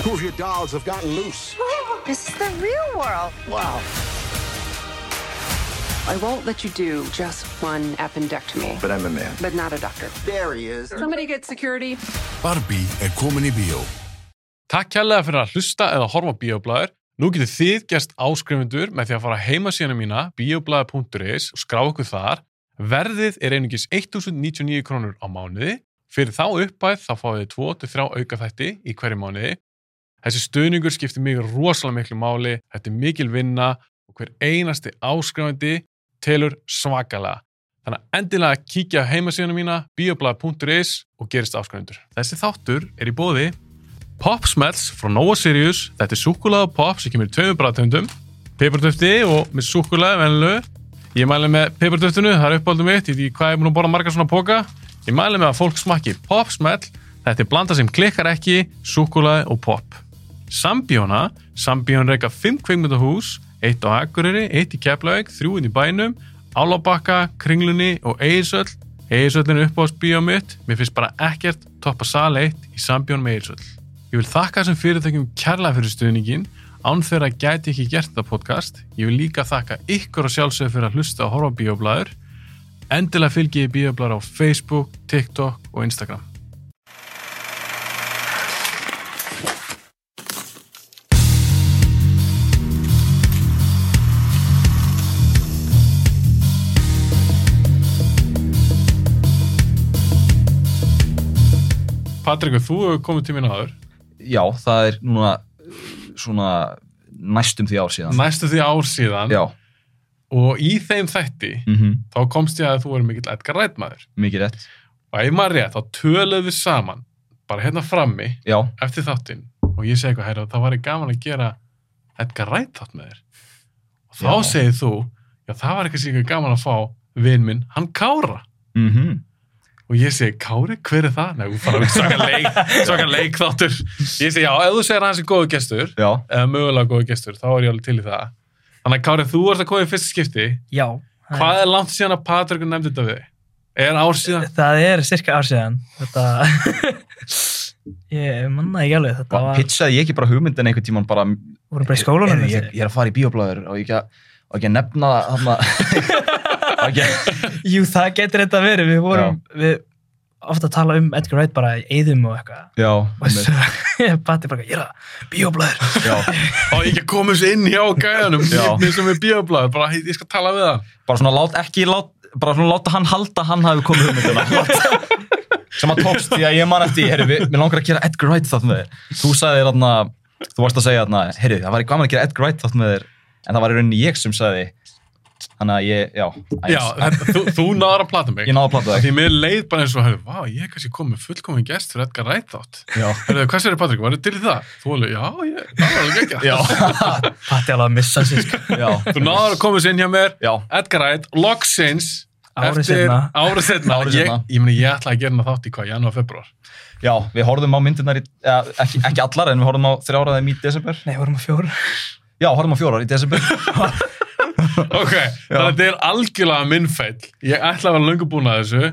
Two of your dolls have gotten loose. This is the real world. Wow. I won't let you do just one appendectomy, But I'm a man. but not a doctor. There he is. Somebody get security. Barbie er komin í bíó. Takk kærlega fyrir að hlusta eða horfa á Bíoblæður. Nú getur þið gerst áskrifundur með því að fara heima síðanum mína bioblæður.is og skrá okkur þar. Verðið er einungis 1.099 krónur á mánuði. Fyrir þá uppæð þá fáið þið 2-3 auka þætti í hverju mánuði. Þessi stuðningur skiptir mig rosalega miklu máli, þetta er mikil vinna og hver einasti áskrifandi telur svakalega. Þannig að endilega kíkja á heimasíðanum mína bioblæður.is og gerist áskrifundur. Þessi þáttur er í bóði Pop Smells frá Nova Sirius Þetta er súkkulaði og pop sem kemur í tveimur bræðtöndum Peppartöfti og með súkkulaði venlu Ég mæli með peppartöftinu, það er uppáldum mitt Ég veit ekki hvað ég er búin að borða margar svona póka Ég mæli með að fólk smakki Pop Smell Þetta er blanda sem klikkar ekki, súkkulaði og pop Sambíóna Sambíón reyka 5 kveikmyndahús Eitt á Akureyri, eitt í Keflavík Þrjúinn í bænum, Álabakka Kringlunni og Eirsöll Eirsöllin er uppáðsbíó mitt Mér finnst bara ekkert toppa sal 1 í Sambjón með Eirsöll Ég vil þakka þessum fyrirtækjum kærlega fyrir stuðningin, án þeirra gæti ég ekki gert þetta podcast. Ég vil líka þakka ykkur og sjálfsögur fyrir að hlusta og horfa á bíoblæður. Endilega fylgi ég bíoblæður á Facebook, TikTok og Instagram. Patrikur, þú hefur komið til mín áður. Já, það er núna uh, svona næstum því ár síðan. Næstu því ár síðan Já, og í þeim þætti mm þá komst ég að þú er mikill Edgar Rætmaður. mikið rétt. Og ef maður rétt, þá töluðum við saman, bara hérna frammi, Já, eftir þáttinn og ég segi eitthvað, herra, það væri gaman að gera Edgar Wright þátt með þér og þá Já. segir þú já, það var eitthvað sér gaman að fá vin minn, hann Kára mm og ég segi, Kári, hver er það? Nei, þú fara við svaka leik, svaka leik þáttur ég segi, já, ef þú segir að hans er góðu gestur já, eða mögulega góðu gestur, þá er ég alveg til í það þannig að Kári, þú varst að koma í fyrsta skipti Já. hvað er langt síðan að Patrik nefndi þetta við? þig? Er ár síðan? Það er cirka ár síðan. Þetta, ég manna ekki alveg, þetta var, Pitchaði ég ekki bara hugmyndin einhvern tíman bara... vorum bara í skólanum. Er, ég, ég er að fara í bíoblæður og ég ekki að, og ekki að nefna þarna... og ekki að... Jú, það getur þetta verið, við vorum, við ofta að tala um Edgar Wright bara í eyðum og eitthvað. Já, Og einmitt. svo, Batti bara, ég er að bíóblæður. já, Á ég ekki að koma þessu inn hjá gæðanum Já. mér sem er bíoblæð, bara ég skal tala við hann bara svona lát, ekki lát, bara svona láta hann halda að hann hafi komið hugmyndina. sem að tókst því að ég man eftir, herru, við- mér langar að gera Edgar Wright þátt með þér. Þú sagði þér þarna, þú varst að segja þarna, herru, það var gaman að gera Edgar Wright þátt með þér, en það var í rauninni ég sem sagði, þannig að ég, já, æs. Já, þetta, þú, þú náður að plata mig ég náði að plata Því þig. mér leið bara eins og hefur, vá, ég er kannski komið fullkomin gest fyrir Edgar Wright átt Já. Herðu, hvað sér er Patrik, var þetta til í það? Þú alveg, já, ég, það var alveg ekki Já, Batti alveg að missa sér, sko. já, Þú náður að koma þessu inn hjá mér, já, Edgar Wright, loksins Ári eftir- seinna. Ári setna, Ári ég, seinna. ég meni, ég ætla að gera hana þátt í hvað, janúar, februar já, við horfðum á myndirnar í, eh, ekki, ekki allar, en við horfðum á þrjára þeim í desember. Nei, vorum að fjóra. Já, horfðum á fjórar í desember. Ok, þannig að þetta er algjörlega minn feill. Ég ætla að vera löngu búin að þessu.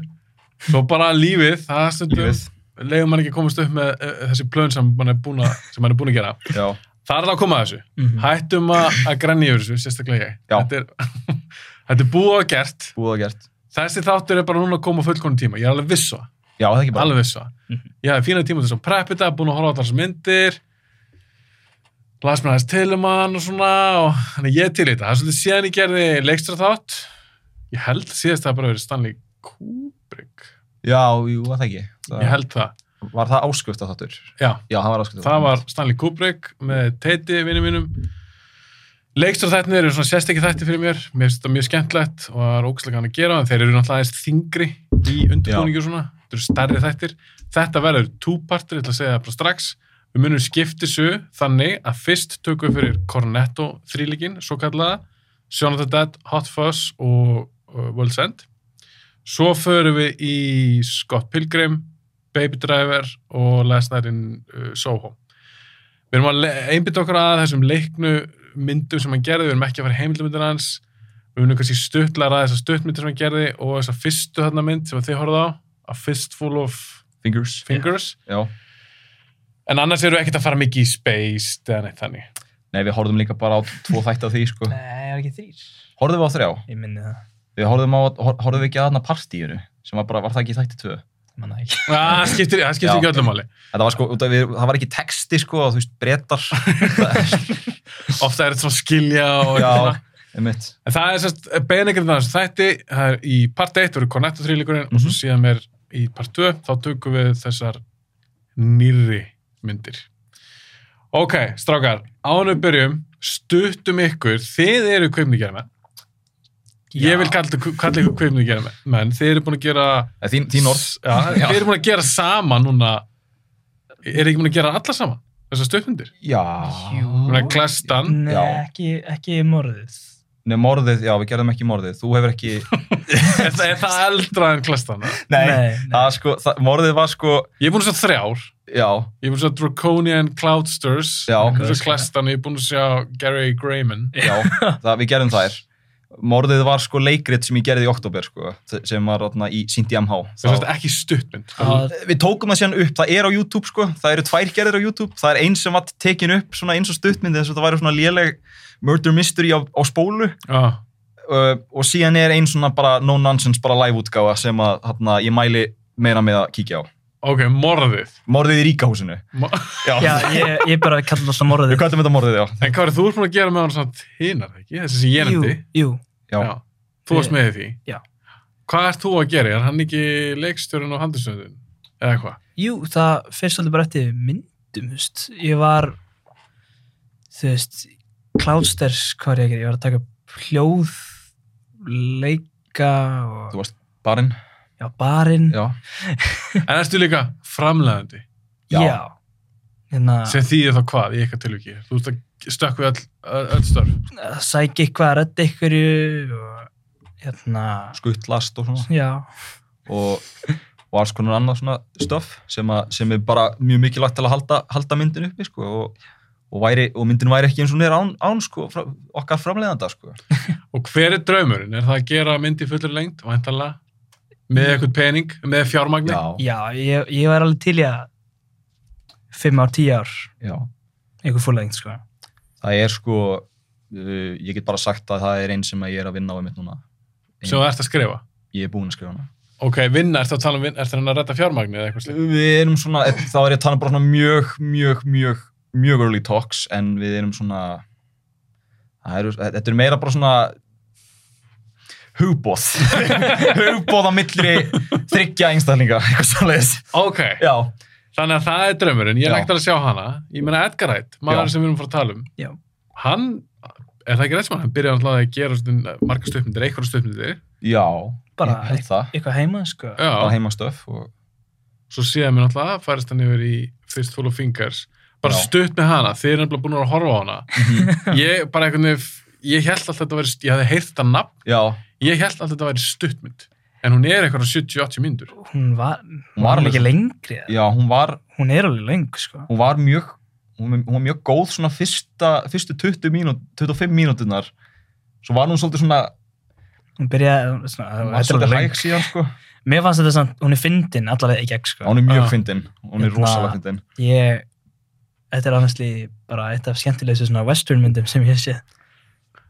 Svo bara lífið, það stundum, Lífið. leiðum mann ekki að komast upp með uh, þessi plön sem mann er búin að, sem mann er búin að gera. Já, Það er það að koma að þessu. Hættum að, að grenni yfir þessu, sérstaklega ég. Mhm. Já. Þetta er, þetta er búið og gert. búið og gert. Þessi þáttur er bara núna að koma á fullkonu tíma. Ég er alveg viss á það. Já, það er ekki bara. Alveg viss á það. Ég hafði fína tíma til þess að preppa þetta, búin að horfa á allar þessar myndir, las mér aðeins til um hann og svona, og þannig að ég er til í þetta. Það er svolítið síðan ég gerði leikstra þátt, ég held síðast að það hafi bara verið Stanley Kubrick. Já, jú, það er ekki. Það, Ég held það. Var það ásköft að þáttur? Já, Já, það var ásköft það var Stanley Kubrick með Teiti, vinnu mínum. Leikstra þættinir eru svona sérstekki þætti fyrir mér, mér finnst þetta mjög skemmtlegt og það er ógæslega gaman að gera, en þeir eru náttúrulega aðeins þingri í undirbúningu og svona, þetta eru stærri þættir. Þetta verður túpartur, ég ætla að segja það bara strax. Við munum skipta þessu þannig að fyrst tökum við fyrir Cornetto þrílíkin, svo kallaða, Jonathan Dead, Hot Fuzz og uh, World's End. Svo förum við í Scott Pilgrim, Baby Driver og Last Night in uh, Soho. Við erum að einbytta okkur að þessum leiknu myndum sem hann gerði, við erum ekki að fara heimildamyndir hans, við erum kannski stuttlega að ræða þessar stuttmyndir sem hann gerði og þessa fyrstu þarna mynd sem að þið horfðu á, A Fistful of Fingers. Fingers. Já, En annars eru ekkert að fara mikið í space eða neitt þannig. Nei, við horfðum líka bara á tvo þætti af því, sko. Nei, það er ekki þrýr. Horfðum við á þrjá? Ég minni það. Við horfðum, á, hor- horfðum við ekki að hana partíinu, sem var bara, var það ekki í þætti tvö? Ég manna ekki. Það skiptir, það skiptir Já. ekki öllum máli. Þetta var sko, út af við, það var ekki texti, sko, og þú veist, breytar. Ofta er þetta svona skilja og Já, eitthvað svona. einmitt. En það er sérst eh, beinengrið þannig þætti, það er í part 1 voru Cornetto þrýleikurinn og svo síðan er í part 2, þá tökum við þessar nýrri myndir. Ok, strákar, ánum byrjum, stuttum ykkur, þið eru kveimnigjæðamenn. Ég vil kalla, ykkur- kalla ykkur kveimnigjæðamenn, þið eru búin að gera... Eh, Þín, þín orð. Já, þið eru búin að gera sama núna, eru ekki búin að gera alla sama, þessar stuttmyndir. Já. Búin að klastan, Ah. Nei, Já. ekki, ekki morðið. Nei, morðið, já, við gerðum ekki morðið. Þú hefur ekki... er það- er það eldra en klastan? eða? Það, sko, það, morðið var sko, Ég er búin að sjá þrjár. já, Ég er búinn að sjá Draconian Cloudsters, Já. ég er búinn að sjá Klastan, ég er búinn að sjá Gary Grayman. já, það, við gerðum þær. Morðið var sko leikrit sem ég gerði í oktober, sko, sem var atna, í Sinti MH. Það er ekki stuttmynd. Já, Við tókum það síðan upp, það er á YouTube sko, það eru tvær gerðir á YouTube, það er eins sem var tekin upp svona eins og stuttmyndi eins og það væri svona léleg murder mystery á, á spólu Já, uh, og síðan er eins svona bara no nonsense bara live útgáfa sem að hana, ég mæli meira með að kíkja á. ok, morðið. Morðið í ríkahúsinu. Mo Já, Já, ég, ég bara kalla það alltaf við morðið. kvættum þetta morðið, já. en hvað er þú ert búinn að gera með hann samt hinar, ekki? Þessi sem ég Jú, nefndi. jú. Já. Já. Þú varst með í því. Já. Hvað ert þú að gera? Er hann ekki leikstjórinn og handisöndun? Eða hvað? Jú, það fyrst alveg bara eftir myndum, þú veist. Ég var, þú veist, Cloudstairs, hvað er ég að gera? Ég var að taka upp hljóð, leika og, Þú varst barinn, já, barinn. já. En ertu líka framlegandi? Já. Hérna, Sem þýðir þá hvað í eitthvað tilviki? Þú ert að stökk við öll, öll störf. að sækja eitthvað að redda ykkur og, hérna, Skuttlast og svona. já. og, og alls konar annað svona stöf sem, að, sem er bara mjög mikilvægt til að halda, halda myndin uppi sko, og, og, væri, og myndin væri ekki eins og hún er án, án sko, frá, okkar framleiðanda sko. Og hver er draumurinn? Er það að gera mynd í fullur lengt, væntalega? Með eitthvað pening, með fjármagni? Já, ég, ég var alveg til í að fimm ár, tíu ár, já. einhver fúrleginn, sko. það er sko uh, ég get bara sagt að það er einn sem að ég er að vinna á einmitt núna Ein- sem þú ert að skrifa ég er búinn að skrifa hana ok, vinna, ertu að tala um vinna, ertu hann að redda fjármagni eða eitthvað slíkt við erum svona, eh, þá er ég að tala um bara svona mjög, mjög, mjög, mjög early talks en við erum svona það eru, þetta er meira bara svona hugbóð hugbóð á millri þryggja einstaklinga, eitthvað svo ok, já, þannig að það er draumurinn ég Já. lægt alveg að sjá hana, ég meina Edgar Wright maður Já. sem við erum að fara að tala um Já. hann, er það ekki rétt sem hann hann byrjaði náttúrulega að gera svona margar stöpmyndir, eitthvað stöpmyndir já Bara ég held það, Eitthvað heima, sko. bara já, heimastöf og, svo síðan mér náttúrulega færist hann yfir í Fistful of Fingers bara Já. Mhm. stutt með hana, þið er nefnilega búin að horfa á hana ég bara einhvern veginn ég held alltaf þetta væri, ég hafði heyrt þetta nafn já, ég held alltaf þetta væri stuttmynd en hún er eitthvað 70-80 myndur Hún var, hún var alveg- var alveg ekki lengri. eða? já, hún var Hún er alveg leng, sko. hún var mjög hún hún var mjög góð svona fyrsta, fyrstu 20 mínút, 25 mínúturnar svo var hún svolítið svona Hún byrjaði, hún- svona, hún var þetta er svolítið alveg hæg leng. síðan sko Mér fannst þetta samt, hún er fyndin allavega ekki ekki, sko. hún er mjög Já. fyndin, hún er Hérna- rosalega fyndin Ég, þetta er honestly bara eitt af skemmtilegstu svona western myndum sem ég hef séð.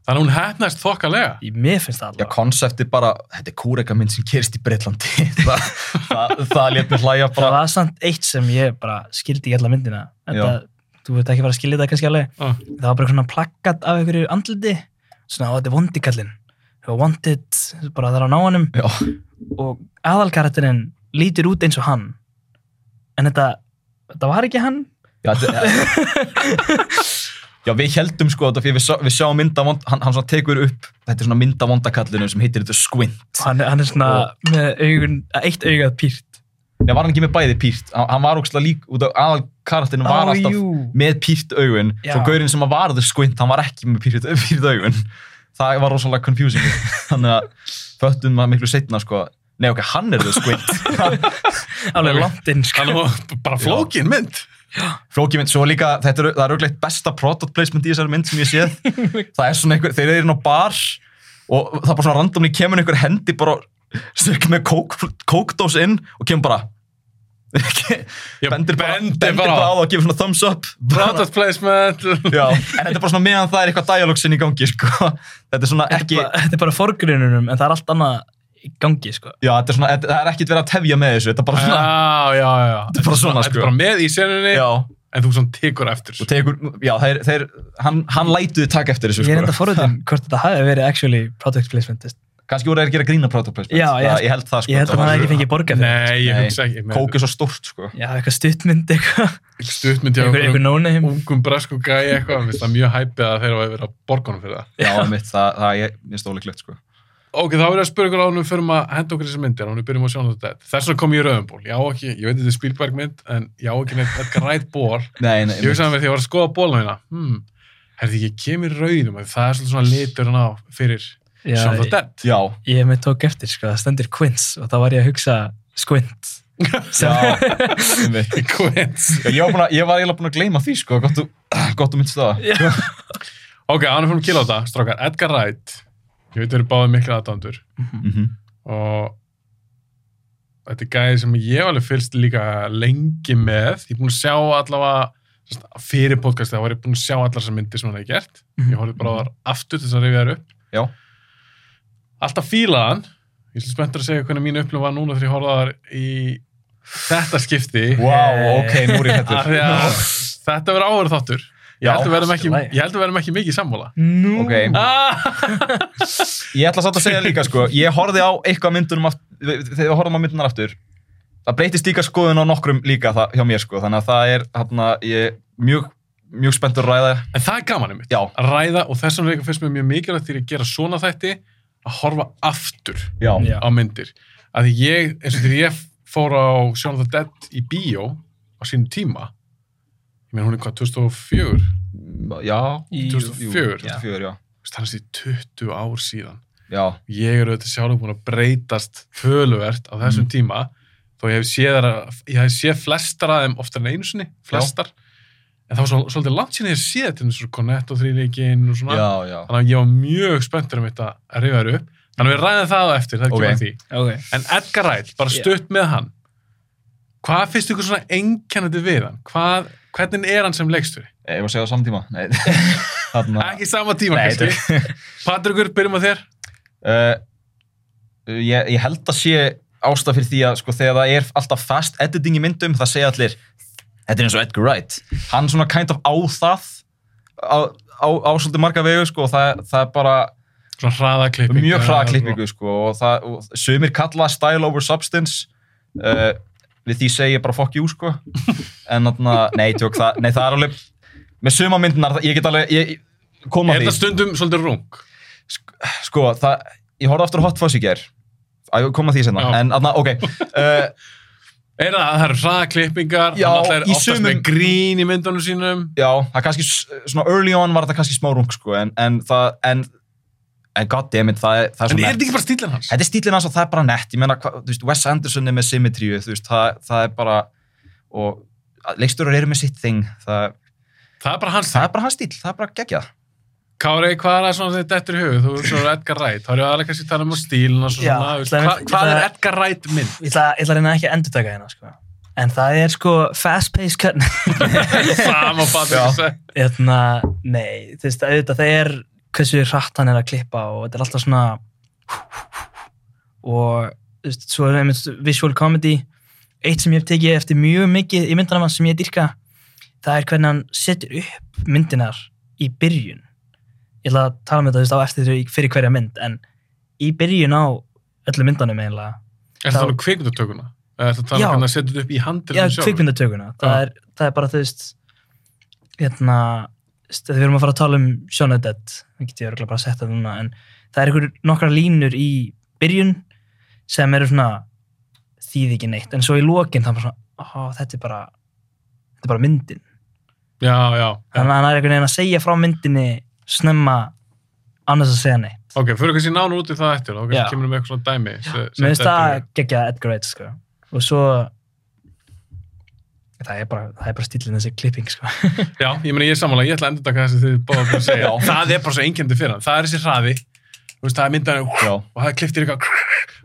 þannig að hún hefnast þokkalega Í- Mér finnst það Já, allavega. konseptið bara, þetta er kúreka mynd sem gerist í Breitlandi. það það, það létt mér hlæja Það bara. var samt eitt sem ég bara skildi í alla myndina. Þetta, þú veit ekki bara að skilja þetta kannski alveg. Ah. það var bara svona plakkat af einhverju andliti svona, og þetta er vondikallin wanted, bara það er á náanum Já, og aðalkarakterinn lítur út eins og hann en þetta, þetta var ekki hann já, þetta, já, við heldum sko þetta fyrir við, sá- við sjáum mynda vond, hann, hann svona tekur upp, þetta er svona mynda vondakallinu sem heitir þetta Squint. og hann, er- hann er svona með augun, eitt augað pýrt Já, var hann ekki með bæði pýrt? Hann, hann var ógslag lík, út af aðal karatinu var Á, alltaf jú. með pýrt augun. Já. Svo gaurinn sem var þetta Squint, hann var ekki með pýrt, pýrt augun. Það var rosalega confusing. Þannig að föttum maður miklu setna sko, nei ok, hann er þetta Squint. alveg langt inn sko. Þannig að bara flókin mynd. flóki mynd, svo líka, þetta er, það er auðvitað besta product placement í þessari mynd sem ég séð það er svona einhver, þeir eru inn á bar og það er bara svona randomni kemur einhver hendi bara stökk með kók- kókdós inn og kemur bara Já, bendir bara, bendir bendir bara bara á á. það og gefur svona thumbs up bara, Product placement. já, en þetta er bara svona meðan það er eitthvað dialogsin í gangi sko. þetta er svona Þetta ekki er bara- þetta er bara forgrununum, en það er allt annað í gangi, sko. já, þetta er svona, þetta- það er ekkit verið að tefja með þessu þetta er bara svona, Já, já, já. þetta er bara svona Þetta er sko. bara með í senunni, já, en þú svona tekur eftir. og tekur, já, þeir, þeir hann, hann lætuði takk eftir þessu Ég er enda sko. forvitinn hvort þetta hafi verið actually product placement. þú veist. kannski voru þeir að gera grína product placement Já, ég Það- held- ég held það sko Ég held að Það hann var- hafi ekki fengið borga fyrir. Nei, ég Nei. hugsa ekki. með- kók er svo stórt sko Já, eitthvað stuttmynd, eitthvað. Stuttmynd hjá Eitthvað, eitthvað einhverjum nóni heim. ungum bresku gæi eitthvað. Mér finnst það mjög hæpið að þeir hafa verið að borgunum fyrir það. já, mitt, það, það ég, minnst ólíklegt sko Ok, þá er ég að spyrja ykkur ánum fyrir maður að henda okkur þessi myndir, ánum byrjum að sjá um þetta. Þess vegna kom ég í rauðumból. Já, ekki, ég veit þetta er Spielberg mynd, en já, ekki neitt Edgar Wright ból. nei, nei, Ég hugsaði með því að ég var að skoða bólna hérna. Hmm, herði, ég kemur rauðum, af því það er svolítið svona litur hann á fyrir Já, Shaun of the Dead. já, Ég hef með tók eftir, sko, það stendur quince og þá var ég að hugsa squint. já mitt Quince. Já, ég, var búin að, ég var eiginlega búin að gleyma því sko, gott þú, gott þú myndst það. Ok, ánum fyrir að kila á þetta, strákar. Edgar Wright, ég veit að eru báðið mikla aðdándur. Mhm. og þetta er gæði sem ég hef alveg fylgst líka lengi með ég er búinn að sjá allavega sem sagt, fyrir podcastið þá var ég búinn að sjá allar sem myndir sem hann hefði gert ég horfði bara á þar aftur til þess að rifja þær upp Já. alltaf fílaði hann ég er spenntur að segja hvernig mín upplifun var núna þegar ég horfði á þar í þetta skipti Vá, ok, nú er ég Af hættur. því að þetta verður áhverð þáttur ég Já, held að við verðum ekki, allt í lagi. ég held að við verðum ekki mikið sammála Nú. Ok, ah, ég ætla satt að segja líka sko, ég horfði á eitthvað myndunum, aft- þegar við horfðum á myndunar aftur, það breytist líka skoðun á nokkrum líka það, hjá mér sko, þannig að það er hérna, ég, mjög, mjög spenntur að ræða, en það er gaman einmitt já, að ræða og þess vegna líka finnst mér mjög mikilvægt þegar ég gera svona þætti að horfa aftur já, Já. á myndir að því ég, eins og þegar ég fór á Shaun of the Dead í bíó á sínum tíma ég meina hún er hvað, 2004 já, Í- 2004, já, 2004, já, þannig að það er 20 ár síðan já, ég er auðvitað sjálf búin að breytast töluvert á þessum Mm. tíma þó ég hef séð, þeirra- ég hef séð flestar af þeim oftar en einu sinni, flestar en það var svo- svolítið langt sinni ég hef séð til þessu Cornetto þrýleikin og svona já, já, þannig að ég var mjög spenntur um þetta að rifja þér upp þannig að við ræðum það á eftir, það er Ok. ekki okay. því Ok. en Edgar Wright, bara stutt með hann hvað finnst ykkur svona einkennandi við hann? Hvað, hvernig er hann sem leikstur? ég var að segja það á samtíma, nei, þarna, ekki sama tíma Nei, kannski Patrikur, byrjum að þér uh, eh, ég, ég held að sé ástaf fyrir því að sko, þegar það er alltaf fast editing í myndum það segja allir, þetta er eins og Edgar Wright hann svona kind of á það á, á, á svolítið marga vegu sko, og það, það er bara svona hraða klippingu mjög hraða klippingu sko, og, það, og sumir kalla style over substance uh, við því segi ég bara fuck you sko. en þarna, nei, tjók, það, nei það er alveg með suma myndinar, ég get alveg ég, koma er þetta stundum svolítið rung sko, það, ég horfði aftur á Hot Fuzz í gær að ég kom að því senna, Já. en aðna, ok uh, er það, það eru hraða klippingar Já, hann alltaf er í oftast með sumum- grín í myndunum sínum já, það kannski, s- svona early on var þetta kannski smá rung, sko, en, en það en, en goddammit, það, er- það er en svo er nett. þetta ekki bara stílinn hans? þetta er stílinn hans og það er bara nett, ég meina, hva, þú veist, Wes Anderson er með symmetríu, þú veist, það, það er bara og leikstjórar eru með sitt þing, það, það er bara hans það er bara hans stíl, það er bara geggjað Kári, hvað er það svona sem þetta eftir í hug? Þú erum svona Edgar Wright, þá er ég aðlega kannski að tala um stílinn og Já, svona, þú veist, ætlaði hvað, mér- hvað er ætlaði- Edgar Wright mynd? Ég ætla, ég ætla að reyna ekki að endurtaka hérna, sko. En það er sko fast-paced cut. sama Já. Patrik Þarna, Hérna, nei, þú veist, auðvitað það er hversu hratt hann er að klippa og þetta er alltaf svona og þú veist, svo er einmitt visual comedy eitt sem ég hef tekið eftir mjög mikið í myndunum hans sem ég dyrka það er hvernig hann setur upp myndinar í byrjun ég ætla að tala um þetta þú veist, á eftir þau fyrir hverja mynd en í byrjun á öllum myndunum eiginlega Er það alveg um kvikmyndatökuna? Er það Já. talað hvernig að setja þetta upp í handrið Já, kvikmyndatökuna það Já. er, það er bara, þú veist hérna, þú veist, við erum að fara að tala um Shaun of the Dead, það get ég örgulega bara að setja það núna, en það er einhver nokkra línur í byrjun sem eru svona þýði ekki neitt, en svo í lokin það er bara svona, ó, þetta er bara þetta er bara myndin, Já, já. þannig að hann er einhvern veginn að segja frá myndinni snemma annars að segja neitt Ok, fyrir kannski nánu út í það eftir, þá Já. kannski kemur við með eitthvað svona dæmi. sem- sem Mér finnst dettur það í hug. geggja Edgar Wright sko. og svo það er bara, það er bara stílinn þessi klipping sko. Já, ég meina ég er samanlega, ég ætla að endur taka þessi þið báða búin að segja. það er bara svo einkendi fyrir hann. Það er þessi hraði, þú veist, það er myndan Já. og það kliftir eitthvað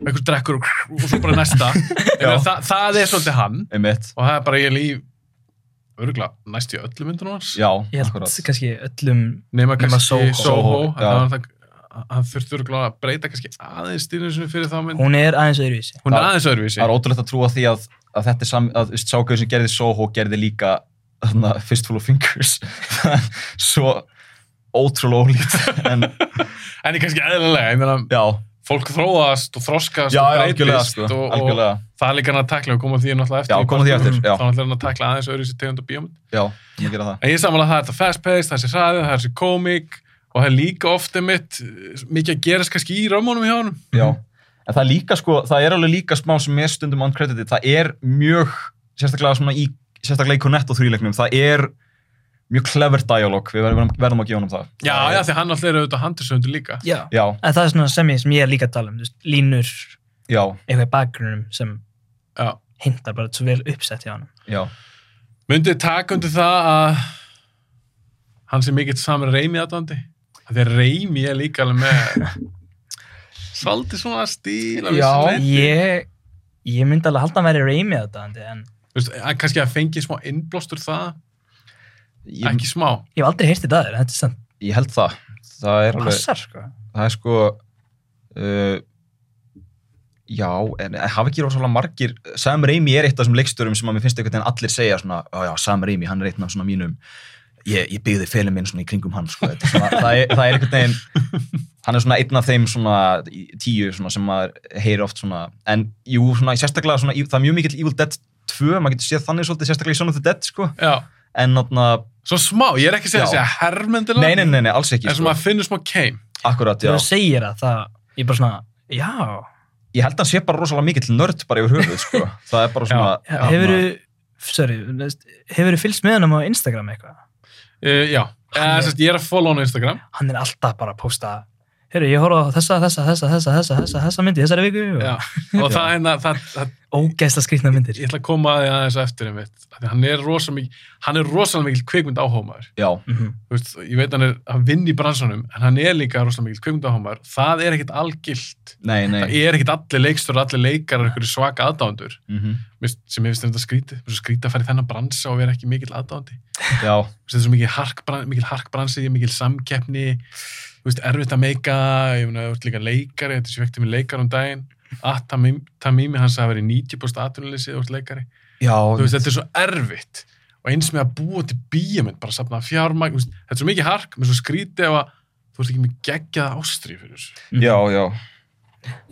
einhvers drekkur og, og svo bara næsta Ég meina, það, það er svolítið hann einmitt. og það er bara ég líf örgulega næst í öllu myndunum hans Já, Ég held akkurat. kannski öllum nema Nema kannski Soho. Soho en Já. það var það- hann þurfti örgulega að breyta kannski aðeins stílinsinu fyrir þá mynd Hún er aðeins öðruvísi hún er Já. aðeins öðruvísi Það er ótrúlegt að trúa því að, að þetta er sam, að Sákauð sem gerði Soho gerði líka þarna, Fistful of Fingers. Svo ótrúlega ólíkt. En en ég kannski eðlilega, ég meina já, fólk þróast og þroskast já, og já, breytist algjörlega sko. og, og Algjörlega, það er líka hann að takla og koma því náttúrulega eftir Já, í koma því kvöldum. eftir, já. þá náttúrulega er hann að takla aðeins öðruvísi tegund og bíómynd já, ég gera það. En ég samanlega það er þetta fast paced, það er sér hraðið, það er sér komik og það er líka ofta mitt mikið að gerast kannski í römmunum hjá honum. Já. En það er líka sko, það er alveg líka smá sem er stundum uncredited. Það er mjög, sérstaklega svona í, sérstaklega í Cornetto þrýleiknum, það er mjög clever dialog. Við verðum, verðum að gefa honum það. Já, já, því hann alltaf er auðvitað handisöndur líka. Já Já, En það er svona sem ég, sem ég er líka að tala um þú veist, Línur, já, eitthvað í bakgrunum sem Já. hintar bara svo vel uppsett hjá hann já. Myndið taka undir það að hann sé mikill saman reymi aðdandi. Þegar reymi er líka alveg með svolítið svona stíl. að vissu leyti. Ég, ég myndi alveg að halda að vera reymi á þetta en Þú veist, að kannski að fengi smá innblástur það, Ég, ekki smá. ég hef aldrei heyrt þetta aður, þetta er samt ég held það. Það er alveg... passar sko það er sko uh, já, en hafa ekki rosalega margir Sam Raimi er eitt af þessum leiksturum sem að mér finnst einhvern veginn allir segja svona, já, já, Sam Raimi, hann er einn af svona mínum ég, ég byggði felin minn svona í kringum hann sko, Þetta er svona, það, er, það er einhvern veginn hann er svona einn af þeim svona í- tíu svona, sem maður heyri oft svona en jú, svona, sérstaklega svona, í- það er mjög mikill Evil Dead 2, maður getur séð þannig svolítið sérstaklega í Son of the Dead, sko Já, en náttúruna, svo smá, ég er ekki að segja Já. þessi að herrmyndilega. nei, nei, nei, nei, alls ekki En sem sko. að finnur smá keim. akkurat, já Þegar þú segir það, það ég bara svona, já ég held að hann sé bara rosalega mikill nörd bara yfir höfuð sko. það er bara svona Já, Hefur sorry, hefur þú fylgst með hann á Instagram eitthvað? Uh, já, Eða, Hann er- sérst, ég er að follow hann á Instagram. Hann er alltaf bara að posta Heyrðu, ég horfa á þessa, þessa, þessa, þessa, þessa, þessa, þessa myndi í þessari viku Já, og og það hérna, það, það, ógeðsla skrýtna myndir. ég ætla að koma að því aðeins á eftir einmitt, af því hann er rosa mikil, hann er rosalega mikil kveikmynd áhómaður, já, Mhm. þú veist, ég veit hann er, hann vinn í bransanum, en hann er líka rosalega mikil kveikmynd áhómaður, það er ekkit algilt, nei, nei það er ekkit allir leikstur, allir leikarar, einhverju svaka aðdándur, Mhm. sem ég finnst þetta skrítið, mér finnst svo skrítið að fara í þennan bransa og vera ekki mikill aðdándi, já, Þú veist, þetta er svo mikil, harkbran, mikil harkbransi, mikil samkeppni, þú veist, erfitt að meika, ég meina, þú ert líka leikari, þetta sé vektið með leikar um daginn, að Tamimi hans hafa verið 90% atvinnuleysið og ert leikari. já, Þú veist, þetta er svo erfitt og eins með að búa til bíjamönd, bara að safna fjármagn, þú veist, þetta er svo mikið hark, með svo skrítið ef að þú ert ekki með geggjaða ástríð fyrir þessu. já, já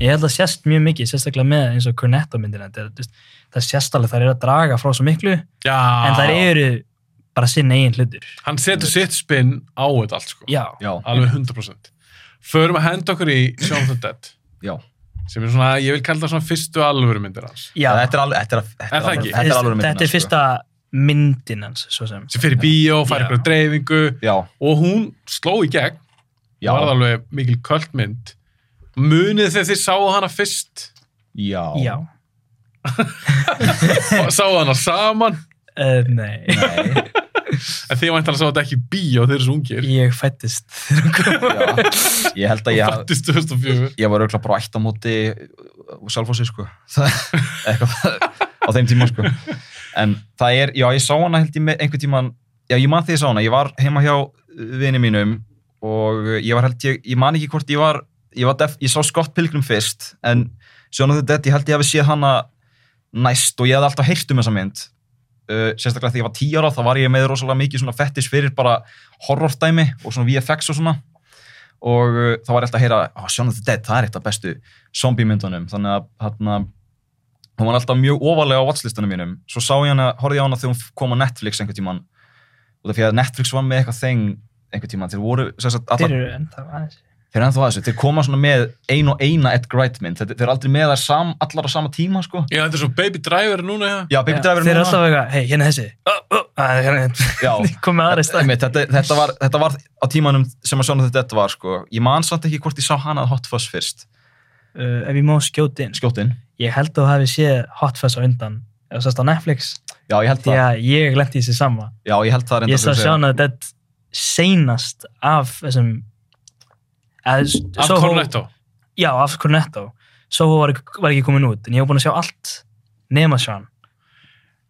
Ég held að sést mjög mikið, sérstaklega með eins og Cornetto myndina. Það, er, þú veist, það sést alveg, það er að draga frá svo miklu, Já, en það eru bara sinn eigin hlutur. hann setur sitt spinn á þetta allt, sko. Já, já, Alveg 100%. Förum að henda okkur í Shaun of the Dead, já. sem er svona, ég vil kalla það svona fyrstu alvöru myndir hans. já. þetta er alveg þetta er, þetta Er það alveg- ekki? þetta er alveg myndin, Þetta er sko. fyrsta myndin hans, svo sem. sem fyrir bíó, fær Já. eitthvað dreifingu já, og hún sló í gegn já, var alveg mikil kvöldmynd munið þegar þið sáu hana fyrst já, Já. og sáu hana saman Uh, nei, Nei, en þið væntanlega sáu þetta ekki í bíó þeir eru svo ungir ég fættist þegar hún kom. já. ég held að og ég fættist 2004 ég var auðvitað bara ætt á móti og sjálfósi sko Það- eitthvað á þeim tíma sko en það er, já ég sá hana held ég með einhvern tíman, já ég man því ég sá hana ég var heima hjá vini mínum og ég var held ég, ég man ekki hvort ég var ég, var def, ég sá Scott Pilgrim fyrst en Sjónu the Dead, ég held ég hafi séð hana næst og ég hafði alltaf heyrt um þessa mynd uh, sérstaklega þegar ég var 10 ára þá var ég með rosalega mikið svona fettis fyrir bara horrordæmi og svona VFX og svona og uh, þá var ég alltaf að heyra oh, Shaun of the Dead, það er eitt af bestu zombiemyndunum, þannig að hérna, hún var alltaf mjög ofalega á watchlistunum mínum svo sá ég hana, horfði ég á hana þegar hún kom á Netflix einhvern tíman út af því að Netflix var með eitthvað þeng einhvern tíman, þeir voru sem sagt, Þeir allar, eru ennþá aðeins. þeir eru ennþá að þessu, þeir koma svona með ein og eina Ed Wright mynd, þeir, þeir eru aldrei með þær sam, allar á sama tíma sko já þetta er svo baby driver núna já. Já, Baby Já, Driver Þeir eru núna. alltaf eitthvað, hei, hérna er þessi. Ó, ó, að, Já. Hérna komið aðra í stað. Einmitt, þetta, þetta, var, þetta var á tímanum sem að svona þetta þetta var sko. ég man samt ekki hvort ég sá hana að Hot Fuzz fyrst Uh, ef ég má skjóti inn, skjóttinn, ég held að þú hafi séð Hot Fuzz á undan, eða sérst á Netflix, já ég held því það að ég lendi í þessi sama. já ég held það reyndar Ég sá sem þú segir. sjána þetta seinast af þessum eða s- af Soho- Cornetto Já, af Cornetto Soho var, ekki- var ekki komin út en ég var búin að sjá allt nema Sean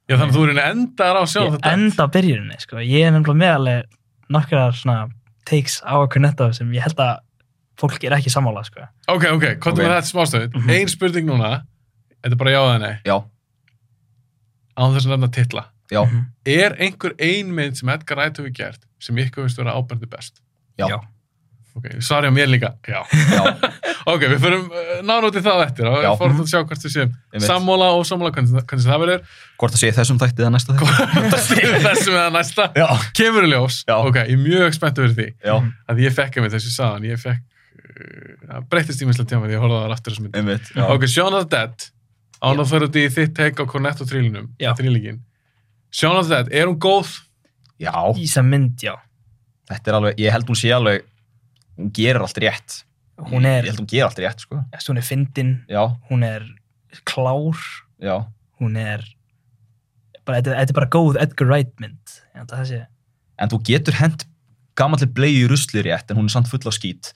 Já, þannig að þú eru endar á að sjá ég þetta. enda á byrjuninni sko. ég er nefnilega meðaleg nokkrar svona takes á að Cornetto sem ég held að fólk er ekki sammála sko. Ok, ok, hvað Ok. með þetta smástöðið? Mhm. Mm Ein spurning núna, þetta er bara já eða nei, Já, án þess að nefna titla. já, Er einhver ein mynd sem Edgar Wright hefur gert sem ykkur finnst vera ábærandi best? já, Já. Ok, svar ég á mér líka, já. já, ok, við förum uh, nánútið það eftir og Já. við fórum að sjá hvort við séum Einmitt. sammála og sammála hvernig, hvernig það verður. Hvort það sé í þessum þætti eða næsta þætti? Þessum eða næsta. Já, Kemur í ljós, Já. ok, ég er mjög spenntu fyrir því já, að ég fekk að mér þessu saðan, ég fekk, uh, það breyttist ímislega tíma því að ég horfði á það aftur þessum mynd. einmitt. Já. Ok, Shaun of the Dead án að fyrir því þitt teik á Cornetto trílinum Já. trílingin Shaun of the Dead, er hún góð? já, í sem mynd, já þetta er alveg, ég held hún sé alveg, hún gerir allt rétt. hún er, Ég held hún gerir allt rétt, sko. hún er fyndin Já, hún er klár já, hún er bara, þetta, þetta er bara góð Edgar Wright mynd ég held að það sé Eh. en þú getur hent gamalli blei í rusli rétt, en hún er samt full af skít.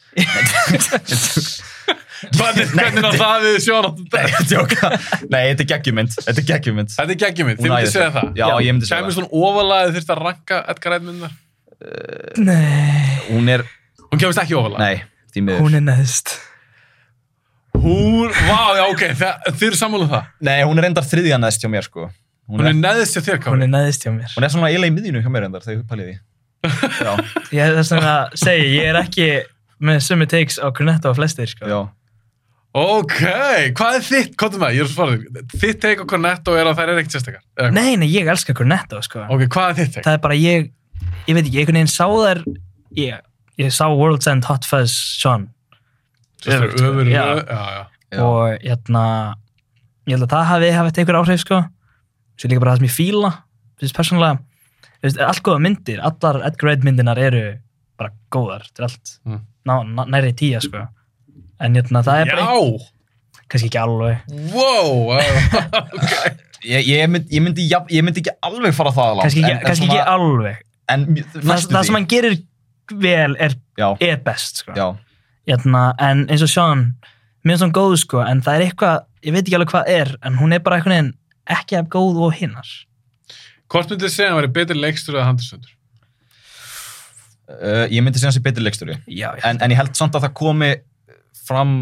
Hvernig hvernig á það við Shaun of the Dead? Djóka. Nei, þetta er geggjumynd, þetta er geggjumynd. Þetta er geggjum minn, þið Hún myndið æðisleg. segja það Já, ég myndi segja Kæmur það. svona ofalega þurft að ranka Edgar Wright myndar Nei, Hún er, Hún kemist ekki ofalega nei, því miður. hún er neðst Hún, vá, já, ok, það- þið eru sammála um það Nei, hún er endar þriðja neðst hjá mér, sko. Hún, Hún er, er neðist hjá þér, hún Kári er neðst hjá mér hún er svona eiginlega í miðjunu hjá mér endar, þegar ég pælið því. Já, ég er þess vegna að segja, ég er ekki með sömu takes á Cornetto og flestir sko. já. Ok, hvað er þitt, hvað er það? Ég er svarið Þitt teik á Cornetto er að þær er ekkert sérstakar Eða hvað? nei, nei, ég elska Cornetto sko. Ok, hvað er þitt teik? það er bara ég ég veit ekki, einhvern veginn sá þær ég, ég sá World's End Hot Fuzz Sean Öfur, öfugt, sko. öfur, Já. öfur, já, já Já. og hérna ég held að það hafi haft einhver áhrif sko svo líka bara það sem ég fíla finnst persónulega þú veist, allt góða myndir, allar Edgar Wright myndinar eru bara góðar, þetta er allt Mm. ná, ná, nærri tíja sko en hérna það er bara, Já, kannski ekki alveg wow, já. Ég, ég, mynd, ég, myndi, jafn- ég myndi ekki alveg fara það langt. kannski en- ekki, en kannski svona- ekki alveg En mj- það, næstum það því. sem hann gerir vel er, Já, er best sko já, hérna, en eins og Sean mér finnst hún góð sko, en það er eitthvað ég veit ekki alveg hvað er, en hún er bara einhvern veginn ekki af góð og hinnar Hvort myndið segja að hann væri betri leikstur eða handisöndur? uh, ég myndi segja hans í betri leikstjóri. já, já, En, en ég held samt að það komi fram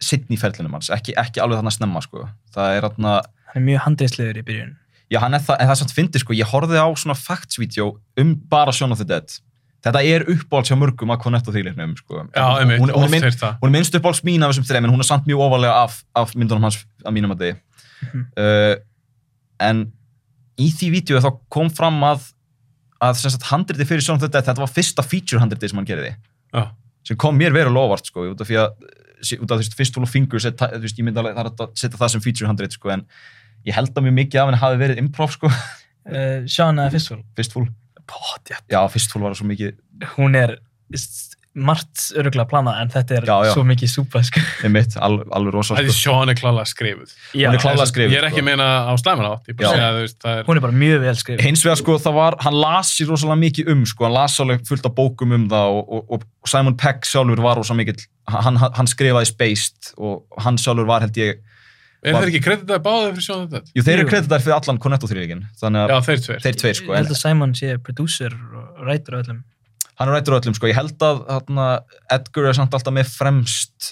sittn í ferlinum hans, ekki, ekki alveg þarna snemma, sko. Það er þarna, hann er mjög handriðslegur í byrjun já, hann er það, en það er samt fyndi, sko, ég horfði á svona facts-vídeó um bara Shaun of the Dead. Þetta er uppáhalds hjá mörgum að Cornetto þýlirnum, sko. Já, hún, einmitt, hún, hún, er oft mynd, heyrt það. hún er minnst uppáhalds mín af þessum þreim, en hún er samt mjög ofalega af, af myndunum hans að mínum að degi. uh, en í því vídeo þá kom fram að að sem sagt handriti fyrir Shaun of the Dead, þetta var fyrsta feature handriti sem hann gerði. Já, sem kom mér verið lofart sko, út af því að sí- út af þú veist, fyrst hól og fingur set, þú veist, ég myndi alveg það er hægt að setja það sem feature handrið sko, en ég held að mjög mikið af henni hafi verið improv sko, uh, Sean eða Fistful fyrst hól Pot, já. já, fyrst hól var það svo mikið hún er s- margt öruglega planað en þetta er Já, já. svo mikið súpa sko. mitt, al, alveg rosa Það er sko. Sean er klálega skrifuð. já, Hún er klá- Klálega skrifuð, Ég er ekki sko. að meina á slæman átt, ég bara Já. segja að þú veist, það er... hún er bara mjög vel skrif hins vegar sko, það var, hann las sér rosalega mikið um sko, hann las alveg fullt af bókum um það og, og, og Simon Peck sjálfur var rosa mikill, hann, hann- hann skrifaði Spaced og hann sjálfur var held ég Er þeir ekki kreditaði báðið fyrir Sean þetta? jú, þeir Jú. eru kreditar fyrir allan Cornetto þrýrikinn þannig Já, að þeir tveir. þeir tveir sko, ég en held að Simon sé producer og rætur og öllum hann er rættur á öllum sko, ég held að þarna, Edgar er samt alltaf með fremst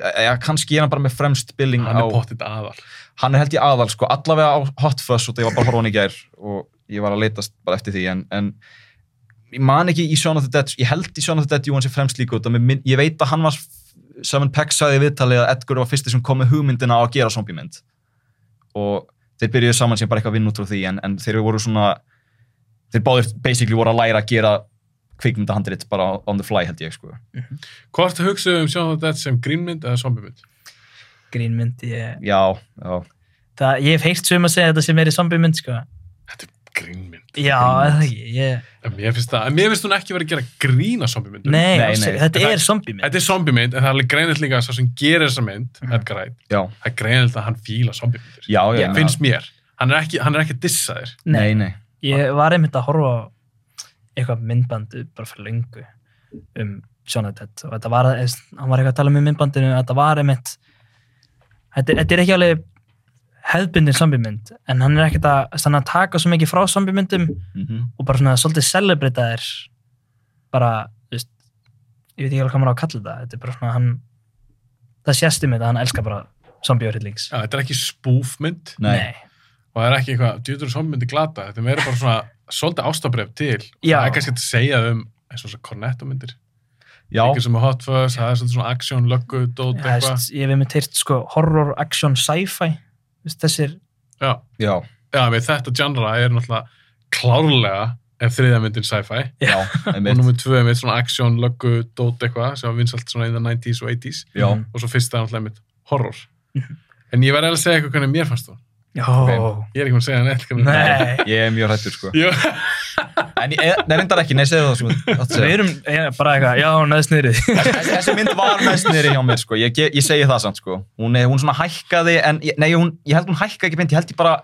eða kannski er hann bara með fremst billing Hann á, er pottitt aðal. hann er held ég aðal sko, allavega á Hot Fuzz og það ég var bara að horfa á hann í gær og ég var að leitast bara eftir því en, en ég man ekki í Shaun of the Dead ég held í Shaun of the Dead jú hann sé fremst líka út af mér minn- ég veit að hann var Simon Peck sagði í viðtalið að Edgar var fyrsti sem kom með hugmyndina á að gera zombiemynd og þeir byrjuðu saman sem bara eitthvað að vinna út frá því en, en þeir voru svona þeir báðir basically voru að læra að gera kvikmyndahandrit bara on the fly held ég sko Hvort hugsaðu um Sean þetta sem grínmynd eða zombiemynd? grínmynd ég, já, já, það, ég hef heyrt sögum að segja að þetta sé meiri zombie mynd sko. Þetta er grínmynd. já, eða ekki ég, En mér finnst það, en mér finnst hún ekki verið að gera grína zombiemyndum. nei, Nei, alls- nei. þetta Það- er zombie mynd Þetta er zombiemynd, en það er alveg greinilegt líka að svo sem gerir þessa mynd, Edgar Wright, já, það er greinilegt að hann fíla zombiemyndir. Mhm. já, já, Já. já. Finnst mér. Hann er ekki, hann er ekki að dissa þér. nei, nei, Ég var einmitt að horfa á eitthvað myndband bara fyrir löngu um Sean Dead og þetta var, hann var eitthvað að tala með myndbandinu að þetta var einmitt þetta, er- þetta er ekki alveg hefðbundin zombiemynd en hann er ekkert að, hann er að taka svo mikið frá zombiemyndum Mhm. og bara svona svolítið celebrita þær bara, þú veist ég veit ekki alveg hvað maður á að kalla þetta þetta er bara svona hann það sést um þetta, hann elskar bara zombiehorrillings Já, þetta er ekki spúfmynd Nei. og það er ekki eitthvað, djúður zombmyndi glata þetta er meira bara svona, svolítið ástabref til og Já. það er kannski hægt að segja um eins og þessar Cornetto-myndir Já, ekki sem er hot fuzz, það er svolítið svona action, löggu, dót, Já, þú eitthvað veist, ég hef einmitt heyrt sko horror, action, sci-fi þú veist, þessir, já, já, já, við þetta genre er náttúrulega klárlega en þriðja myndin sci-fi já, og einmitt. nummið tvö er með svona action, löggu, dót, eitthvað sem var vinsalt svona in the 90s og 80s Já, Mhm. og svo fyrsta er náttúrulega mitt horror en ég var eða að segja eitthvað hvernig mér fannst þú já, ég er ekki með að segja neitt hvernig nei ég er mjög hættur, sko. Jú, En ég, eh, nei, reyndar ekki, nei, segðu það, sko. Láttu við segja. erum ég, bara eitthvað, já, neðst niðri Þessi þessi mynd var mest niður hjá mér, sko. Ég, ge- ég segi það samt, sko. Hún, er- hún svona hækkaði, en, ég- nei, hún, ég held hún hækkaði ekki mynd, ég held ég bara,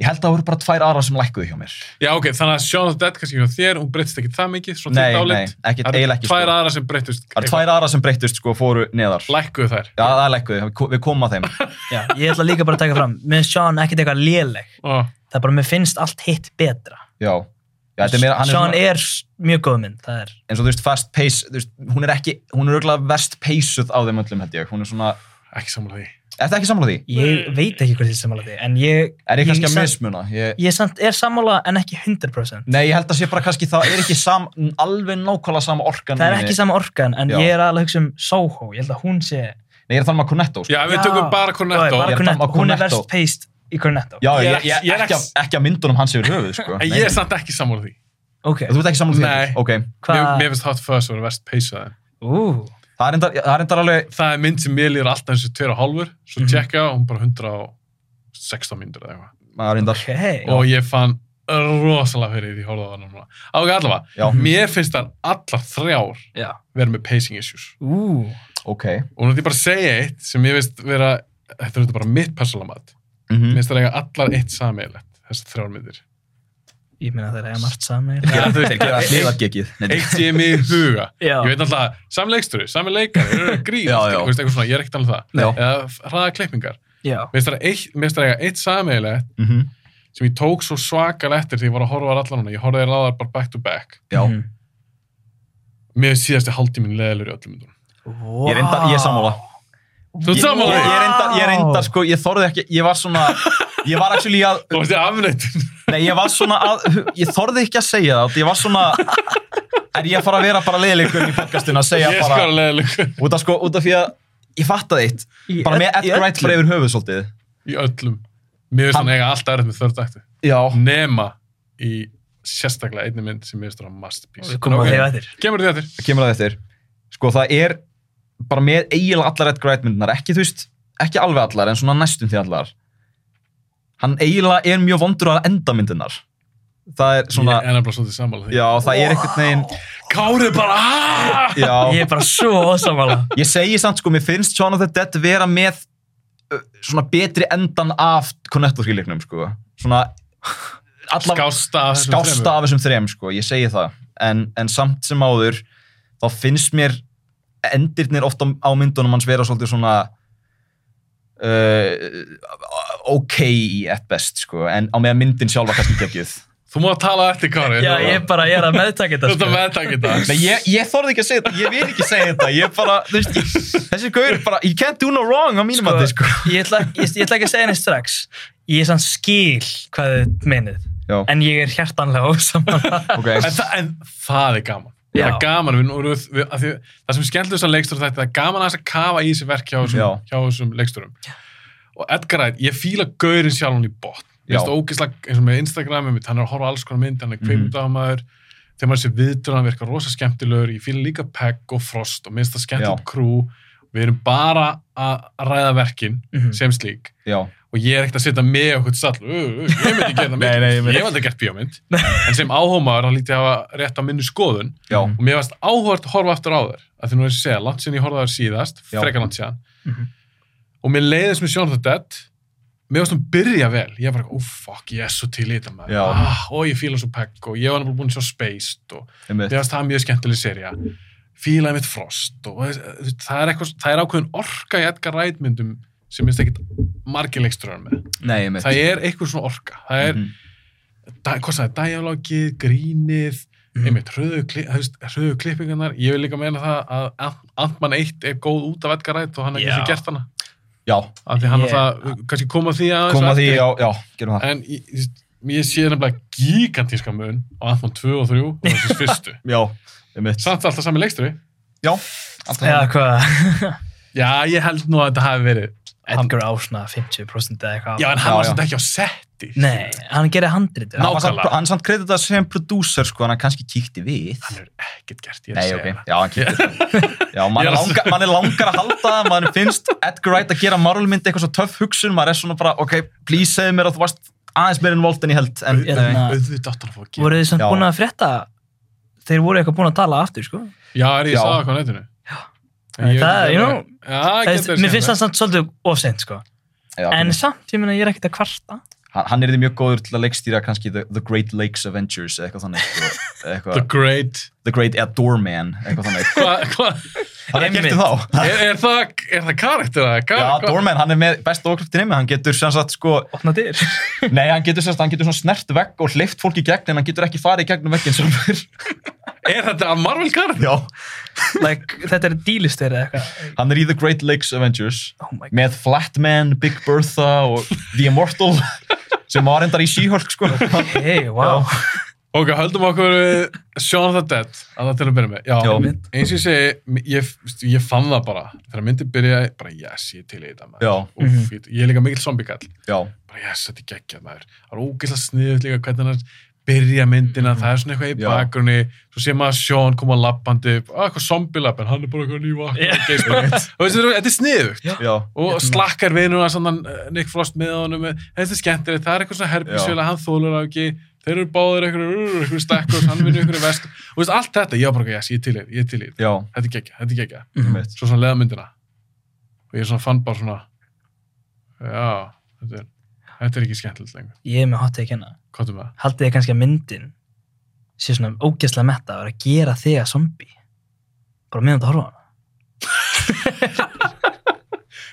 ég held að það voru bara tvær aðra sem lækkuði hjá mér. já, ok, þannig að Shaun of the Dead kannski hjá þér, hún breytist ekki það mikið svo Nei, þitt álit. nei, ekkit- Það eru eiginlega ekki, tvær sko. aðra sem breytist Það eru tvær aðra sem breyttust, sko, fóru neðar. lækkuðu þær Já, það lækkuði, við ko- við komum að þeim. já, ég ætla líka bara að taka fram mér finnst Sean ekkert eitthvað léleg Ó, það er bara, mér finnst allt hitt betra Já. Já, þetta er meira, hann er Sean svona- er, mjög góð mynd, það er eins og þú veist fast pace þú veist, hún er ekki, hún er auðvitað verst peysuð á þeim öllum held ég, hún er svona ekki samlega því ertu ekki sammála því? ég veit ekki hvað þið sammála því en ég, Er ég kannski að samt- mismuna? Ég, ég samt er sammála en ekki 100% nei, ég held að sé bara kannski það er ekki sam, alveg nákvæmlega sama orkan það er í ekki henni. sama orkan en Já. ég er alveg að hugsa um Soho, ég held að hún sé Nei, ég er að tala um að Cornetto sko. já, við Já. tökum bara Já, Cornetto bara Ég er að Cornetto. tala um hún er Cornetto. verst paced í Cornetto Já, Ég ég, er ég, ekki- ég er ekki, ekki- ekki að myndunum hans yfir höfuð sko. en ég er samt ekki samlega því ok, Þú ert ekki sammála því? Nei. heldur? Ok. mér, hvað mér finnst Hot Fuzz vera verst peysaði ú, Það er reyndar- það er endar alveg það er mynd sem mér líður alltaf eins og tveir og hálfur svo Mhm. tjekka og hún bara 116 myndur eða eitthvað það er endar ok og ég fann rosalega fyrir því horfða það núna á ekki allavega, Já. mér finnst það allar þrjár já, vera með pacing issues ú, ok og nú ætlum ég bara að segja eitt sem ég veist vera þetta er auðvitað bara mitt persónalamat Mhm. mér finnst það eiga allar eitt sameigilegt þessar þrjár myndir ég meina það er eiga margt saman Þeir gera- þeir gera hliðargekið. Nei, eitt sem ég er með í huga Já. ég veit alltaf, sami leiksturi, sami leikar grín, sko, Já, já. þú veist eitthvað svona, ég er ekkert alveg það Já. eða hraða klippingar já, mér finnst það eitt- mér finnst það eiga eitt sameigilegt Mhm. sem ég tók svo svakal eftir því ég var að horfa á þær allar núna, ég horfði þér á þær bara back to back Já. Mhm. mér finnst síðasti hálftíminn leðilur í öllum myndunum Ég er endar, ég er sammála þú ert Ég- sammála Ég því? er endar, ég er endar sko, ég þorði ekki, ég var svona Ég var actually að þú veist ég afnættin Nei, ég var svona að, ég þorði ekki að segja það, ég var svona, er ég að fara að vera bara leiðilegur í podcastinu að segja ég er bara, skara leðilur út af sko, út af því að ég fattaði eitt, Í bara öll- með í Edgar Wright öllu. bara yfir höfuð svolítið. í öllum mér finnst Hann- það eiga alltaf erfitt með þörð dættu Já. nema í sérstaklega einni mynd sem mér finnst það masterpiece við komum En að ok, þegar eftir kemur þið eftir Það kemur að eftir, sko það er bara með eiginlega allar Edgar Wright myndunar, ekki þú veist, ekki alveg allar, en svona næstum því allar. Hann eiginlega er mjög vondur að enda myndunar. Það er svona, ég er nefnilega svolítið sammála því já, það er einhvern veginn, Kári bara "Ah!" aaaah já. ég er bara svo ósamála Ég segi samt sko, mér finnst Shaun of the Dead vera með uh, svona betri endan af Cornetto-skilíknum sko. Svona allavega skásta af þessum skásta af þessum þrem sko, ég segi það. En, en samt sem áður, þá finnst mér endirnir ofta á myndunum hans vera svolítið svona uh, ok í ett best sko, en á meðan myndin sjálfa kannski geggjuð. Þú má tala eftir Kári já, ég er bara, ég er að meðtaka þetta Þetta sko. meðtaki þetta Nei, ég, ég þorði ekki að segja þetta, ég vil ekki segja þetta, ég bara, þú veist, ég, þessi gaur bara, you can't do no wrong á mínum að þið, sko. ég, ætla, ég, ég ætla ekki að segja henni strax ég er sann skil hvað þið meinið Já, en ég er hjartanlega ósamála ok. en, þa en það er gaman Já. Það er gaman við, nú erum við, við, að því, Það sem skemmtilegast þessar leikstur þetta Það er gaman aðeins að kafa í þessi verk hjá þessum, hjá þessum leiksturum Og Edgar Wright, ég fíla gaurin sjálf hún í botn Ég Já. veist ógislega eins og með Instagramið mitt Hann er að horfa á alls konar mynd, hann Mhm. er kveimundamaður Þegar maður sé viðtur, hann virkar rosa skemmtilegur Ég fíla líka Pegg og Frost og minnst það skemmtilegt krú Við erum bara að ræða verkin Mhm. sem slík Já, og ég er ekkert að setja með okkur sall uh, uh, ég myndi gera það mynd, Nei, nei, ég ég myndi- hef aldrei gert bíómynd en sem áhómaður hann lítið að hafa rétt á minni skoðun já, og mér varst áhört að horfa aftur á þær að því nú er ég að segja, langt síðan ég horfði á þær síðast Já. Mhm. frekar langt síðan og mér leiðis með Shaun of the Dead mér varst hún byrja vel, ég var bara, oh fuck, ég er svo til í þetta maður Já. ah, og ég fíla svo pegg og ég var nefnilega búin svo spaced og einmitt. mér varst það mjög skemmtileg serja eh, fílaði mitt frost og þú veist, það er, eitthvað, það er ákveðin orka í Edgar Wright myndum sem minnst ekkit margir leikstjórar með Nei, ég mitt. það er eitthvað svona orka það Mhm. er, mm -hmm. hvað sagði, dialogið, grínið einmitt, hröðu, kli, þú veist, hröðu klippingarnar ég vil líka meina það að Ant- Ant-Man 1 er góð út af Edgar Wright og hann er Já. kannski gert hana Já, af því hann Ég- yeah. það, kannski koma því að koma því, já, já, gerum það. en ég, ég- ég sé nefnilega gigantíska mun á Ant-Man 2 og 3 og þessi fyrstu Já, ég mitt. samt alltaf sami leikstjóri Já, alltaf eða það. hvað já, ég held nú að þetta hafi verið Edgar á svona 50% eða eitthvað já, Já, en hann var já. samt ekki á setti nei, hann gerir handrit Ná- Hann var samt- nákvæmlega. Hann samt kredita sem producer, sko, en hann kannski kíkti við. hann er ekkert gert, ég er Nei, að ok, segja já, hann kíkti við. Já, mann Ég er að- langar, man langar að halda það, mann finnst Edgar Wright að gera marulmyndi eitthvað svo töff hugsun, maður er svona bara, ok, please segðu mér að þú varst aðeins meir involved en ég held, en Hérna- nei. það auðvitað átt hann að fá að gera voru þið samt Já. búin að frétta þeir voru eitthvað búin að tala aftur sko. já, er ég Já. að sagða hvað á netinu Það- you know, já, það, getur er- mér finnst það samt svolítið ofseint sko. Já, en samt, ég meina, ég er ekkert að kvarta hann, hann er því mjög góður til að leikstýra kannski The, the Great Lakes Avengers eða eitthvað þannig sko, eitthvað, The the, Great Great Doorman eitthvað þannig Hva, hva, hann er gert Einmitt. þá er, er, það, er það karakter það? Kar, Já, Doorman, hann er með besta okkraftin heimi, hann getur sem sagt sko, opna dyr nei, hann getur sem sagt, hann getur svona snert vegg og hleyft fólk í gegn, en hann getur ekki farið í gegnum vegginn sjálfur. er þetta að Marvel karakter? Já, like, þetta er dílistir eða eitthvað hann er í The Great Lakes Avengers, Oh my God. með Flatman, Big Bertha og The Immortal, sem var endar í She-Hulk, sko. hey, wow. Ok, höldum okkur við Shaun of the Dead að það til að byrja með. Já, Já. eins og ég segi, ég, ég fann það bara. Þegar myndi byrja, bara yes, ég er til í þetta maður. Já. Úf, ég, ég er líka mikill zombiekall. Já, Bara yes, þetta er geggjað maður. Það er ógeðslega sniðut líka hvernig hann er- byrja myndina, það er svona eitthvað í Já. bakgrunni, svo sé maður Sean koma lappandi, upp, að eitthvað zombilapp, en hann er bara eitthvað nývakna, yeah. geispa. Þú veist, þetta er- þetta er sniðugt. já, og slakkar vinuna sannan eh, Nick Frost með honum þetta er skemmtilegt, það er eitthvað svona herpisvila hann þólur á ekki, þeir eru báðir uh, eitthvað eitthvað stekkur, hann vinnur eitthvað vesk og veist, allt þetta, ég var bara, eitthvað, yes, ég er til í þetta, ég er til í þetta já, þetta er gekkja, þetta er gekkja, einmitt. svo svona leðamyndina og ég svona fann bara svona já, þetta er þetta er ekki skemmtilegt lengur, ég er með hot take hérna hvað er með það? haldið þið kannski að myndin sé svona ógeðslega metta að vera að gera þig að zombie bara meðan þetta horfa á hana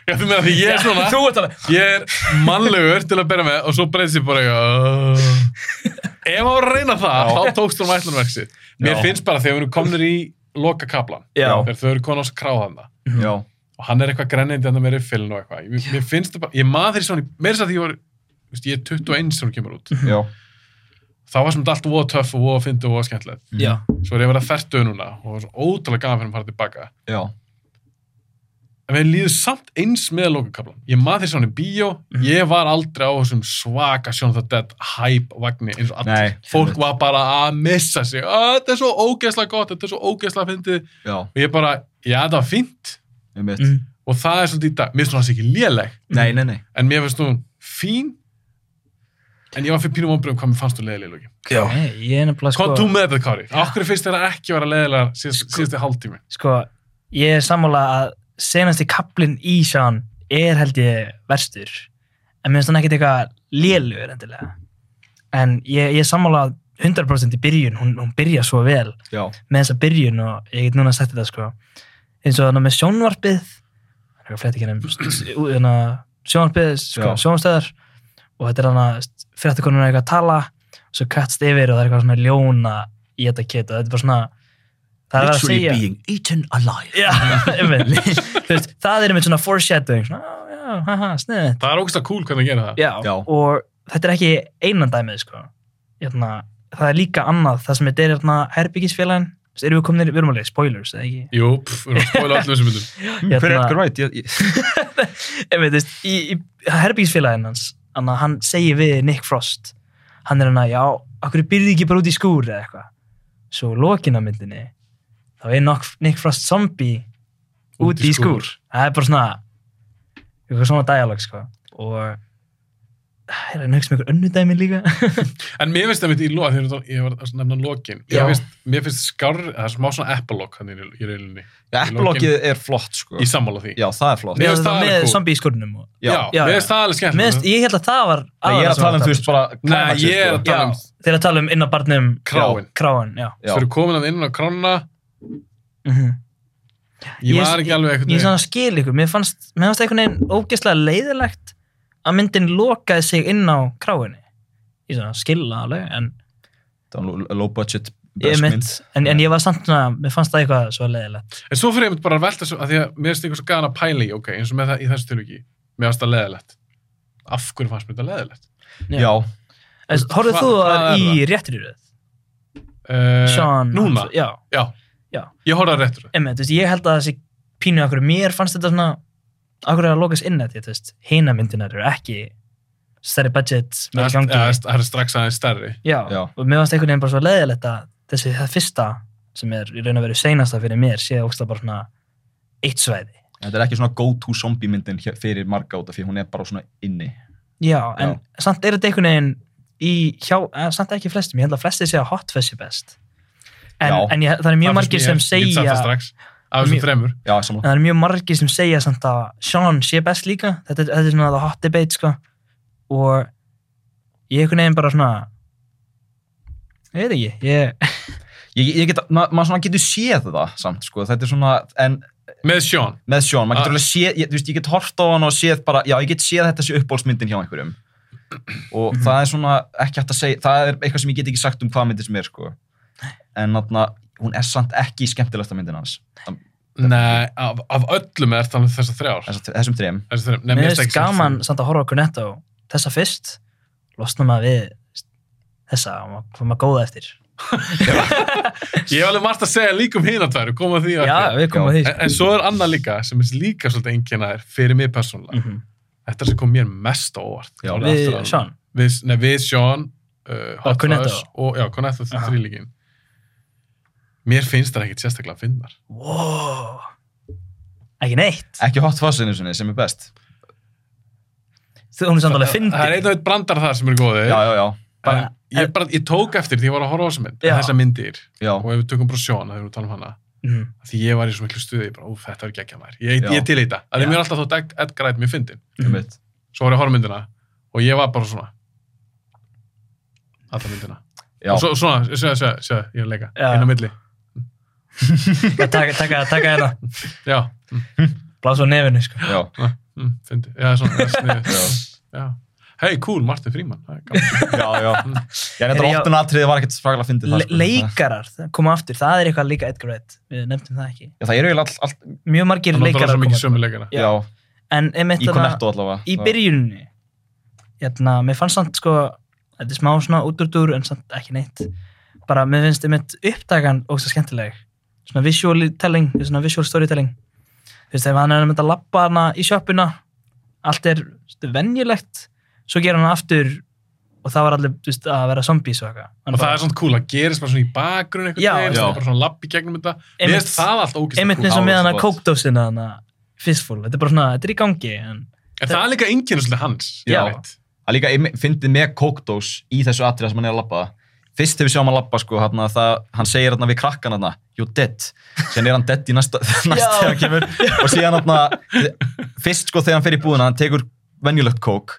Já, þú meina því ég er svona þú ert alveg ég er mannlegur til að bera með og svo breyðs ég bara eitthvað "Ugh." ef hann var að reyna það, þá tókst hún ætlunverksi mér Já. finnst bara þegar við erum komnir í loka kaplan, Já. þegar þau eru konar á kráðana já, og hann er eitthvað hérna grennindi en það meiri fylgn og eitthvað mér, mér finnst það bara, ég maður þeirri svona meira þess að því ég var, þú veist, ég er 21 sem hún kemur út já, þá var sem þetta allt voða töff og voða fyndi og voða skemmtilegt já, svo er ég að vera þertu núna og það var svo ótrúlega gaman fyrir að fara tilbaka já, en við líðum samt eins með lokakablan ég maður því svona í bíó, Mhm. ég var aldrei á þessum svaka Shaun of the Dead hype vagni eins og allir, Nei, fólk einmitt. var bara að missa sig, að þetta er svo ógeðslega gott þetta er svo ógeðslega fyndið já, og ég bara, já þetta var fínt einmitt. Mm. og það er svolítið í dag, mér finnst hún alls ekki léleg Nei, nei, nei. en mér finnst hún fín en ég var fyrir pínum ombröðum hvað mér fannst hún leiðileg í lóki Nei, ég er hvað nefnilega sko þú með þetta Kári? Akkur finnst þetta ekki vera leiðilegar síðast, síðasti hálftími sko, ég er sammála að senasti kaplinn í Sean er held ég verstur en mér finnst hann ekkert eitthvað lélugur endilega en ég, ég er sammála 100% í byrjun, hún, hún byrja svo vel Já, með þessa byrjun og ég get núna sett þetta sko eins og þannig með sjónvarpið það er eitthvað flett ekki nefnum hérna, sjónvarpið, sko, Já. sjónvarpstöðar og þetta er þannig að fréttakonur er eitthvað að tala og svo kattst yfir og það er eitthvað svona ljóna í þetta kett og þetta er bara svona það er að Literally segja being eaten alive. Já, einmitt. Þú veist, það er einmitt svona foreshadowing svona, "Á, já, haha, sniðið það er ógeðslega cool hvernig að gera það já, Já. og þetta er ekki einan dæmið sko. Jörna, það er líka annað það sem þetta er hérna, herbyggisfélagin Þú veist, erum við komin, við erum alveg spoilers eða ekki jú, pff, við erum að spoila allir þessum myndum Hver er Hérna- Edgar Wright? Ég, ég, einmitt, þú veist, í, í herbyggisfélagin hans hann, hann segir við Nick Frost hann er hann að, já, okkur byrði ekki bara út í skúr eða eitthvað svo lokin á myndinni þá er nok, Nick Frost zombie út, í skúr. það er bara svona eitthvað svona dialog sko og er hann hugsa með einhver önnu dæmi líka En mér finnst það mitt í loka, þegar þú talar- ég var að nefna lokin, Já. ég finnst, mér finnst skar, það er smá svona eppalokk hann í, í reilinni, Já, Eppalokið er flott, sko. í sammála því. Já, það er flott. Mér með, finnst það með alveg cool. zombie í skúrnum og, já, já, mér já. finnst það alveg skemmt. Mést, ég held að það var Nei, ég er Mhm. að tala um, þú veist, bara... Nei, climaxið, ég er sko. að tala um já, þeir eru að tala um inn á barnum Kráin. kráin já. Mhm. Þeir eru komin að inn á krána, Mm -hmm. Ég var ekki alveg ég, einhvern ég veginn. svona skil ykkur, mér fannst, mér fannst einhvern veginn ógeðslega leiðilegt að myndin lokaði sig inn á kráinni ég svona skilða alveg en Það var um low budget ég, bresk mynd. mynd, en, en ég var samt svona, mér fannst það eitthvað svo leiðilegt En svo fyrir ég einmitt bara að velta svo, að því að mér finnst eitthvað svo gæðan að pæla í, ok, eins og með það í þessu tilviki, mér finnst það leðilegt. Af hverju fannst mér þetta leðilegt? Já, En horfðu Hva- þú hvað að er í réttri röð? Uh, Sean, Núna? já, Já. Já. Ég horfði að réttur það. einmitt, þú veist, ég held að þessi pínu okkur, mér fannst þetta svona okkur að lokast inn að því, þú veist hina myndinar eru ekki stærri budget með Það gangi er- það er strax aðeins stærri. Já, Já. og mér fannst einhvern veginn bara svo leiðilegt að þessi það fyrsta sem er í raun að vera seinasta fyrir mér sé ógstlega bara svona eitt svæði. þetta er ekki svona go-to zombie myndin hér- fyrir marga út af því hún er bara svona inni. Já, en samt er þetta einhvern veginn í hjá, eh, samt ekki flestum, ég held að flestir sé að hotfessi best. En, Já. en ég, það er mjög Það margir finnst sem mér- Ég get sagt segja það strax. Af þessum Mjög- þremur. Já, samanlega. en það er mjög margir sem segja samt að Sean sé best líka, þetta, er- þetta er svona það hot debate sko og ég einhvern veginn bara svona ég veit ekki, ég Ég, ég get, ma, maður svona getur séð það samt, sko. Þetta er svona, en Með Sean. með Sjón, maður Ah. getur alveg séð, ég, þú veist, ég get hort á hann og séð bara, já, ég get séð að þetta sé uppbólsmyndin hjá einhverjum. Og Mhm. það er svona, ekki hægt að segja, það er eitthvað sem ég get ekki sagt um hvað myndin sem er, sko. En þarna, hún er samt ekki skemmtilegsta myndin hans. Nei, af, af öllum er þannig þessar þrjár. Þessa- Þessum þrejum. Þessar þrjár. Nei, mér finnst finnst ekki gaman samt að horfa okkur netta á þessa fyrst losna maður við þessa og maður- hvað maður góða eftir Ég hef alveg margt að segja líka um hina tvær, við komum að því á já, eftir. við komum Já. að því En, en svo er annað líka, sem er líka svolítið einkennæðir fyrir mig persónulega. mm -hmm. Þetta sem kom mér mest á óvart. Já, Árið við, eftir að- Sean, Við, nei, við Sean, uh, Og Hot Cornetto. Fuzz og já, Cornetto Aha. þrýlíkin. Mér finnst það ekkit sérstaklega finnar. wow ekki neitt, Eh, Ekki hot fasinu sinni sem er best. þú hún er samt alveg Það er fyndi einn og einn brandar þar sem eru góðir. Já, já, já. en ég, bara, ég tók eftir því ég var að horfa á þessa mynd, Já. þessa myndir. já. Og ef við tökum bara Sean, þegar við tala um hana, Mhm. því ég var í svo miklu stuði, ég bara, úf, þetta verður geggja maður. Ég, Já. ég til í þetta. Það Já. er mér alltaf þótt Ed- Edgar Wright mér fyndin. einmitt. Svo var ég að horfa á myndina og ég var bara svona. Alla myndina. Já. Og svo, svona, segja, segja, segja, ég er að leika. Já. Inn á milli. taka, taka, taka þetta Já. blása á nefinu sko já. Ah, mm, fyndi. Já, svona, já, sniðið. Já. Hey, cool, Martin Fríman. Það er gaman. já, já. Ég er Heyrðu, þetta já. óttunatriði var ekkert svakalega fyndið það. Le sko. leikarar, það- koma aftur, það er eitthvað líka Edgar Wright, við nefndum það ekki Já, það eru eiginlega all, all, mjög margir Það er náttúrulega leikarar svo mikið koma aftur. sömu leikana. Já. já, en í einmitt þarna- Cornetto allavega. í Það- byrjuninni hérna, mér fannst samt sko þetta er smá svona útúrdúr en samt ekki neitt bara mér finnst einmitt uppdagan ógst að skemmtileg svona visual telling, svona visual storytelling þú veist, ef hann er einmitt að labba hana í sjoppuna allt er stu, venjulegt svo gera hann aftur og það var allir þú veist, að vera zombies og eitthvað Hann Og það bara- er svona cool, það gerist bara svona í bakgrunn Já. eitthvað, Já. bara svona lapp í gegnum þetta. Mér Einmitt- finnst það allt ógislega einmitt cool. eins og með áður hana svo gott. kókdósina hana fistful, þetta er bara svona, þetta er í gangi en, En það er líka enginn svolítið hans. Já. yfirleitt. Það er líka einmi- fyndið með kókdós í þessu atriða sem hann er að labba. Fyrst hefur sjáum hann labba, sko, hann, það, hann segir hann við krakkan hann, you're dead. Síðan er hann dead í næsta, næsta Já. þegar hann kemur. Og síðan hann, fyrst sko þegar hann fer í búðina, hann tekur venjulegt kók.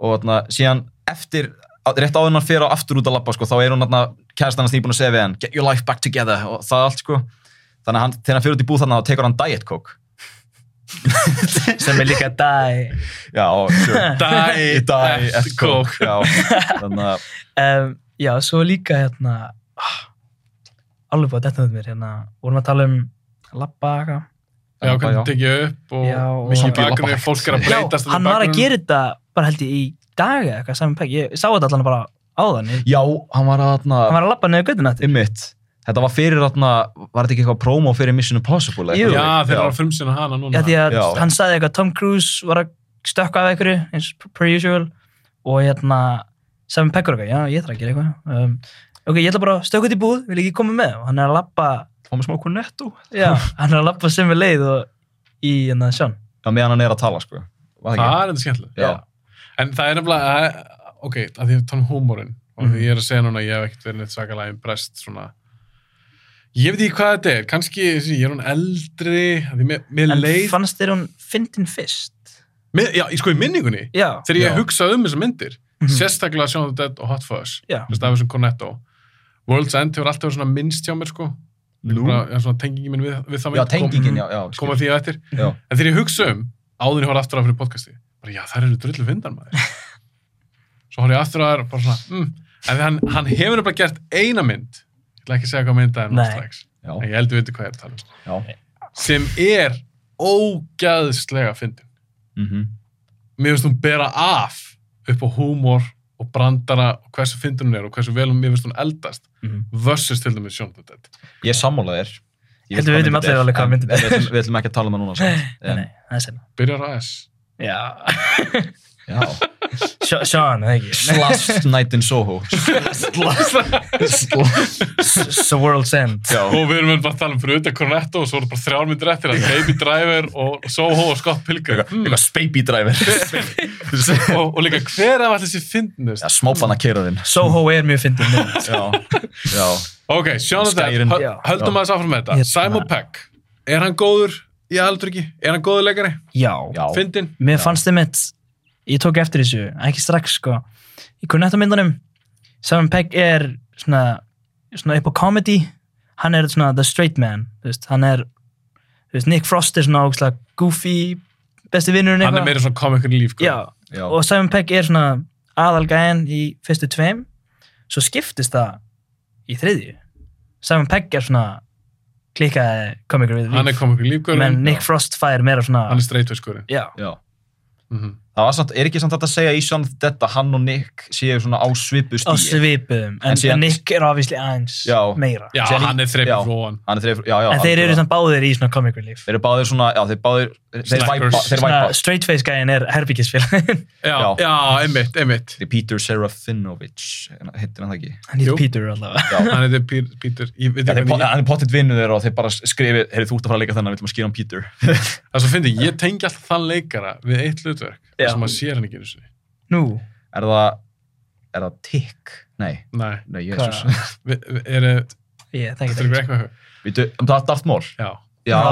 Og hann, síðan eftir, á- rétt áður en hann fer á aftur út að labba, sko, þá er hún hann, kærast hann snýbúin að segja við hann, get your life back together og það allt, sko. Þannig að hann, þegar hann fer út í búð þannig, þá tekur hann diet kók. sem er líka dæ Já, sure. Die, Die at Coke. Coke. Já, þannig að um, já, svo líka hérna ah, alveg búið að detta með mér hérna, vorum að tala um labba eitthvað. Já, hvernig já. það tekið upp og Já, og- mikið í Zombie bakgrunni, labbahægt. fólk er að breytast já, hann var að gera þetta bara held ég í dag eða eitthvað, Simon Pegg, ég sá þetta allan bara áðan, ég, Já, hann var aðna hann var að labba neðu göttun eftir Ymmit, þetta var fyrir aðna Var þetta ekki eitthvað promo fyrir Mission Impossible? Jú. Já, eitthvað? þeir eru að frumsina hana núna já, því að Já. hann sagði eitthvað Tom Cruise var að stökka af einhverju eins per usual og hérna Simon Pegg var eitthvað, já, ég þarf að gera eitthvað um, ok, ég ætla bara að stökka út í búð vil ekki koma með og hann er að labba Fá mig smá Cornetto já, hann er að labba sem við leið og í hérna sjón Já, meðan hann er að tala, sko Var Það það er þetta skemmtilega Já. En það er nefnilega, að- ok, að því að tala um húmórin og Mhm. því ég er að segja núna að ég hef ekkert verið neitt svakalega impressed svona Ég veit ekki hvað þetta er, kannski þessi, ég er hún eldri að því mér- mér En leið fannst þér hún fyndin fyrst? mér- Já, í- sko í minningunni Já. þegar Já. ég hugsa um þessar myndir Mhm. sérstaklega Sean the Dead og Hot Fuzz Já. þess að það er svona Cornetto World's End hefur alltaf verið svona minnst hjá mér sko Lú? bara, ja, svona tengingin minn við, við það Já, mynd tengingin, já, já. kom, kom að því á eftir Já. en þegar ég hugsa um, áður en ég horf aftur á fyrir podcasti bara já, þær eru drullu fyndar maður svo horf ég aftur á þær og bara svona mm. en hann, hann hefur bara gert eina mynd ég ætla ekki að segja hvað mynd það er Nei. núna strax. Já. en ég heldur veitir hvað ég er að tala um Já. sem er ógæðslega fyndin Mhm. mér finnst hún bera af upp á húmor og brandara og hversu fyndin hún er og hversu vel hún, mér finnst hún eldast Mhm. versus til dæmis Sean the Dead Ég er sammála þér. Ég Heldur veit við vitum hvað myndin allir er, alveg hvað en myndin er. Við ætlum- við ætlum ekki að tala um það núna. samt. Nei, En- nei, það er senna. byrjar á S Já, Já. Sj- Sean, eða ekki. Last Night in Soho. Sko. It's a world's end. Já. og við erum bara að tala um fyrir utan Cornetto og svo voru bara þrjár myndir eftir að Baby Driver og Soho og Scott Pilgrim mm. Eitthvað Baby Driver. og, og líka hver af allir þessi fyndnust Já, smábanna keirarinn. Soho er mjög fyndin mynd. Já. Já. ok, Sean of Dead, Skærin. höl- Já. höldum Já. aðeins áfram með þetta Hérna. Simon Pegg, er hann góður í aldur ekki? Er hann góður leikari? Já. Já. Fyndin? Mér fannst þið mitt, ég tók eftir þessu, ekki strax sko, í Cornetto-myndunum, Simon Pegg er svona, svona upp á comedy, hann er svona the straight man, þú veist, hann er, þú veist, Nick Frost er svona ógslag goofy, besti vinnurinn hann er meira svona komikur í líf Já, Já. og Simon Pegg er svona aðalgæðin í fyrstu tveim, svo skiptist það í þriðju. Simon Pegg er svona klíkaði komikur við hann er komikur í líf menn Nick Frost fær meira svona, hann er streitveiskurinn já, Já. mm Það var samt, er ekki samt hægt að segja í Sean of the Dead að hann og Nick séu svona á svipu á stíi. svipum en, En en, síðan- Nick er ofisli aðeins Já. meira já, Sem- hann er þreipur Já. fróan Hann er þreif, já, já. en þeir algjörlega. eru samt báðir í svona comic relief Þeir eru báðir svona, já, þeir báðir, þeir Slackers. væpa, þeir svona væpa. straight face gæin er herbyggisfélagin já, Já. já, einmitt, einmitt Þeir Peter Serafinovich, hittir hann það ekki? hann Jú. heitir Peter allavega Já. hann er Peter, Peter ég veit Já, ekki þeir, po- hvernig ég- hann er pottitt vinnu þeirra og þeir bara skrifi, heyrðu þú ert að fara að leika þennan, við ætlum að skýra um Peter. það er svo fyndi, ég tengi alltaf þann leikara við eitt hlutverk, Já. sem maður sér hann ekki einu sinni. nú, er það, er það tikk? Nei, nei, nei, hvað jésus. við, við, er, ég Þetta þekki er þetta ekki. eitthvað Vítu, um það er Darth Maul. Já, Já. Ó,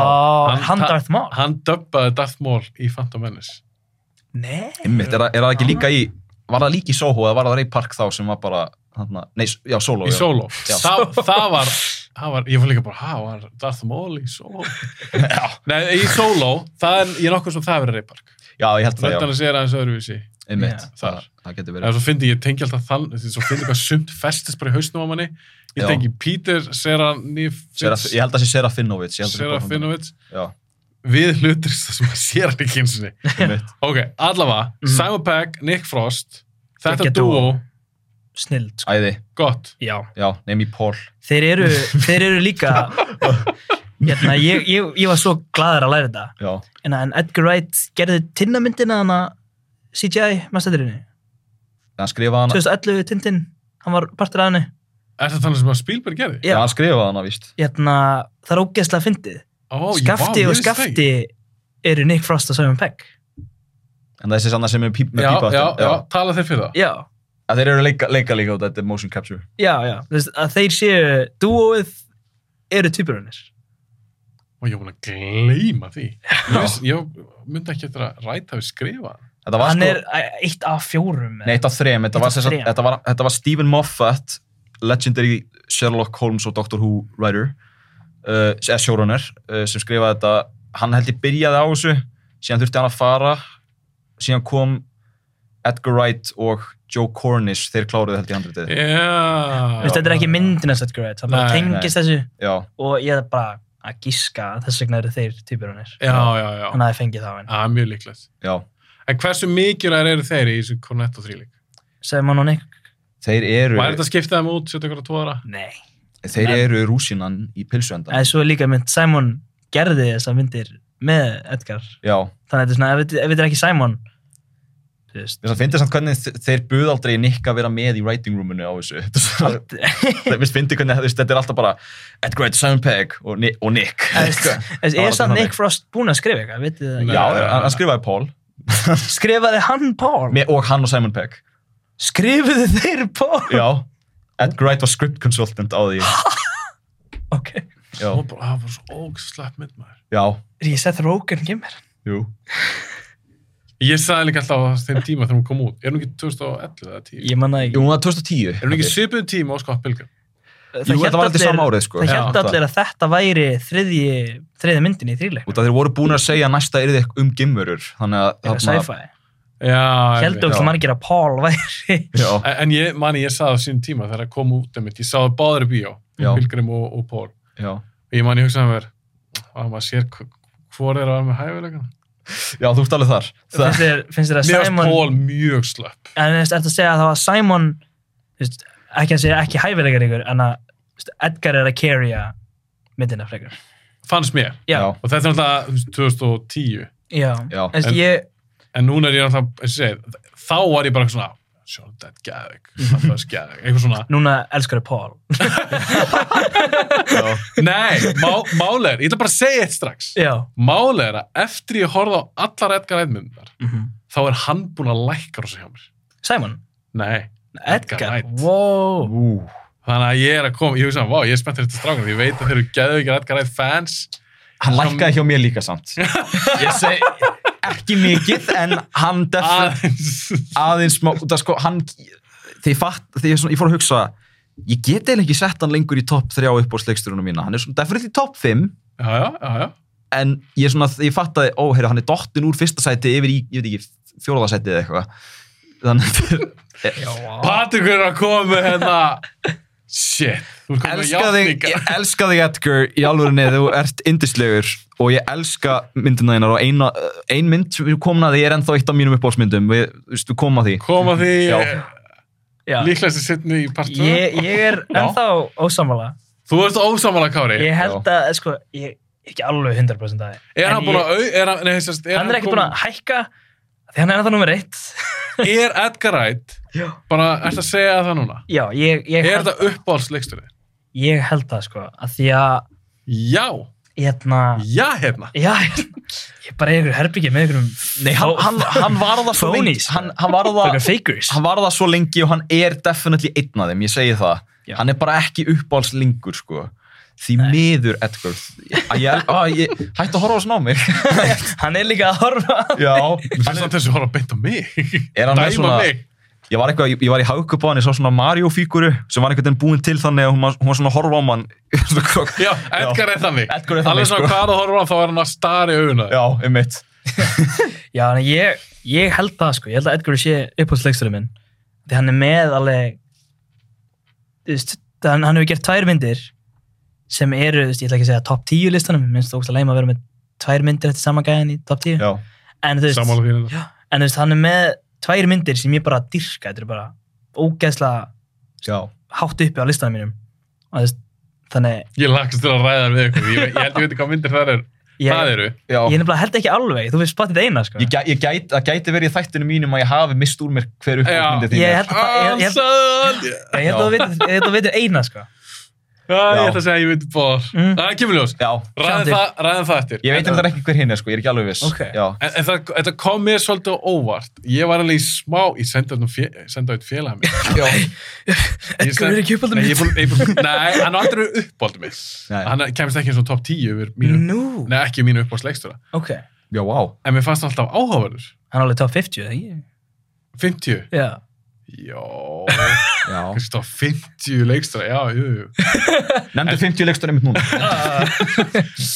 Hann- hann Darth Maul hann döbbaði Darth Maul í Phantom Menace. nei, Einmitt, er, það- er það ekki líka í, var það líka í Soho eða var það Ray Park þá sem var bara, hann, nei, já, Solo. Í já. Solo. Já. Það, það, var, það var, ég var líka bara, hæ, var Darth Maul í Solo? Nei, í Solo, það er, ég er nokkuð sem það verið reypark. Já, ég held það, já. Röddana sér aðeins öðruvísi. Einmitt, Já. það, það getur En verið. svo fyndi ég tengi alltaf þann, því svo fyndi hvað sumt festist bara í hausnum á manni. Ég Já. tengi Peter Seraf, Serafinovits, ég held að það sé Serafinovich. ég held að sé bara hann- Serafinovits, Já, við hlutur sem maður sér hann ekki eins og niður. einmitt. Ok, allavega, Mhm. Simon Pegg, Nick Frost, þetta Gekkja dúo, dúo. snild sko. Æði, gott. já, já, nefn í Paul. þeir eru, þeir eru líka hérna, ég, ég, ég var svo gladur að læra þetta Já, en, en Edgar Wright gerði tinnamyndina hana CGI, mastættirinni hann skrifaði hana, 2011 Tintin, hann var partur af henni Er þetta þannig sem að Spielberg gerði? já, hann skrifaði hana, víst. hérna, það er ógeðslega fyndið Ó, ég- Skafti vá, ég og vissi það ekki. Skafti eru Nick Frost og Simon Pegg En þessi sann sem er píp, með já, pípa já, já, tala þeir fyrir það já, Að þeir eru leika, leika líka út, þetta er motion capture. já, já Þú veist, að þeir séu dúóið eru týpurunir og ég var búin að gleyma því ég, veist, ég myndi ekki eftir að ræta við skrifa Þetta var hann sko, er æ, eitt af fjórum nei, eitt af þrem, þetta Eitt var, af sem sagt- þrem. þetta, var, þetta var Stephen Moffat, legendary Sherlock Holmes og Doctor Who writer, uh, eða showrunner, uh, sem skrifaði þetta. Hann held ég byrjaði á þessu, síðan þurfti hann að fara, síðan kom Edgar Wright og Joe Cornish, þeir kláruðu held ég handritið. já Þú veist, þetta er ekki myndin að setja græt það bara Nei, tengist þessu Já, og ég er bara að gíska að þess vegna eru þeir týpurunir já, já, já, hann hafði fengið það á henni já mjög líklegt já. en hversu mikilvægir eru þeir í þessu Cornetto þrýling Simon og Nick Þeir eru, og er þetta að skipta þeim út, setja ykkur að tóra nei þeir eru rúsinan í pilsuendan. en svo er líka mynd Simon gerði þessar myndir með Edgar Já, þannig að þetta er svona ef þetta- ef þetta er ekki Simon þú veist Þess að fyndi samt hvernig þe- þeir buð aldrei Nick að vera með í writing roominu á þessu. Þetta er svona- Mér finnst fyndi hvernig þú veist, þetta er alltaf bara Edgar Wright, Simon Pegg og, Ni og Nick. Þess- þess- Það var er samt þannig. Nick Frost búinn að skrifa eitthvað, vitið þið Nei. það? Já, hann, hann skrifaði Paul ekki? Skrifaði hann Paul? með, og hann og Simon Pegg. Skrifuðu þeir Paul? Já, Edgar Wright var script consultant á því. Ok. Já, og bara, það var svo ógslæpp mynd maður já, Er ég sett Rogan Gimmer? jú. ég sagði líka alltaf á þeim tíma þegar hún kom út er hún ekki 2011 eða 10 Ég manna Jú, ekki. hún var 2010. er hún ekki svipuð tíma á Scott Pilgrim það Jú, hélt þetta var aldrei allir- sama árið, sko. það Já, held það. allir að þetta væri þriðji, þriðji myndin í þrýleik Út að þeir voru búin að segja að næsta yrði eitthvað um gimurur. Þannig að... eða þarna- sci-fi Já, held einmitt. okkur margir að Paul væri Já. En- En ég, manni, ég saði á sínum tíma þegar það kom út um mitt, ég saði báður í bíó, Já. Pilgrim og, og Paul. Já. Og ég manni hugsaði mér, að maður sér hv- hvor er að vera með hæfileikana. Já, þú ert alveg þar. finnst þér, finnst þér að Mér varst Simon Paul mjög slöpp. en er þetta að segja að það var Simon þú veist, ekki að segja ekki hæfilegar ykkur en að þú veist, Edgar er að carrya myndina frekar Fannst mér. já, Já. Og þetta er náttúrulega þú veist, 2010. já, Já. En, En- en, ég, En núna er ég náttúrulega, eins og ég segi, þá var ég bara eitthvað svona, Sean Dead Gæðvik, Sanders Gæðvik, eitthvað svona. núna elskar ég Paul Já. Nei, má, málega er, ég ætla bara að segja eitt strax. já, Málega er að eftir ég horfði á allar Edgar Wright myndar, Mhm. þá er hann búin að lækka rosa hjá mér. Simon Nei, Edgar Edgar, Wright. wow Ú. Þannig að ég er að koma, ég hugsa að, vá, ég er spenntur þetta strákan, því ég veit að þeir eru geðveikir Edgar Wright fans. Hann lækkaði hjá mér líka samt. Ég seg ekki mikið, en hann definitív Aðeins. aðeins smá, það sko, hann þegar ég fatt, þegar ég, svona, ég fór að hugsa ég get eða ekki sett hann lengur í topp 3 upp á sleiksturunum mína, hann er svona definitely topp 5 Já, já, já, já. en ég svona, ég fatt að, ó, heyrðu, hann er dottin úr fyrsta sæti yfir í, ég veit ekki, fjóraða sæti eða eitthvað þannig að Patrikur er að koma með hérna, shit, þú er komið með elska þig, játningar. ég elska þig Edgar í alvörinni, þú ert indislegur og ég elska myndina þínar og eina, ein mynd sem við komum að því er ennþá eitt af mínum uppbólsmyndum, við, þú veist, við komum að því Koma því, Já. já. líklegast að setna í part 2. Ég, ég er ennþá ósamála Þú ert ósamála, Kári. ég held Já. að, sko, ég ekki alveg 100% að því Er hann búin að, au- er hann, nei, sérst, er hann er ekki búin að hækka því hann er ennþá nummer eitt að, er Edgar Wright, bara, ert að segja það núna? já, ég, ég, Er held, þetta uppáhaldsleiksturði? ég held það sko, að því að Já, hérna, já, hérna. já, hérna, ég bara er ykkur herbyggi með ykkur Nei, hann, hann, hann var það svo lengi Phonies. hann, hann var það ykkur fakers hann var það svo lengi og hann er definitely einn af þeim, ég segi það Já. hann er bara ekki uppáhalds lengur sko. því miður Edgar að ég, að ég hætti að horfa á sná mig hann er líka að horfa já, Mér finnst það þessi horf að beint á mig. Er hann með Dæma svona- mig. ég var, eitthvað, ég, ég var í haukup á hann ég sá svona Mario fíguru sem var einhvern veginn búin til þannig að hún var, hún var svona að horfa á mann Já, Edgar er þannig. Edgar er þannig, Alveg svona sko. hvað þú horfum á, þá er hann að stara í augunna. já, um mitt já, en ég, ég held það sko, ég held að Edgar sé upphóðsleiksturinn minn því hann er með alveg þú veist, hann, hann hefur gert tvær myndir sem eru, þú veist, ég ætla ekki að segja top 10 listanum, mér finnst það ógst að leima að vera með tvær myndir eftir samangæðin í top 10 já, en þú veist, Sammála því hérna. Já, en þú veist, hann er með tvær myndir sem ég bara dyrka, þetta er bara ógeðslega já. hátt uppi á listanum mínum og þú veist, þannig Ég lagst til að ræða hann við ykkur. Ég, ég held ég veit ekki hvað myndir það eru. ég, Það eru. já. ég nefnilega held ekki alveg, þú veist spotið eina sko. Ég, gæ, ég gæt, það gæti verið í þættinu mínum að ég hafi mist úr mér hver uppáhaldsmyndi þín Ég er. held að það- Ah, ég- ég held- Alsall. ég held að þú vitir- ég held að þú veitir eina sko. Já, ég ætla að segja að ég veit bóðar. Mm. Það kemur ljós. já, Sjáum Ræðum til. það, ræðum það eftir. ég veit um það ekki hver hinn er sko, ég er ekki alveg viss Ok. já, En, en það, þetta kom mér svolítið á óvart. Ég var alveg í smá, ég sendi þetta nú fé- sendi á eitt félag mér. Ég Edgar er send- ekki uppáldum Nei, ég er búinn- ég er búinn- Nei, hann er aldrei uppáldum mitt. Nei. Hann kemst ekki eins og top 10 yfir mínu, nú, nei ekki mínu uppáhaldsleikstura. ok já, wow En mér fannst hann alltaf áhugaverður. hann er alveg top 50, eða ekki? 50. Já. Jó, já. kannski top 50 leikstura, já, jú, jú. Nefndu 50 leikstur einmitt núna.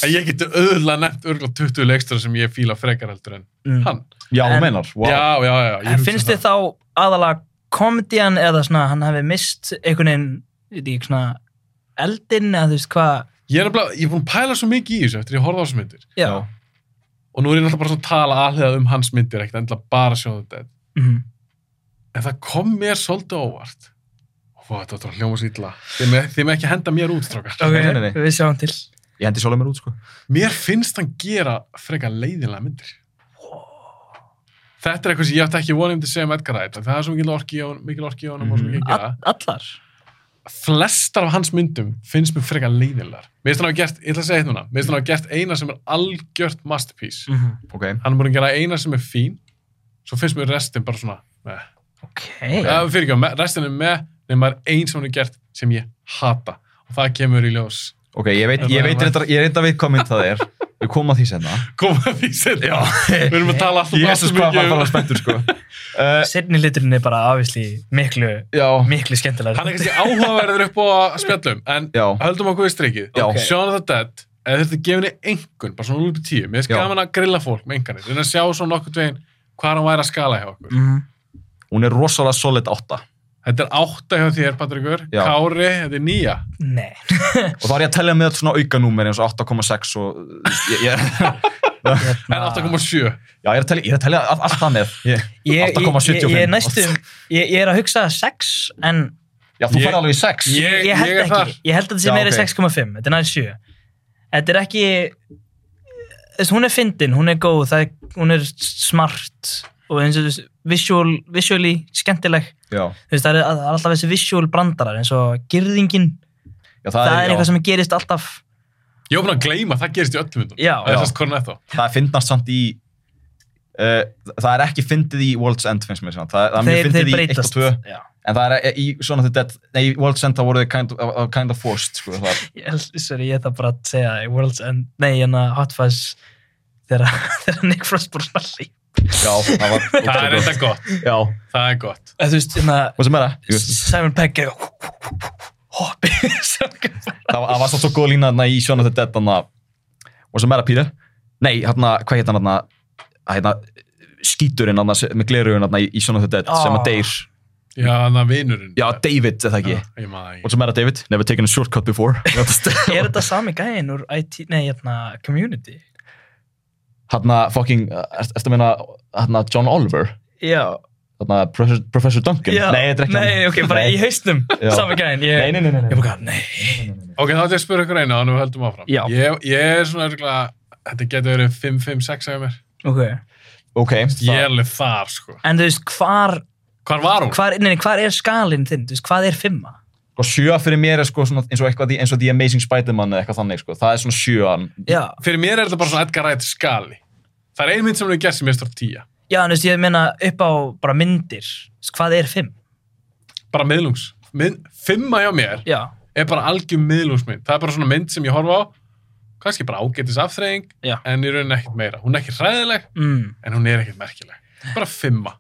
En ég geti auðvitað nefnt örgulega 20 leikstur sem ég fíla frekar heldur en Mm. hann. Já, En- þú meinar. Wow. Já, já, já. ég En hugsa finnst það. þið þá aðalega komedian eða svona hann hafi mist einhvern veginn ég veit ekki, svona eldin eða þú veist hvað Ég er nefnilega, ég er búin að pæla svo mikið í þessu eftir ég horfði á þessu myndir. já, Já. Og nú er ég náttúrulega bara svona að tala alhega um hans myndir, ekkert endilega bara sjóða þetta. Mhm. En það kom mér svolítið á óvart. Ó, þetta var hljóma svo illa. Þið með, þið með ekki henda mér út, strákar. ok, nei, nei, nei. við sjáum til Ég hendi sjálfur mér út, sko. Mér finnst hann gera frekar leiðinlega myndir. Þetta er eitthvað sem ég átti ekki vonið um til að segja um Edgar Wright. en Það er svo mikil orki í honum, mikil orki í honum og svo mikil gera. All- allar flestar af hans myndum finnst mér frekar leiðinlegar. Mér finnst hann hafa gert, ég ætla að segja þetta núna, mér finnst hann hafa gert eina sem er algjört masterpiece. Mhm. Ok. Hann er búin að gera eina sem er fín, svo finnst mér restin bara svona, með. ok, Yeah. Fyrir ekki, restin er með, nema er ein sem hann er gert sem ég hata. Og það kemur í ljós. Ok, ég veit, Það ég var- veit, reyndar, ég reyndar við hvað mynd það er. Við komum að því senna. koma að því setna Já. við erum að tala alltaf um- Jésus, hvað var um- bara spenntur, sko. Uh, Setni liturinn er bara afisli miklu, já. miklu skemmtilega. hann er kannski áhugaverður upp á að spjallum en Já. höldum okkur í strikið Já. okay. Shaun of the Dead eða þetta gefur henni einhvern, bara svona úr upp í tíu mér finnst Já. gaman að grilla fólk með einhvernir en að sjá svona okkur tveginn hvað hann væri að skala hjá okkur Mhm. Hún er rosalega solid átta. þetta er átta hjá þér Patrikur Já. Kári, þetta er nýja Nei. Og þá er ég að tellja með þetta svona aukanúmer eins og 8,6 og... Ég, ég, Ah. hérna, en 8,7 já, ég er að tellja, ég er að tellja all, allt það með. Ég- Ég, ég, ég, 8,75. ég er næstum, ég, ég er að hugsa 6, en Já, þú Ég- færði alveg í 6. ég- ég, held er ekki. þar. Ég held að þetta Já, sé meira ok. 6,5. Þetta er næri 7. Þetta er ekki, þess, hún er fyndin, hún er góð, það, er- hún er smart og eins og þess, visual, visually skemmtileg. Já, Þú veist, það er, það er alltaf þessi visual brandarar eins og girðingin, já, það, það, er, er já, eitthvað sem gerist alltaf. ég var búin að gleyma, það gerist í öllum myndum Já. það er sérst Cornetto það finnast samt í... Uh, það er ekki fyndið í World's End, finnst mér. svona. Það, það er mjög fyndið í 1 og 2. Já. En það er eh, í svona The Dead... Nei, í World's End það voru þið kind, of, eh, kind of forced, sko. Það, Ég held- Sorry, ég ætla bara að segja í World's End, nei, en að Hot Fuzz þegar þegar Nick Frost bara svona líf. já, það var... það er ótrúlega eitthvað gott, gott. Já. það er gott Þú veist, hérna, Hvað sem er það? Jú. Simon Pegg er hoppi sem- það var, það var samt svo góð lína þarna í Shaun of the Dead þarna, og sem er að Pítur nei, hérna, hvað hétt hann þarna að hérna, skíturinn þarna sem- með glerugin þarna í, í Shaun of the Dead Ah. sem að deyr, já, þannig að vinurinn já, David eða ekki, Já, ég maður og ekki sem er að David never taken a shortcut before Er þetta sami gæinn úr IT, nei, hérna, Community? hérna, fucking, er, ertu að meina hérna, John Oliver, Já, hérna, Professor, Professor Duncan já. nei, þetta er ekki hann. Nei, ok, bara Nei. í hausnum, Já. sami gæinn. Ég, Nei, nei, nei, nei, nei. Ég bara, nei. ok, þá ætlum ég að spura ykkur einu þannig við höldum áfram Já. ég, ég er svona örgulega þetta getur verið 5-5-6 að mér Ok, ok, ég er alveg þar sko en þú veist, hvar, hvar var hún? hvar, nei, nei, hvar er skalinn þinn? Þú veist, hvað er fimma? og sjö fyrir mér er sko svona, eins og eitthvað, eins og The Amazing Spider-Man eða eitthvað þannig, sko, það er svona sjöan Já, fyrir mér er þetta bara svona Edgar Wright skali það er ein mynd sem hún er gert sem ég stór 10 Já, en þú veist, ég meina upp á bara myndir, þú veist, hvað er fimm? bara miðlungs Mið, fimma hjá mér Já, er bara algjör miðlungsmynd það er bara svona mynd sem ég horfa á kannski bara ágætis afþreying Já. en í rauninni ekkert meira hún er ekki hræðileg mm, en hún er ekkert merkileg bara fimma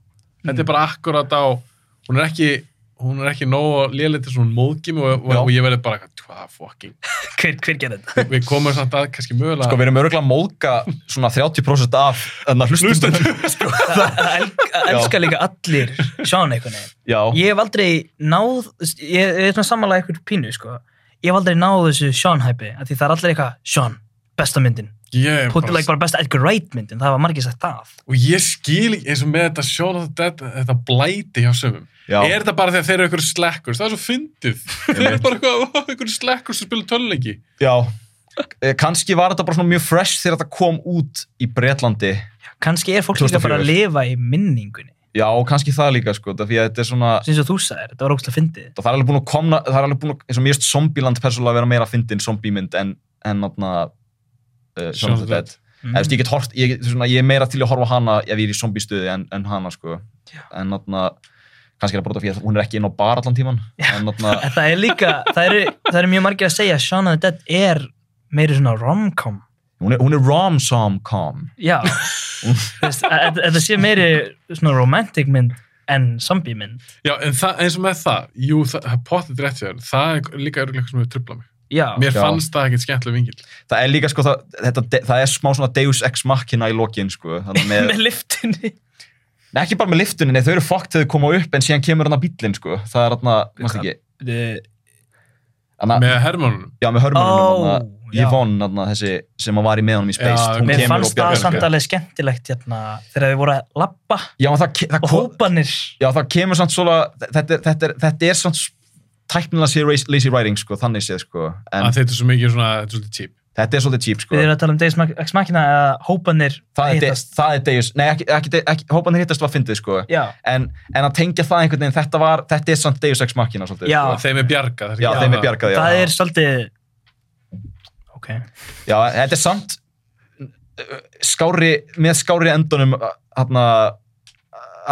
þetta er bara akkurat á hún er ekki hún er ekki nógu lélega til svona móðgjum og, og, Já. og ég verði bara hvað fucking hver, hver gerir þetta? við komum samt að kannski mögulega sko, við erum örgulega að móðga svona 30% af þarna Sko, hlustum Að el- að elska líka allir sján einhvern veginn. já, Ég hef aldrei náð, þú veist, ég ég er svona samanlega einhver pínu, sko. Ég hef aldrei náð þessu sjánhæpi, af því það er allir eitthvað, sján, besta myndin. ég, er Put, bara, like, bara besta Edgar Wright myndin, það var margir sagt það. og ég skil ekki eins og með þetta Shaun of the Dead þetta blæti hjá sömum Já. er þetta bara þegar þeir eru ykkur slekkur það er svo fyndið þeir eru bara eitthvað, ykkur slekkur sem spila töluleiki já. Eh, kannski var þetta bara svona mjög fresh þegar þetta kom út í Bretlandi Kanski er fólk líka bara að lifa í minningunni, já, og kannski það líka, sko, það fyrir að þetta er svona sem eins og þú sagðir, þetta var ógstlega fyndið. það er alveg búin að komna, það er alveg búin að eins og mér erst Zombieland persónulega að vera meira fyndin zombiemynd en, en náttúrulega uh, Shaun of the Dead Mm. mm. Eftir, ég, get hort, ég, get- svona, ég er meira til að horfa á hana ef ég er í zombiestuði en, en hana, sko en náttúrulega, kannski er það bara út af því að hún er ekki inn á bar allan tíman en náttúrulega, En það er líka, það eru, það eru mjög margir að segja að Shaun of the Dead er meiri svona rom-com. hún er, hún er rom-som-com Já, Þú veist, að- að- að það sé meiri svona romantic mynd en zombie mynd. já, en það, eins og með það, jú, það, það er pottið rétt hjá þér það er líka örgulega eitthvað sem hefur tröflað mig Já, mér Já. fannst það ekkert skemmtileg vingil það er líka sko það, þetta, það er smá svona deus ex machina í lokin sko þannig með, með liftinni. nei, ekki bara með liftunni, nei, þau eru fokkt þegar þau koma upp en síðan kemur hann að bílinn sko það er hann að, mást ekki hana, með hermónunum já með hörmörunum Ó, oh, já. Yvonne hana, þessi sem að var í með honum í Space Já, hún Mér kemur fannst og bjargar það honum. samt alveg skemmtilegt hérna þegar þið voru að labba já, en það, ke- það, og kom, hópanir. já, það kemur samt svona þetta, er- þetta, er- þetta er samt tæknilega sér lazy writing sko, þannig séð sko en að þetta er svo mikið svona, þetta er svolítið típ þetta er svolítið cheap sko Við erum að tala um Deus Ex Machina eða hópanir það er, de, hittast. það er deus, nei ekki, ekki, ekki hópanir hittast var fyndið sko Já, en, en að tengja það einhvern veginn þetta, var, þetta er samt Deus Ex Machina svolítið, Já. sko. að þeim er bjargað já, þeim er bjargað já. það er svolítið... Ok. já, þetta er samt uh, skári, með skári endunum uh, þarna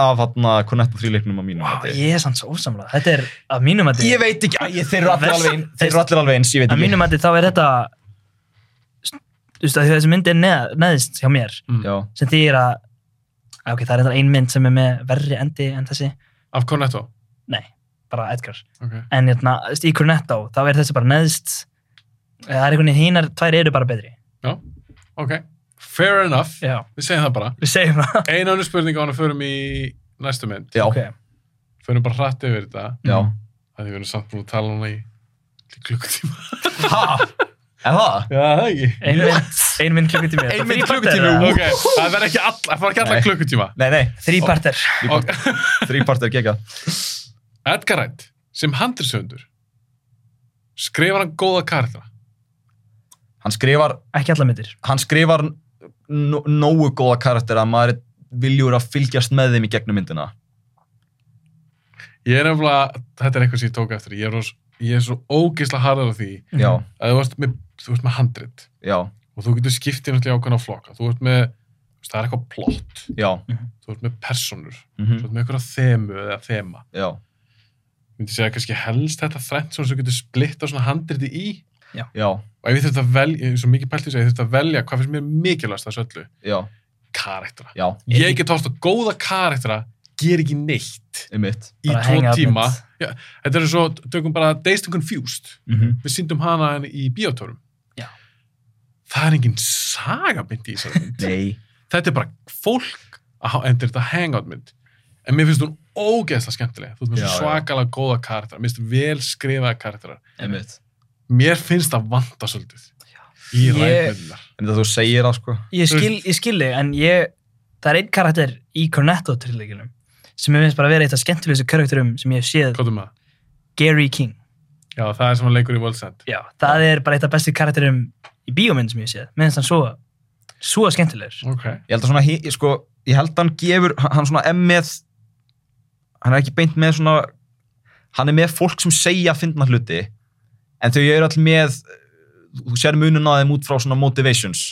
af hérna Cornetto 3 leiknum á mínum Vá, mati. ég er samt svo ósamlega. Þetta er að mínum að ég veit ekki, æ, ég, þeir, eru allir Verst- alveg, ein- þeir eru allir alveg eins ég veit að ekki, mínum að þá er þetta þú veist, af því að þessi mynd er neð, neðist hjá mér já, sem þýðir að, að ok, það er eitthvað ein mynd sem er með verri endi en þessi Af Cornetto? nei, bara Edgar Ok. en hérna, þú veist, í Cornetto, þá er þessi bara neðst Eh, það er einhvern veginn, hinar tvær eru bara betri Já, ok. Fair enough. já, Við segjum það bara. við segjum það Einu annu spurning á hann að förum í næstu mynd. já, okay. Förum bara hratt yfir þetta. já. Það er við erum samt búin að tala núna í klukkutíma. Ha, er það? Já, það er ekki. ein mynd, ein mynd klukkutími Ein mynd klukkutími, Ok, það verður ekki alla, það verður ekki alla Nei. klukkutíma. Nei, nei, þrýpartir Ok. þrýpartir gegja. Edgar Wright, sem handriðsöndur, skrifar hann góða karta. Hann skrifar, ekki alla myndir hann skrifar nó- nógu góða karakter að maður er viljur að fylgjast með þeim í gegnum myndina. Ég er nefnilega, þetta er eitthvað sem ég tók eftir. Ég er, ós, ég er svo ógeðslega harðar á því Já, að þú ert með, þú ert með handrið já, og þú getur skiptið náttúrulega í ákveðna flokka. Þú ert með, þú veist, það er eitthvað plott, já, þú ert með personur, þú mhm, ert með eitthvað þemu eða þema. já. Ég myndi segja kannski helst þetta þrennt svona sem þú getur splitt á svona handriti í Já, og ef ég þurft að velja, eins og mikið pæltið segja, ég þurft að velja hvað finnst mér mikilvægast af þessu öllu, já, karaktera. já, Ég get hort á góða karaktera, ger ekki neitt einmitt. í Bara tvo hang out tíma. with. Já, þetta er svo, tökum bara Dazed and Confused. Mhm. Við síndum hana henni í bíótórum. Já. Það er engin sagamind í þessari mynd. Nei. þetta er bara fólk að ha- endur þetta hangout mynd en mér finnst hún ógeðslega skemmtilega þú veist mér Já, finnst já. svakalega góða karakterar mér finnst vel skrifaða karakterar Einmitt. mér finnst það vanta svolítið í Ég- ræðmyndunar En þetta þú segir það, sko. ég skil, ég skil þig, en ég það er einn karakter í Cornetto trilleginum sem ég finnst bara að vera eitt af skemmtilegustu karakterum sem ég hef séð, hvað er maður? Gary King já það er sem hann leikur í Worldsend já, það er bara eitt af bestu karakterum í bíómynd sem ég hef séð, minnst hann svo svo skemmtilegur ok Ég held að svona, hi- sko, ég held að hann gefur, hann svona er með, hann er ekki beint með svona, hann er með fólk sem segja að finna hluti, en þau eru all með, þú sér munun á þeim út frá svona motivations.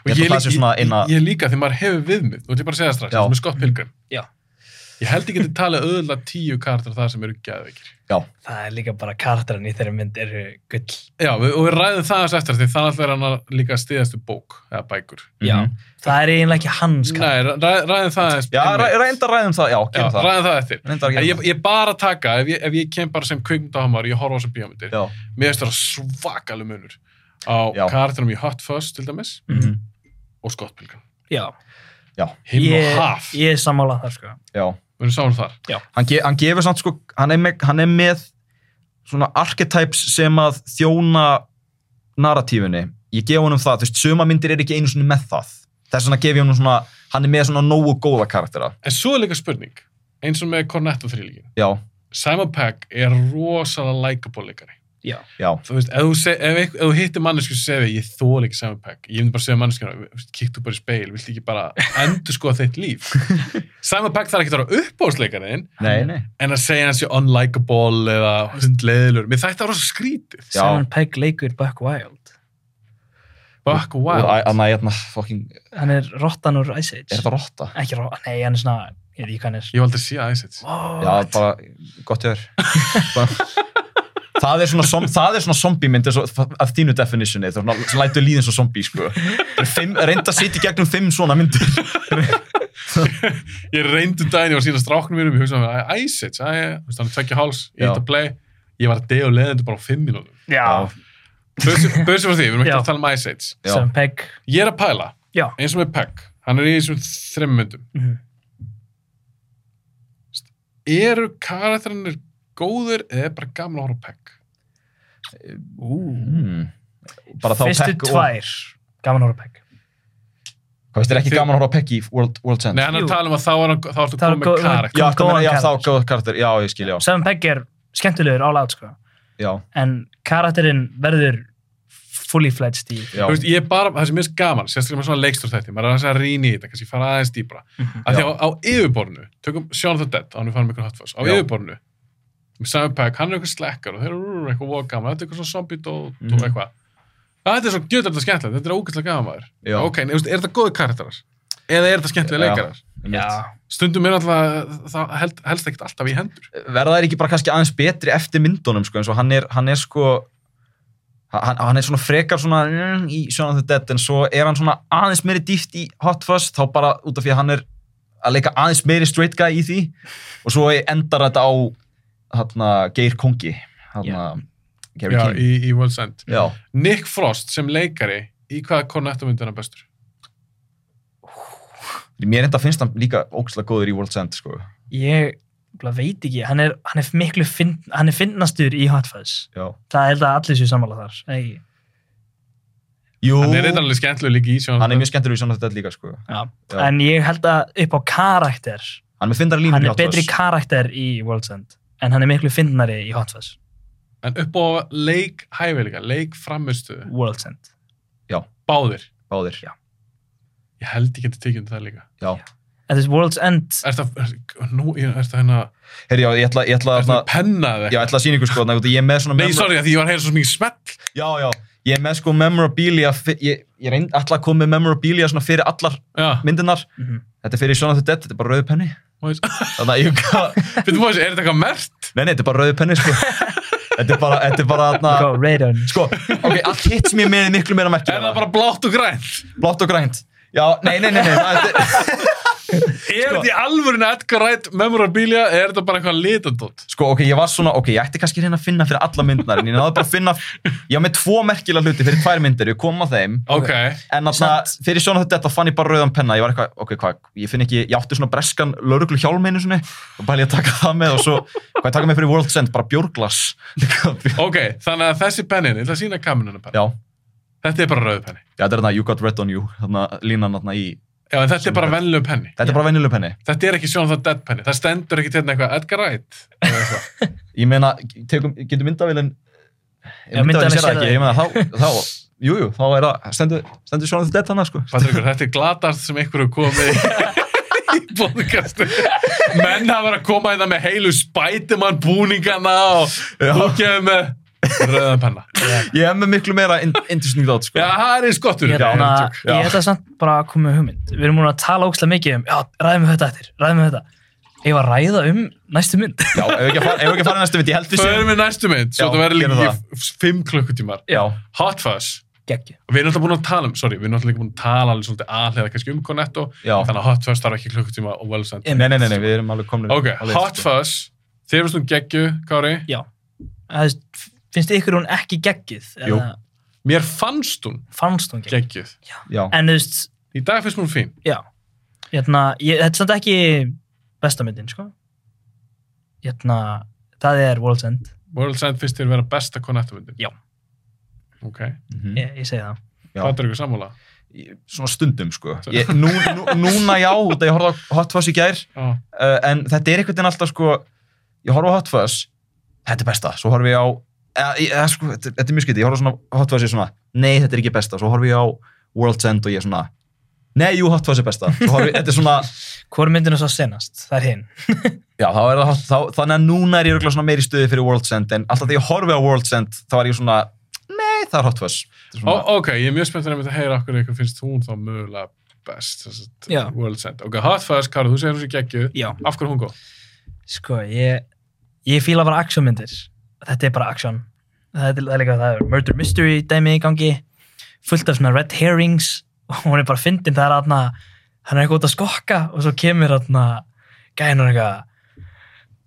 og Ég held ég, að það sé ég, svona eina- ég, ég líka þegar maður hefur viðmið þú ætlum bara að segja það strax Já. eins og með Scott Pilgrim Já. ég held ekki að tala öðvöldlega tíu karakterar þar sem eru geðveikir það er líka bara karakteran í þeirra mynd eru gull já við, og við ræðum það aðeins eftir því þannig að hann að líka stiðastu bók eða bækur já, Mhm. það er eiginlega ekki hans karakter Nei, ræ, ræðum það aðeins Já, einmitt. ræ- reynda að ræðum það, já, Já, gerum það. ræðum það eftir. Reynda að En gera Ég, það. ég bara taka, ef ég, ef ég kem bara sem kvikmyndahamar, ég horfa á þessar bíómyndir, Já, mér finnst það svakalega munur á Já. karakterum í Hot Fuzz til dæmis Mhm. og Scott Pilgrim. já, já, Him ég, og Haf, ég er sammála þar sko já. við erum sáum þar. Hann, ge, hann gefur samt, sko, hann er með, hann er með svona archetypes sem að þjóna narratífunni. Ég gef honum það, þú veist, suma myndir er ekki einu svona með það. Þess vegna gef ég honum svona, hann er með svona nógu góða karaktera. En svo er líka spurning, eins og með Cornetto þrýlíkin. Já, Simon Pegg er rosalega likeable leikari. já, já, Þú veist, ef þú, seg, ef, einhver- ef þú hittir mannesku sem segir ég þól ekki Simon Pegg, ég myndi bara segja manneskuna, kíktu bara í speil, viltu ekki bara endur skoða þitt líf. Simon Pegg þarf ekki að vera uppbóðsleikarinn, nei, nei. en að segja hans sé unlikable eða hundleiðilur. Mér þætti það rosa skrítið. Já. Simon Pegg leikur Buck Wild Buck Wow. Wild. Þannig að ég er hérna fucking, hann er rottan úr Ice Age er þetta rotta? ekki rottan, nei, hann er svona ég veit ekki hvað hann er Ég valdi að sé aðeins þetta. Já, bara, gott ég er. Það er svona, som, það er svona zombie mynd eins og- af þínu definitioni, það er svona, svona lætur líðin svo zombie, sko. Það er fimm, reynda að sitja í gegnum fimm svona myndir. Ég reyndi um daginn, ég var síðan að stráknum mínum, ég hugsaði að Ice Age, að ég, þú veist, hann er tvekja háls, ég Já. hitt að play, ég var að dega og leiðandi bara á fimm mínútum. já, Börsum frá því, við erum ekki Já. að tala um Ice Age. Já. Simon Pegg Ég er að pæla, Já. eins og með Peck, hann er í þessum þrem myndum. Mhm. Eru karakterinir góður eða er bara gaman að horfa á Peck? Mm. Bara þá Fyrstu Peck og- tvær, gaman að horfa á Pegg Hvað veist, er ekki Þið- gaman að horfa á Peggy í World, World Sense? Nei, hann er Jú. að tala um að þá er hann, þá ertu Þá er komið með góð- karakter. já, kom kom, góðan já þá karakter. góð karakter, já, ég skil, já. Simon Pegg er skemmtilegur álát sko. Já, en karakterinn verður fully fledged í já, Þú veist, ég er bara, það sem er mest gaman, sérstaklega með svona leikstur þetta, maður er aðeins að rýna í þetta, kannski fara aðeins dýbra. Mm -hmm. Af því Mhm. Já. á, á yfirborðinu, tökum Jonathan Depp, ánum við farum ykkur hotfoss, á Já. yfirborðinu, með Simon Pegg, hann er eitthvað slekkar og þeir eru rrr, eitthvað voða gaman, þetta er eitthvað svona zombie dót Mhm. og eitthvað. Það þetta er svo gjöld þetta skemmtilegt, þetta er ógæslega gaman maður. Já. Ok, en þú veist, er þetta góði karakterar? Eða er þetta skemmtilega Já. leikarar? já. Stundum er alltaf, það held, helst ekkert alltaf í hendur. Verða þær ekki bara kannski aðeins betri eftir myndunum, sko, eins og hann er, hann er sko, hann, hann er svona frekar svona mm, í Shaun of the Dead en svo er hann svona aðeins meiri dýft í Hot Fuzz þá bara út af því að hann er að leika aðeins meiri straight guy í því og svo endar þetta á hann, Geir Kongi hann, Gary já, King í, í World's End. já. Nick Frost sem leikari, í hvaða Cornetto-mynd er hann bestur? mér enda finnst hann líka ógslag góður í World's End sko. Ég bara veit ekki, hann er, hann er miklu finn, hann er finnastur í Hot Fuzz. já. Það held að allir séu sammála þar. eða Ekki. Jú, Hann er eitthvað alveg skemmtilega líka í sjónum. hann er mjög skemmtilegur í Shaun of the Dead líka sko. Já. Já. En ég held að upp á karakter, hann er með fyndara línur hann í er Hot betri Fuzz karakter í World's End, en hann er miklu finnari í Hot Fuzz. En upp á leik hæfileika, leik framistuðu, World's End. báðir. báðir já. Ég held ég geti tekið um það líka. Já. En þessi World's End, Er þetta, nú, er þetta hérna, Heri, já, ég ætla, ég ætla, er ætla, þetta penna já, ég eða eitthvað? ætla að sína ykkur sko, þannig að ég er með svona Nei, memora- sorry, af því ég var að heyra svo mikið smell. Já, já, ég er með sko memorabilia fyr- ég, ég reynd alltaf að koma með memorabilia svona fyrir allar Já, myndinar Mhm. þetta er fyrir Shaun of the Dead, þetta er bara rauði penni má ég s- þannig að ég nei, Fyrir þú að þessi, er þetta eitthvað mert? nei, þetta er bara rauði penni sko. þetta er bara, þetta er bara go atna, Radon. sko, ok, allt hitt sem ég er með er miklu meira merkja Er það bara blátt og grænt? blátt og grænt já, nei, nei, nei, nei, nei Er Sko- þetta í alvörinu Edgar Wright memorabilia eða er þetta bara eitthvað litandótt? sko, ok, ég var svona, ok, ég ætti kannski hérna að reyna að finna fyrir alla myndinar, en ég náði bara að finna ég var með tvo merkilega hluti fyrir tvær myndir ég kom að þeim Ok, En alltaf, fyrir svona þetta, þetta fann ég bara rauðan penna, ég var eitthvað, ok, hvað, ég finn ekki, ég átti svona breskan lauruglu hjálm einu svona, og bara ég að taka það með og svo, hvað ég taka með fyrir World's End, bara bjórglas. já, ok, þannig að þessi pennin, ég ætla að sína kamerunum penni. já, Þetta er bara rauð penni. þetta er þarna You Got Red On You, þarna línan þarna í, Já, en þetta er bara venlum penni. þetta er bara venjuleg penni. Þetta er ekki Sean of the Dead penni. Það stendur ekki til eitthvað Edgar Wright. eða eitthvað. Ég meina, tekum, getur myndavélinn, ef Já, myndavélin myndavélinn sér sér það það ekki, ég meina, þá, þá, jú, jú, þá er það, stendur, stendur svona þetta þarna, sko. Patrikur, þetta er glatast sem einhverju komið í podcastu. Menn hafa verið að koma í það með heilu Spiderman búningana og Já. þú kemur með rauðan penna. Ég er með miklu meira indisning þátt, sko. Já, það er skottur. Ég held Já, að- ég held að samt bara að koma með hugmynd. Við erum múin að tala ógslag mikið um, já, ræðum við þetta eftir, ræðum við þetta. Ég var að ræða um næstu mynd. Já, ef við ekki að fara- ef við ekki að fara í næstu mynd, ég held við Förum séum- við næstu mynd, svo Já, þetta verður líka gerum í f- fimm klukkutímar. Já, Hot Fuzz. Gekkið. Og Við erum alltaf búin að tala um, sorry, við erum alltaf líka búin að tala alveg svolítið aðlega kannski um Cornetto, Já. þannig að Hot Fuzz þarf ekki klukkutíma og well sent. Nei, nei, nei, nei, við erum alveg komin Ok, Hot Fuzz, þið erum svona geggju, Kári. Já. Það er- Finnst ykkur hún ekki geggið? Jú. Eða Mér fannst hún Fannst hún geggið? geggjuð. Já, En þú veist, Í dag finnst mér hún fín. já. Hérna, ég, þetta er samt ekki besta myndin, sko. Hérna, það er World's End. World's End finnst þér vera besta Cornetto myndin. Já. Ok, Mhm. Ég, ég segi það. Já. hvað er ykkur sammála? Ég- svona stundum sko ég, nú, nú, núna já, út að ég horfði á Hot Fuzz í gær Já, uh, en þetta er einhvern veginn alltaf sko ég horfði á Hot Fuzz, þetta er besta svo horfði ég á, eða, ég- eða, sko, þetta, þetta er mjög skytið, ég horfði á svona Hot Fuzz ég er svona nei, þetta er ekki besta, svo horfði ég á World's End og ég er svona, nei, jú, Hot Fuzz er besta svo horfði, þetta er svona, Hvor er myndin er svo senast? Það er hinn. já, þá er það hot, þá, þannig að núna er ég örugglega svona meiri stuði fyrir World's End en alltaf þegar ég horfi á World's End, þá er ég svona nei, það er Hot Fuzz Þetta er Ó, svona, ok, ég er mjög spenntur að heyra okkur ykkur finnst hún þá mögulega best, þess Já. að World's End. Ok, Hot Fuzz, Kári, þú segir hún sér geggjuð. Já. Af hverju er hún góð? Sko, ég, ég fíla bara actionmyndir. Þetta er bara action. Það er, það er líka, það er murder mystery dæmi í gangi. Fullt af svona red herrings. Og hún er bara fyndin. Það er aðna, hann er eitthvað út að skokka og svo kemur aðna gæðin og er eitthvað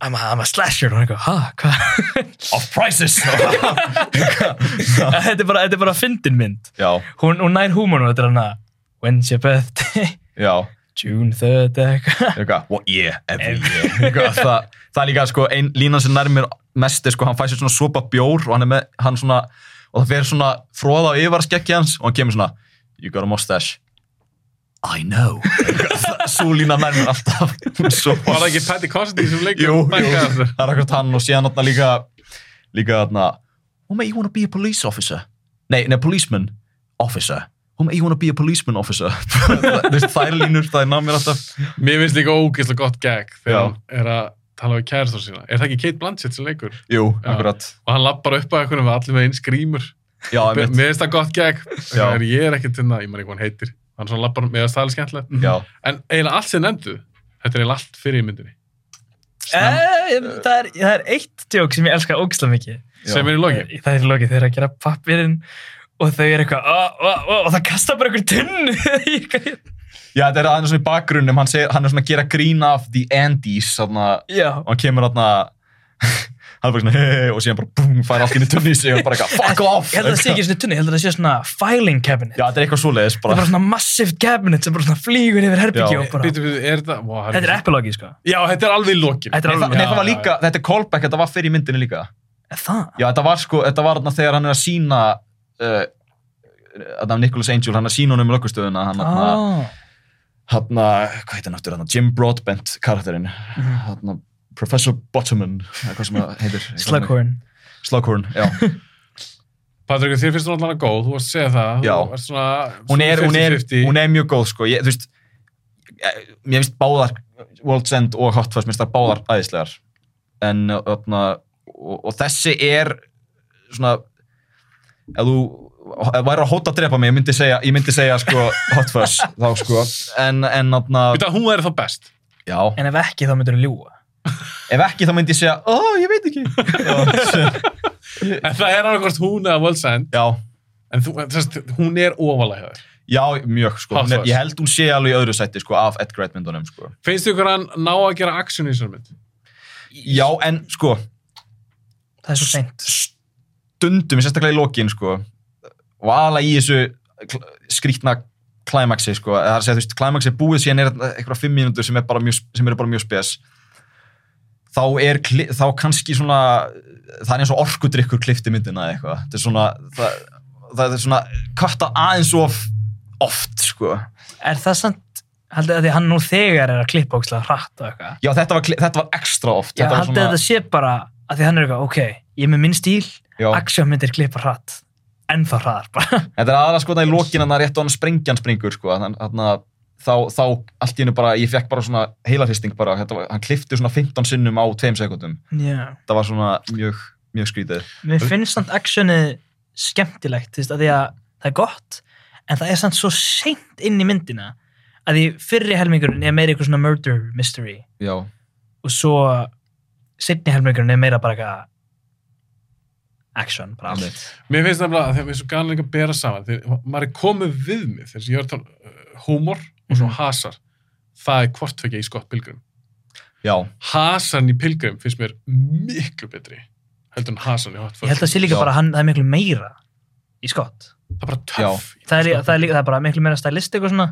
I'm a, I'm a slasher og hann er eitthvað, ha, hvað? off prices þetta er bara, þetta er bara fyndin mynd já, hún, hún nær húmónu, þetta er hann að when's your birthday, já June 3rd eða eitthvað eitthvað, what yeah, every year eitthvað, það, það er líka sko, ein línan sem nærmir mér mest er sko, hann fæ sér svona sopa bjór og hann er með, hann svona og það fer svona fróða á yfarskekki hans og hann kemur svona, you got a mustache I know svo línan nærmir alltaf svo, Var það ekki Patty Costney sem leikur? jú, jú, Bakaði það þetta? er akkurat hann og síðan þarna líka líka þarna who may you wanna be a police officer nei, nei, policeman officer who may you wanna be a policeman officer það, það, það er línur, það er námið alltaf Mér finnst líka ógeðslega gott gag Já. þegar hann er að tala við kærastur sína. Er það ekki Kate Blanchett sem leikur? jú, Já. akkurat Og hann lappar upp að eitthvað með allir með eins grímur. Já, Mér einmitt. finnst það gott gag. Já. Þegar ég er ekkert hérna, ég maður ekki hvað hann heitir. Hann svona lappar, mér finnst það alveg skemmtilegt. Já, En eiginlega allt sem nefndu, þetta er eiginlega allt fyrir í myndinni. Eh, það, er, það er eitt djók sem ég elska ógislega mikið Eh, sem er í loki. Það er í loki þegar að gera pappirinn og þau eru eitthvað ó, ó, ó, og það kasta bara einhver tunnu í eitthvað- Já, þetta er aðeins svona í bakgrunnum, hann, segir, hann er svona að gera grín af The Andes, þarna, Já, og hann kemur þarna, hann er bara svona, hei, og síðan bara, búm, fær allt inn í tunni í sig og bara eitthvað, fuck off! ég held að það sé ekki svona tunnu, ég held að það sé svona filing cabinet Já, þetta er eitthvað svoleiðis, Það er bara, bara svona massive cabinet sem bara svona flýgur yfir Já. herbyggi og bara Býtu, býtu, er þetta... Vá, það Þetta er epilogi sko Já, þetta er alveg í lokin. Þetta nei, það, er nei, alveg Já, það var já, líka, þetta er callback, þetta var fyrir í myndinni líka. Er Það? Já, þetta var sko, þetta var þarna þegar hann er að sína, uh, þetta var Nicholas Angel, hann er að sína honum lögustöðuna, hann, þarna, Ah. hann, hvað heitir hann aftur, hann, Jim Broadbent karakterinn, Mhm. hann, Professor Bottoman, eða hvað sem það heitir. Slughorn Slughorn, já. Patrik, þér finnst hún allan góð, þú varst að segja það. Já. Þú varst svona... hún er, hún, er, 50-50. hún er mjög góð sko ég, þú veist ég- mér finnst báðar World's End og Hot Fuzz mér finnst það báðar æðislegar en öfna, og, og þessi er svona ef þú ef væri að hóta að drepa mig, ég myndi segja, ég myndi segja sko, Hot Fuzz þá sko en, en öfna, Býtu, hún er þá best. já, En ef ekki þá myndur þú ljúa ef ekki þá myndi ég segja ó, ég veit ekki já, En það er annarkvort hún eða World's End, já, en þú, þess, hún er ofalega hér. já, mjög sko, Hot hún er, Fuzz. ég held hún sé alveg í öðru sæti sko, af Edgar Wright myndunum sko Finnst þið ykkur hann ná að gera action í þessar mynd? já, en sko Það er svo seint stundum, sérstaklega í lokin sko, og aðalega í þessu kl- skrýtna klæmaksi sko, eða það er að segja þú veist, klæmaksi er búið síðan er eitthvað fimm mínútur sem, er bara mjög, sem eru bara mjög spes þá er kli- þá kannski svona það er eins og orkudrykkur klifti myndina eða eitthvað, þetta er svona það, það er svona kvarta aðeins of oft sko Er það samt Haldið að því hann nú þegar er að klippa ógislega hratt og eitthvað já þetta var, kli- þetta var ekstra oft Ég þetta var haldið að það sé bara að því hann er eitthvað, ok, ég er með minn stíl, Já. aksjómyndir klippa hratt, ennþá hraðar bara. Þetta er aðalega sko það í lokin að það er rétt á hann sprengjan springur sko, þannig að þá, þá allt í hennu bara, ég fekk bara svona heilarhisting bara, þetta var, hann klifti svona 15 sinnum á 2 sekundum. Já. Það var svona mjög, mjög skrítið. Mér finnst samt aksjónið skemmtilegt, þú veist, að því að það er gott, en það er samt svo seint inn í myndina, að því fyrri helmingurinn er meira eitthvað svona murder mystery Já. og svo setni helmingurinn er meira bara eitthvað aksjón, bara allt. Mér finnst nefnilega að þegar við erum svo gana líka að bera saman, þegar maður er komið við mig, þess að ég er að tala uh, humor og svo Mhm. hasar, það er hvort tvekja í skott pilgrim. Já. Hasan í pilgrim finnst mér miklu betri heldur en Hasan í Hot Ég held að Fuzz. sé líka Já. bara að hann, það er miklu meira í skott. Það er bara töff. það er, það er, líka, það er bara miklu meira stylistik og svona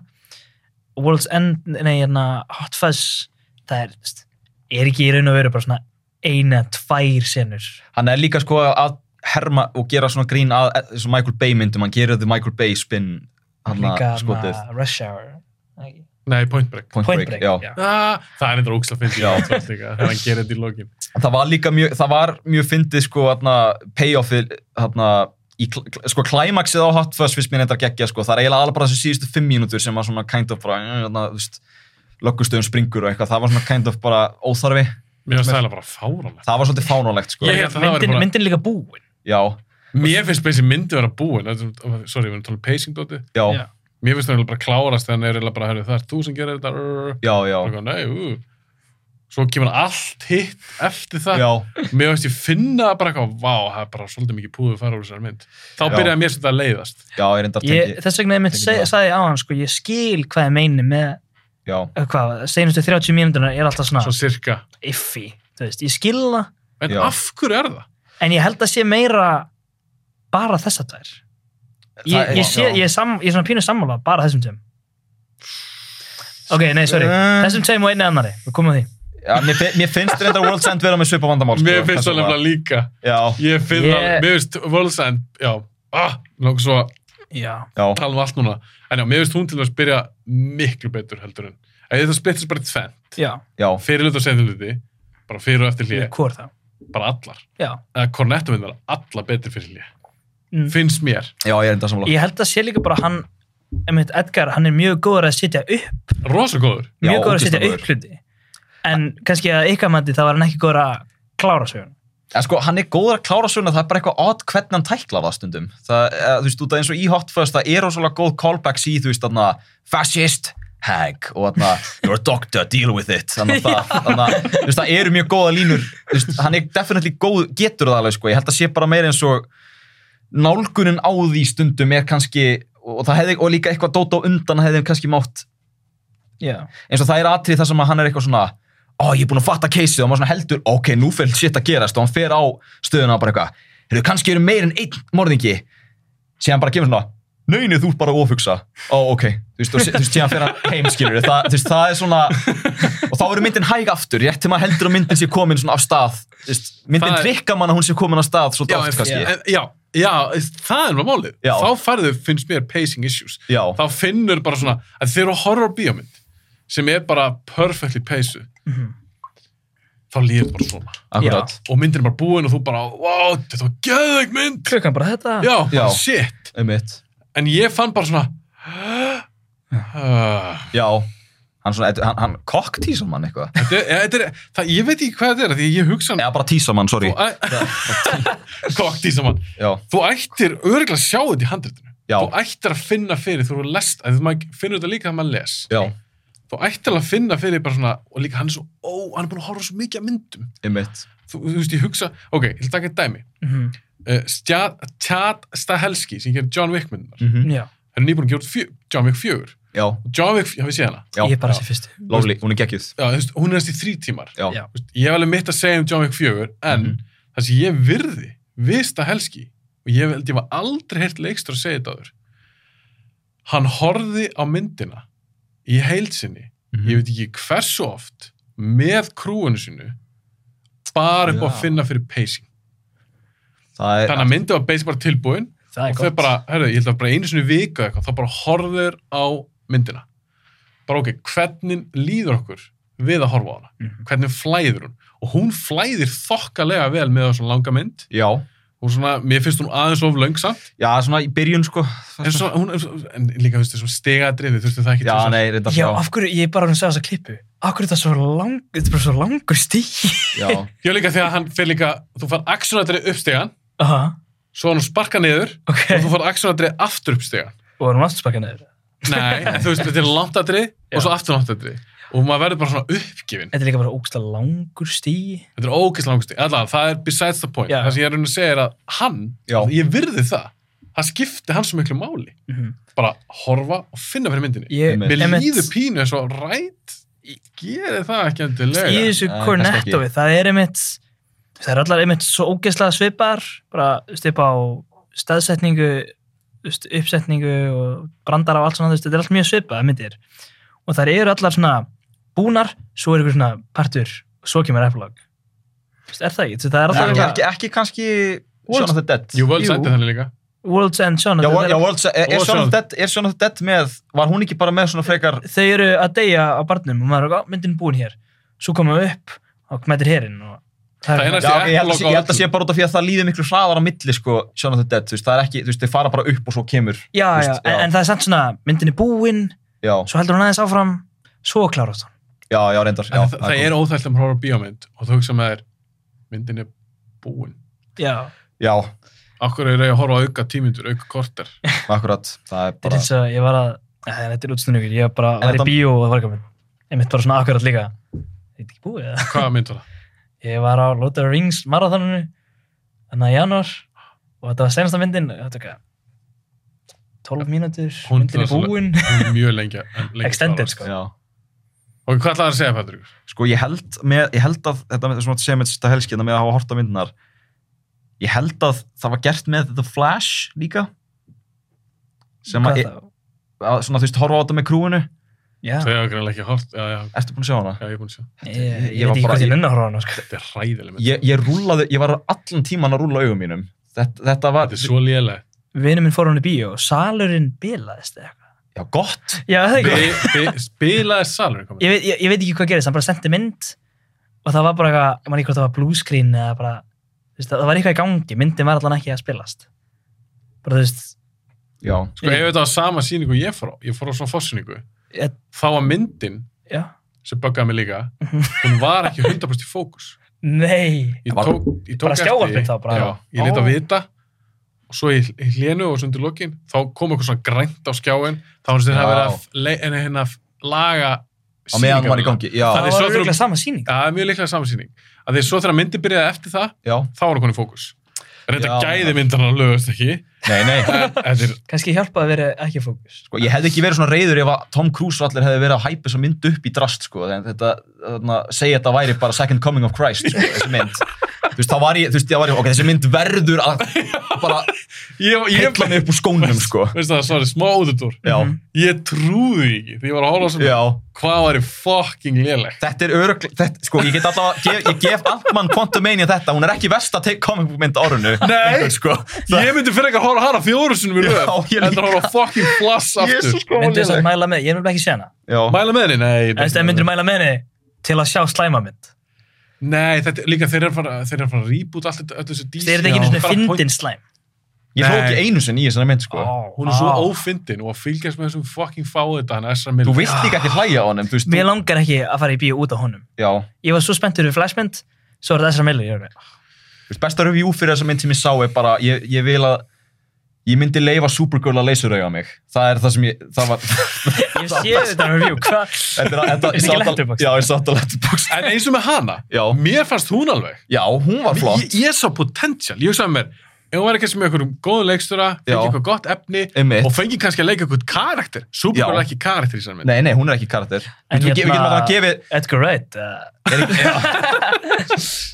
World's End, nei, hérna Hot Fuzz, það er veist, er ekki í raun og veru bara svona eina, tvær senur Hann er líka sko að herma og gera svona grín að, eins og Michael Bay myndum, hann gerir the Michael Bay spin, hann líka að skotið. hana Rush Hour nei, Nei, Point Break. Point, Point Break, já. Ah, það er eitthvað ógst að finna í Já. Hot Fuzz líka, þegar hann gerir þetta í lokin. það var líka mjög, það var mjög fyndið sko hérna payoffið hérna í, kl- kl- sko klæmaksið á Hot Fuzz fyrst mér reyndar geggja sko, það er eiginlega alveg bara þessu síðustu fimm mínútur sem var svona kind of bara, hérna, þú veist löggustöðum springur og eitthvað, það var svona kind of bara óþarfi, Mér finnst það eiginlega bara fáranlegt. það var svolítið fánulegt sko, Ég held að það væri myndin, bara- myndin er líka búin já, Mér finnst þessi myndi vera búin. Þetta er- Sorry, við erum talað um pacing dótið. já, Já. já, Mér finnst það eiginlega bara klárast þegar hann er eiginlega bara, "Heyrðu, það er þú sem gerir þetta. rrrr." já, Og já, eitthvað, Nei, ú. Svo kemur allt hitt eftir það. já. Mér finnst ég finna bara eitthvað, vá, það er bara svolítið mikið púðu að fara úr þessari mynd. Þá Já. byrjaði mér svolítið að leiðast. ég reyndar ég, tengi, þess vegna ég mynd tengi seg, það. sagði á hann sko, ég skil hvað ég meini með já, eh, hvað, seinustu 30 mínúturnar er alltaf svona Svo cirka. iffy, þú veist, ég skil það En Já. af hverju er það? en ég held að sé meira bara þessa tvær ég, Það er- ég, sé, já. ég, er sam, ég er svona pínu sammála bara þessum tveim ok, nei, sorry Eh. þessum tveim og einni annari, við komum að því já mér, fi- mér finnst reyndar World's End vera með svipa vandamál sko, Mér finnst þess það vegna. nefnilega líka. já, Ég finn Ég- það, mér finnst World's End, já, ah, langar svo að já, já, tala um allt núna. En já, mér finnst hún til þess að byrja miklu betur heldur en. Eða þetta splittist bara í tvenn, já, já, fyrir hluti og sendir hluti, bara fyrir og eftir hlýja, hvort þá bara allar. já, Eða Cornetto minn var allar betur fyrir hlýja. Mm. Finnst mér, já, ég reyndar sammála ég held að sé líka bara hann einmitt Edgar, hann er mjög góður að sitja upp rosa góður. Já, mjög góður að sitja ógeðslega upp hluti en kannski að ykkar mandi þá var hann ekki góður að klára sögun En sko, hann er góður að klára svona, það er bara eitthvað odd hvernig hann tækla það stundum. Það, eh, þú veist, út af eins og í Hot Fuzz, það er ósvöldlega góð callbacks í, þú veist, þarna, fascist, Hank og þarna, you're a doctor, deal with it þannig að það, þannig að, þú veist, það eru mjög góða línur, þú veist, hann er definitely góð getur það alveg, sko, ég held að sé bara meira eins og nálgunin á því stundum er kannski, og það hefði og líka eitthvað dót á undan hefði kannski mátt Já. eins og það er atrið þar sem að hann er eitthvað svona ó, ég er búinn að fatta keysið og maður svona heldur ok, nú fyrir shit að gerast og hann fer á stöðuna og bara eitthvað, hefur kannski verið meir en einn morðingi, síðan bara kemur svona neini, þú ert bara að ofugsa ó, ok, þú veist, og sí- þú veist, síðan fer hann heim skilur, það, þú veist, það er svona og þá verður myndin hæg aftur, rétt til maður heldur að myndin sé komin svona af stað þú veist, myndin Það er- trikka mann að hún sé komin af stað já, svolítið oft en, kannski, en, já, já, það er bara málið Já. þá færðu, finnst mér, pacing issues Já. þá finnur bara svona að þeir eru horror bíómynd sem er bara perfectly paced Mhm. þá líður þetta bara svona akkurat og myndin er bara búin og þú bara, wow, þetta var geðveik mynd Klukkan bara þetta. já, Já. shit einmitt, en ég fann bara svona uh, já hann, svona, hann, hann koktísar mann eitthvað þetta er, þetta er, það, ég veit ekki hvað þetta er því ég hugsa hann eða bara tísar mann, sorry kokti saman já, þú ættir örgulega að sjá þetta í handritinu Já. þú ættir að finna fyrir þú eru lest að maður finnur þetta líka þegar maður les já, þú ættir alveg að finna fyrir bara svona og líka hann er svo, ó, hann er búin að horfa á svo mikið að myndum einmitt þú, þú veist, ég hugsa, ok, ég ætla að taka eitt dæmi Mhm. uh, Stjad, Tjad Stahelski sem gerir John Wick myndar mm. Já. hann er nýbúin að gera út fjö, John Wick 4 Já, John Wick, já, við séð hana já, Ég er bara sér fyrstu. lovely, hún er geggjuð. já, þú veist, hún er þessi þrý tímar Já, Já. Þú veist, ég hef alveg mitt að segja um John Wick 4 en það sem ég virði við Stahelski og ég held ég var aldrei heyrt leikstur að segja þetta áður hann horfði á myndina í heilsinni ég veit ekki hversu oft með krúinu sinu bara upp á að Já. finna fyrir pacing það er, þannig að myndi var basically bara tilbúin Það er og þau gott. bara, herru, ég held að bara einu sinni í viku eða eitthvað, þá bara horfður á myndina bara ok, hvernig líður okkur við að horfa á hana hvernig flæður hún og hún flæðir þokkalega vel með á svona langa mynd já, og svona, mér finnst hún aðeins of löngsamt já, svona í byrjun, sko. en, svo, hún, er svo- en líka, þú veist, svona stegadriði þurftu það ekki Já, til þess að- nei, reynda Já, af hverju, ég er bara að segja þessa klippu. Af hverju er þetta svo lang, þetta er bara svo langur stíki. Já, já, líka þegar hann fyrir líka, þú fann aksjónadrið uppstegan Aha, svo hann sparka niður ok. og þú fann aksjónadrið aftur uppstegan Og erum aftur spakað neður. nei, en þú veist, þetta er landadrið og svo aftur landadrið og maður verður bara svona uppgefin Þetta er líka bara ógsta langur stígi. Þetta er ógeðslega langusti. Allavega, það er besides the point. Já. Það sem ég er raun að segja er að hann, Já. ég virði það. Það skipti hann svo miklu máli. Mhm. Bara horfa og finna fyrir myndinni. Ég, Einmitt. Mér einmitt, líður pínu eins og rætt gerir það ekki endilega. í þessu Nei, kannski Cornettovi, ekki. það er einmitt, það er allar einmitt svo ógeðslega svipar, bara stipa á staðsetningu, þú veist, uppsetningu og brandar á allt svona, þú veist, þetta er allt mjög svipað myndir. Og það eru allar svona búnar, svo er ykkur svona partur, og svo kemur epilog. Þú veist, er það ekki? Þú veist, Það er ekki, alltaf ekki, ekki kannski Shaun of the Dead. Jú, völd Jú. sendi þannig líka. World's End Shaun of Já, the Wor- Dead. já, World's, er, er, Og Shaun of Shaun. the Dead, er Shaun of the Dead með, var hún ekki bara með svona frekar, þau eru að deyja á barnum og maður er að myndin er búin hér svo koma þau upp og mætir herinn og Það er já, Þessi ég held að sé- epilogue á ég held að sé öllu. bara út af því að það líði miklu hraðar á milli, sko, Shaun of the Dead, þú veist, það er ekki, þú veist, þau fara bara upp og svo kemur, já, þú já, veist, en, já. en það er samt svona myndin er búin, já, svo heldur hún aðeins áfram svo klárast hún já, já, reyndar, já, Já, það það gott. er óþægt um horfa á bíómynd og þú hugsa með þér, myndin er búin. já, já, Akkur er ég að horfa á auka tímyndur, auka korter. akkurat, það er þetta er bara, eins og ég var að Æ, þetta er útstunningur, ég var bara En var í þetta- bíó og það var ekki að minn einmitt bara svona akkurat líka þetta er ekki búið eða? Hvaða mynd var það? ég var á Lord of the Rings marathoninu þannig að janúar og þetta var senasta myndin þetta var hvað 12 mínútur, Hún myndin var er svo- búin Hún er Mjög lengi. en- lengi extended klárast. sko já, Og hvað ætlaði að segja, Patrik? sko ég held, með, ég held að þetta með þessum að segja með þetta helski þetta með að hafa horta myndinar ég held að það var gert með The Flash líka sem að, Hvað þá? að svona þú veist horfa á þetta með krúinu Já, Þau hafa greinlega ekki hort. Já, já, ertu búin að sjá hana? já, ég er búin að sjá. ég, ég, ég veit var ekki bara- hvað ég nunna að horfa á hana sko. Þetta er hræðileg mynd. Ég, ég rúlaði, ég var allan tíman að rúla augum mínum þetta, þetta var, Þetta er svo léleg. Vinur minn fór hann í bíó og salurinn bilaðist eða eitthvað. já gott Já, það er ekki. Bi- bi- Spilaði salurinn komið? Ég veit, ég, ég veit ekki hvað gerist, hann bara sendi mynd og það var bara eitthvað, ég man ekki hvort það var bluescreen eða bara, þú veist, það var eitthvað í gangi, myndin var allan ekki að spilast. Bara þú veist, já, Sko, ef þetta var sama síningu ég fór á, ég fór á svona fórsýningu, ég, þá var myndin já, sem böggaði mig líka, Mhm. hún var ekki 100% í fókus. nei, Ég Var- tók, ég tók bara skjávarpið þá bara. Já, ég leta Ó. að vita og svo í í hlénu og svo undir lokin, þá kom eitthvað svona grænt á skjáin, þá fannst þeir Já. að vera að f- le- en- hérna, laga á meðan hann var í sýningarvélina. gangi já, Það það er var svo örugglega þrjú- sama síning Það er mjög líklega samsýning. Að því svo þegar myndi byrjaði eftir það, já, þá var hann í fókus. Reynda Já. gæði myndan að lögast ekki. nei, nei En þetta er, kannski hjálpa að vera ekki í fókus sko, ég hefði ekki verið svona reyður ef að Tom Cruise og allir hefði verið að hæpa þessa mynd upp í drast sko, en þetta, þarna, segja þetta væri bara second coming of Christ, sko, þessi mynd þú veist, þá var ég, þú veist, ég var ég, ok, þessi mynd verður að bara ég, ég, heilla mig upp úr skónum, sko veist það, sorry, smá útudur. já, Mhm. Ég trúði því ekki, því ég var að hóla sem já, hvað var í fucking lélegt. þetta er örugl þetta, sko, ég get alltaf, gef, ég gef Altman Quantumania þetta, hún er ekki versta take comic book mynd árunu, Nei. sko Ég myndi fyrir ekki að hóla hana fjóru sinum í Já, lög, ég en það líka. hóla fucking flass aftur. sko, myndu þess að mæla með, ég er nefnilega ekki séð hana já, Mæla með henni? Nei. ég- en þess að myndur mæla með henni til að sjá slæma mynd Nei, þetta, líka þeir eru að fara- þeir eru að fara að reboot allt þetta, öll þessu DC. þeir eru ekki einu Bara svona point- fyndin slæm ég hló Nei. ekki einu sinni í þessari mynd, sko Hún er svo Á. ófyndin og að fylgjast með þessum fucking fáið hann Ezra Miller. þú vilt líka ekki hlæja á honum, þú veist, mér þú- langar ekki að fara í bíó út á honum já ég var svo spenntur við flashmynd svo er það Ezra Miller ég var með. Þú veist, besta review fyrir þessa mynd sem ég sá er bara, ég, ég vil að ég myndi leifa Supergirl að leysurauga mig það er það sem ég, það var ég sé þetta review hvað þetta, er- þetta, ég Er þetta sá ekki þetta- Letterboxd? já, ég satt á letterbox En eins og með hana, Já. mér fannst hún alveg. já, hún var flott, Ég, ég sá potential, ég hugsaði með mér, ef hún væri kannski með einhverjum góðum leikstura, fengi Já. eitthvað gott efni Einmitt. og fengi kannski að leika eitthvað karakter. Já. Supergirl er ekki karakter í saman. nei, nei, hún er ekki karakter En við, við, hérna- getum allavega að gefi Edgar Wright uh,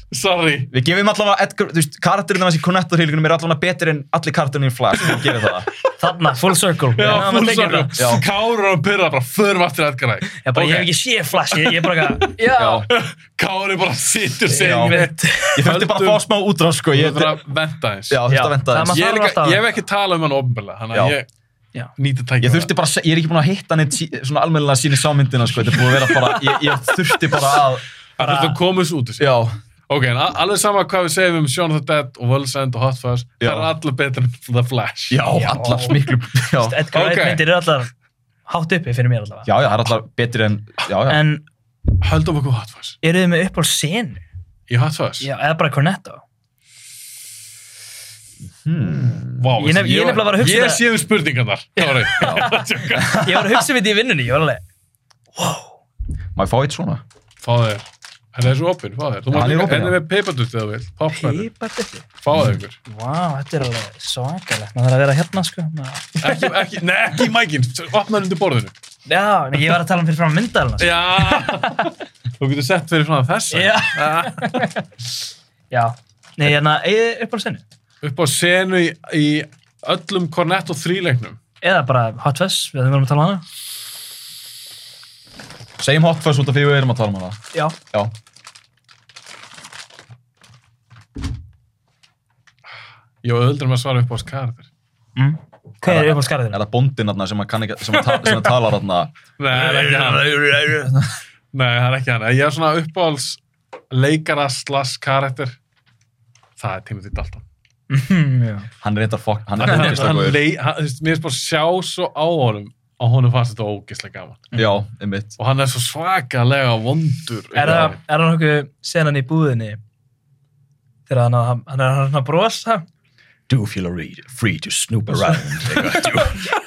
Sorry. við gefum allavega, Edgar, þú veist, karakterinn hans í Connector-hílgunum er allavega betur en allir karakterinn í Flash, við gefum það þarna full circle Já, Ná, maður full tekið sorry. þetta. Já. Kára og Pyrra bara förum aftur Edgar Wright. Ég Ok. bara, ég hef ekki séð flash, ég, ég bara eitthvað, já, já, Kári bara sittur sig. Já. ég veit ég þurfti bara að fá smá útráð, sko Ég ég, þarf já, að venta eins. þurfti að Já, venta það þess má- Ég, er þarf líka, alltaf- ég hef ekki talað um hann ofnbörlega, þannig að Já. Já. ég nýti tækja Ég þurfti bara, að se- ég er ekki búin að hitta neitt sí, svona almennilega síni sámyndina, sko, þetta er búin að vera bara, ég, ég þurfti bara að, bara... Það komið svo út úr sig. já, Ok, en a- alveg sama hvað við segjum um Shaun of the Dead og World's End og Hot Fuzz, Já. það er allir betur en The Flash. já, allar miklu, já. Edgar Wright Ok. myndir er alltaf hátt uppi fyrir mér allavega Já, já, það er alltaf betri en, já, já, en Höldum okkur á Hot Fuzz. eru þið með upp á senu Í Hot Fuzz? já, eða bara Cornetto Vá, Ég nef- ég nefnilega var að hugsa Ég það. sé um spurningarnar, Kári. Tjóka. ég var að hugsa við því í vinnunni, ég var alveg má ég fá eitt svona? Fá þér. Þetta er svo opinn, fá þér. Þú hann mátt er líka opinn, henni já. með peipardutt eða vil. Popsmæri. pipart uppi Fá þér ykkur. Vá, þetta er alveg svakalegt. Maður þarf að vera hérna, sko. Maður- Ekki, ekki, nei, ekki í mækinn. Opnaður undir borðinu. Já, nei, ég var að tala um fyrir fram myndalina. Sko. Já. Þú getur sett fyrir fram þessa. Já. Já. Nei, hérna, eigið upp á senu. Upp á senu í, í öllum Cornetto þríleiknum. Eða bara Hot Fuzz, við höfum verið að tala um hana. Segjum hot fuzz út af því við erum að tala um hana. Já. Já. Ég var öðruldum að svara upp á þessu karakter. Hvað er upp á skarðinu? Er það bóndinn þarna sem að kann ekki, sem að, ta sem að talar þarna? Nei, það er ekki hann. Nei, það er ekki hann. Ég er svona uppáhalds leikara slass karakter. Það er Timothy Dalton. Mm, Hann er eitthvað fokk, hann er hann, eitthvað hann, góður. lei, hann, þú veist, mér er bara að sjá svo á honum að honum fannst þetta ógeðslega gaman Já, einmitt. og hann er svo svakalega vondur um er það, er það nokkuð senan í búðinni? Þegar hann, hann, hann er hann að brosa Do feel free to snoop around.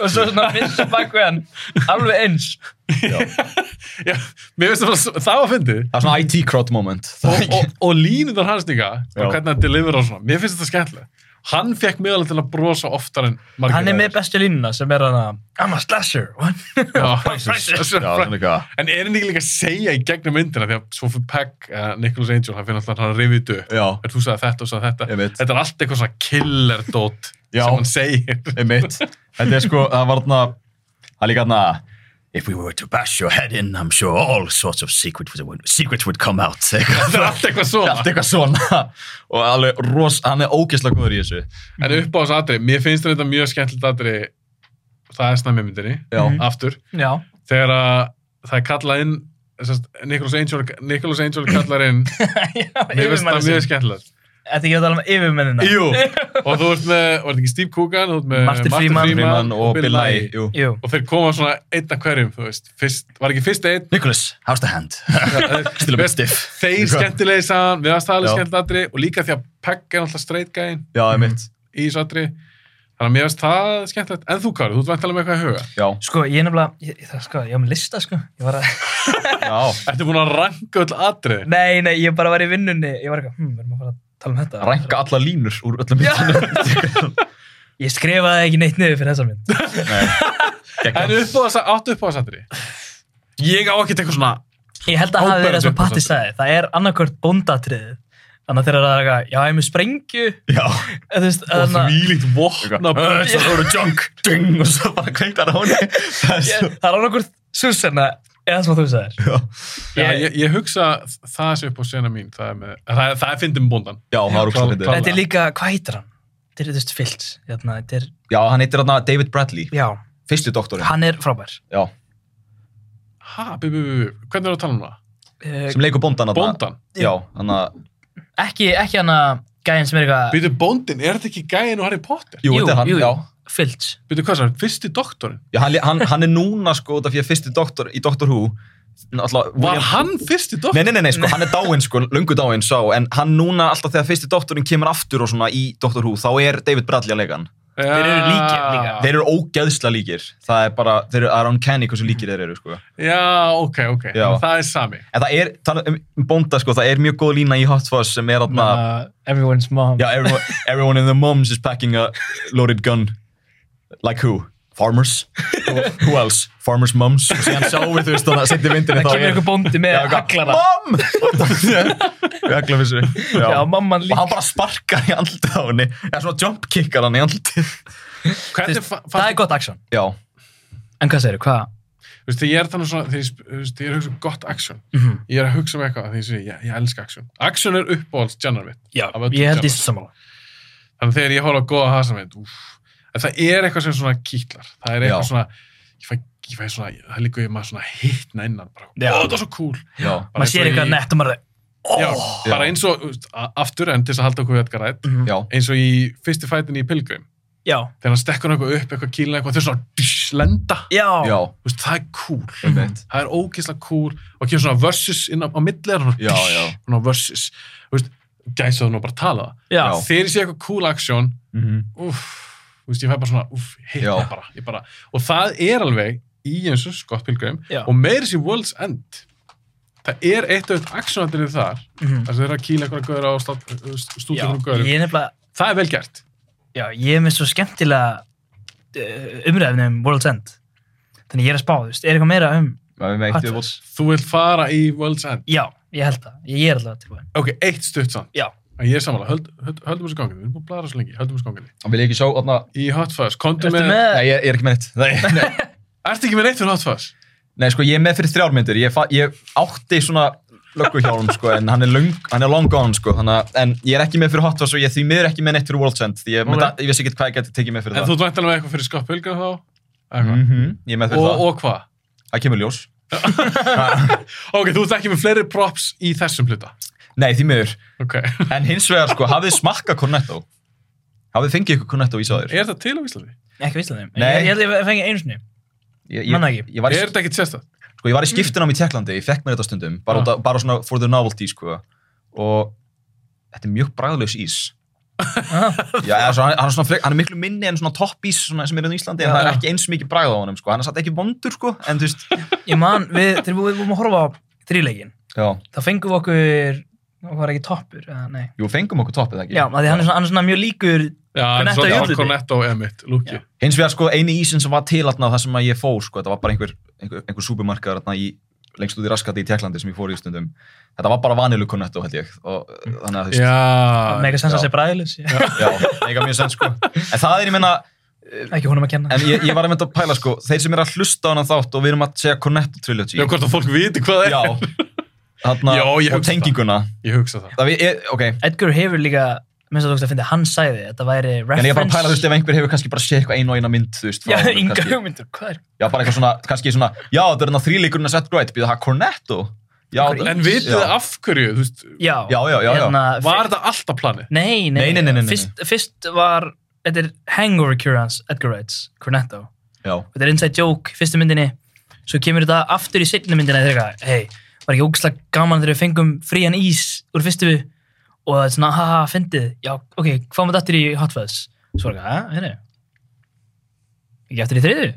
og svo svona finnst bak við hann alveg eins. Já, mér finnst það bara, það var fyndið Það er svona IT crowd moment. og, og, og línuðar hans líka Já. og hvernig hann delivera og svona, mér finnst þetta skemmtilega hann fekk mig alveg til að brosa oftar en margir Hann er með aðrir. bestu línuna sem er hann að I'm a slasher. Já, prices. þessu- Já, það er líka. en er hann ekki líka að segja í gegnum myndina því að Sophie Peck, uh, Nicholas Angel hann finnst alltaf hann að rifið dö Já, en þú sagði þetta og sagði Ég þetta veit. þetta er allt eitthvað svona killer dot Já. sem hann segir einmitt. Þetta er sko, það var þarna, það er líka þarna, If we were to bash your head in, I'm sure all sorts of secrets would, secrets would come out. þetta er allt eitthvað svona Allt eitthvað svona. Og alveg ros, hann er ógeðslega góður í þessu. En upp á þessu atri, mér finnst þetta mjög skemmtilegt atri, það er snæmi myndinni, Já. aftur, Já. þegar að það er kallað inn, sest, Nicholas Angel, Nicholas Angel kallar inn, mér finnst það mjög skemmtilegt. Þetta er ekki að tala um yfirmennina. Jú, og þú ert með, var þetta ekki Steve Coogan, þú ert með Martin Freeman. Freeman og Bill Nye. jú. Jú. Og þeir koma svona einn af hverjum, þú veist, fyrst, var ekki fyrst einn, Nicholas, how's the hand? Still a bit stiff. þeir skemmtilegi saman, við aðstæðalega Já. skemmtilegt atri og líka því að Pegg er alltaf straight gæinn Já, ég mitt. í þessu atri, Þannig að mér finnst það skemmtilegt. En þú, Kári, þú ert væntalega með eitthvað í huga. Já, Sko, ég er nefnilega, ég, ég, þarf- sko, ég var með lista, sko. Ég var að, já. Ertu búin að ranka öll atriðin? nei, nei, ég bara var í vinnunni. Ég var eitthvað, hm, verðum að fara að tala um þetta. Rænka alla línur úr öllum Já. myndunum. Ég skrifaði ekki neitt niður fyrir þessa mynd. En Geggjað. upp á þessa, áttu upp á þessa atriði? Ég á ekkert eitthvað svona... Ég held að það hafi verið það Áberandi sem upp á Patti þetta. sagði. Það er annarkvört bóndatriðið. Þannig að þeirra er eitthvað, já, ég er með sprengju. Já. eða Þú veist, Og þannig að- þvílíkt vopna... Það voru junk, ding, og svo bara kveiktar á henni. Það er svo... Ég- það er annarkvört súsenna eða sem að þú sagðir. Já, Já, ég, ég hugsa það sem upp á sena mín. Það er, með, það er, það er fyndum bóndan. Já, það er úrslag Klá- klá- fyndið. Þetta er líka, hvað heitir hann? Þetta er, þú veist, Filt. Hérna, þetta er, Já, hann heitir hérna David Bradley, já, fyrsti doktorinn. hann er frábær. Já, Ha, bu, bu, bu, bu. Hvernig er það að tala um það? Uh, sem leikur bóndan hérna. Bóndan? Já, hann að... ekki, ekki hann að gæðin sem er eitthvað... Býtu, bóndin, er þetta ekki gæin og Harry Potter? Jú, þetta er hann, jú, já. Filt. Býtu, hvað það er? Fyrsti doktorinn? Já, hann, hann, hann er núna sko út af því að fyrsti doktor í Doctor Who alltaf, Var hann fyrsti doktorinn? Nei, nei, nei, nei, sko, hann er dáinn sko, lungu dáinn sá, en hann núna alltaf þegar fyrsti doktorinn kemur aftur og svona í Doctor Who, þá er David Bradley að leika hann. Þeir eru líkir líka. Þeir eru ógeðsla líkir, það er bara, þeir eru, það er uncanny hversu líkir þeir eru, sko. Já, ok, ok. Já. Já. Það er sami. En það er, tala um um bónda, sko, það er mjög góð lína í Hot Fuzz sem er þarna, Uh, everyone's mom. já, everyone, everyone in the moms is packing a loaded gun, like who? Farmers? Who else? Farmers moms? Og síðan sjáum við, þú veist, þannig að setja vindinni það kemur einhver bóndi með Já, eitthvað, haglara. Mom! Við haglar þessu. Já, Já, mamman Og líka. hann bara sparkar í andlitið á henni. Já, svona jump kickar hann í andlitið. Þú Hvernig veist, fa- Það fannst er gott action. Já. En hvað segir þú? Hvað? Þú veist, þegar ég er þannig svona, þegar ég, sp- þú veist, þegar ég er að hugsa um gott action, ég er að hugsa um eitthvað, þegar ég segi, ég, ég elska action. Action er uppáhalds genre mitt. Já, Af öllum ég held genre. því samanlega. Þannig að þegar ég horf á góða hasa mitt, úff, en það er eitthvað sem svona kýtlar. Það er eitthvað Já. svona, ég fæ, ég fæ svona, það líka ég maður svona hittna innan, bara, Já. ó, það er svo cool. Já. Bara Maður eins sér og eitthvað í- nett og maður er Já, bara Já. eins og, þú veist, a- aftur, en til þess að halda okkur við eitthvað rætt, Mhm. Já. eins og í fyrsti fætin í Pilgrim, Já, þegar hann stekkur eitthvað upp, eitthvað kýlna eitthvað, þau svona, dís, lenda. já, Já. Þú veist, það er cool. Mhm. Einmitt. það er ógeðslega cool og kemur svona versus inn á, á milli er Já, já. svona versus þú veist, gæsaðu nú bara að tala já. það þegar ég sé eitthvað cool action Mhm. úff, þú veist, ég fæ bara svona úff, hitna Já. bara, ég bara og það er alveg í eins og Scott Pilgrim Já. og meira sér World's End það er eitt af þetta actionatrið þar Mm. Mhm. þar sem þeir eru að kýla eitthvað gauður á stúdíu Já, eitthvað gauður ég er nefnilega, það er vel gert já, ég er með svo skemmtilega uh, umræðinu um World's End. Þannig ég er að spá, þú veist, er eitthvað meira um Já, við með Hot eitt við Fuzz? bótt. þú vilt fara í World's End Já, ég held það, ég er allavega tilbúin. ok, eitt stutt samt Já. En ég er samanlega, höld, höld, höldum þessu ganginni, við erum búin að blara svo lengi, höldum þessu ganginni. Hann vil ekki sjá, þarna... Í Hot Fuzz, komdu Ertu með... með? Nei, ég, ég er ekki með neitt. Nei, nei. Ertu ekki með neitt fyrir Hot Fuzz? nei, sko, ég er með fyrir þrjármyndir. Ég, fa- ég átti svona lögguhjálm, sko, en hann er, lung, hann er long gone, sko. Þannig að, en ég er ekki með fyrir Hot Fuzz og ég er því miður ekki með neitt fyrir World's End. Því ég, Ókei. okay. ég veist ekki hvað ég geti tekið með fyrir En þú það. dvæntalega með eitthvað fyrir Scott Pilgrim þá? Mm. Mhm, Ég er með fyrir Og, það. og hvað? Það kemur ljós. Ok, þú ert ekki með fleiri props í þessum hluta. Nei, því miður. Ok. En hins vegar, sko, hafið smakka Cornetto? Hafið fengið ykkur Cornetto í sáður? er það til á Íslandi? Ekki vissla þeim. Nei. Ég, ég held ég fengi einu sinni. Ég, Manna ekki. Ég var, er í, þetta ekki sérstætt? sko, ég var í skiptunum í Tjekklandi, ég fekk mér þetta stundum, bara, Ah. ja. bara svona for the novelty, sko. Og þetta er mjög bragðlaus ís. Já, eða, svo, hann, hann, er svona, frek- hann er miklu minni en svona toppís svona, sem er hérna í Íslandi, en Já, það er já. ekki eins mikið bragð á honum, sko. Hann er satt ekki vondur, sko, en þú veist... Ég man, við, þegar við vorum að horfa á þrýleikin, Já. þá fengum við okkur, það var ekki toppur, eða nei. Jú, fengum okkur toppið, ekki? Já, af því hann er svona, hann er svona mjög líkur, Já, Cornetto í útliti. Cornetto er mitt, lúki. Já. Hins vegar, sko, eini ísin sem var til þarna, það sem að ég fór, sko, þetta var bara einhver, einhver, einhver supermarkaður þarna í lengst út í raskati í Tjekklandi sem ég fór í stundum. Þetta var bara vanilu Cornetto, held ég. Og, uh, þannig að, þú veist, Já. mega sens já. að sé bræðilis, Já, eiga mjög sens sko. En það er, ég meina, ekki honum að kenna. en ég, ég var að mynda að pæla sko, þeir sem eru að hlusta á hann þátt og við erum að segja Cornetto Trilogy. Já, hvort að fólk viti hvað það Já, er. þarna, Já, ég og hugsa tenginguna. Ég hugsa það. Það við, ég, ok, Edgar hefur líka, minnst að þú veist að finna, hann sagði, þetta væri reference. en ég er bara að pæla, þú veist, ef einhver hefur kannski bara séð eitthvað einu og eina mynd, þú veist, frá Já, honum, ynga kannski. hugmyndur, hvað er? Já, bara eitthvað svona, kannski svona, já, það er hann að þrýleikurinn að setja grætt, býða það Cornetto? Já, Einhver það- En vitið já. þið af hverju, þú veist, Já, Já, já, já, já. Hérna, var fyrst- þetta alltaf planið? Nei, Nei, nei, nei, nei, nei, nei. Fyrst, fyrst var, þetta er hangover cure hans, Edgar Wrights, Cornetto. Já, þetta er inside joke, fyrstu myndinni svo kemur þetta aftur í setni myndinni þegar eitthvað, hei, var ekki ógislega gaman þegar við fengum frían ís úr fyrstu og það er svona, haha, fyndið já, ok, hvað maður dættir í Hot Fuzz svo er eitthvað, hæ, hérna, ekki eftir í þriðu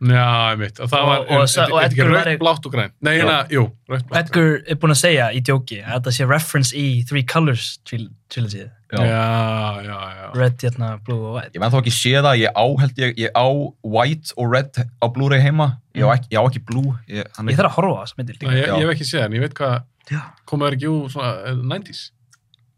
Já, einmitt. Og það Og- var, og sa- og er þetta ekki Edgar var rautt, ein- blátt og græn. Nei, hérna, jú, rautt, blátt. og Edgar er búinn að segja í djóki að þetta sé reference í Three Colors trilogy græn. Já, já, já. Red, hérna, Blue og White Ég menn þá ekki sé það, ég á, held ég, ég á white og red á Blu-ray heima. Ég á ekki, ég á ekki blue. Ég, hann Ég er, þarf að horfa á þessu myndir Nei, líka ég, ég hef ekki séð hann, ég veit hvað Já. komaður ekki úr svona eh, 90s.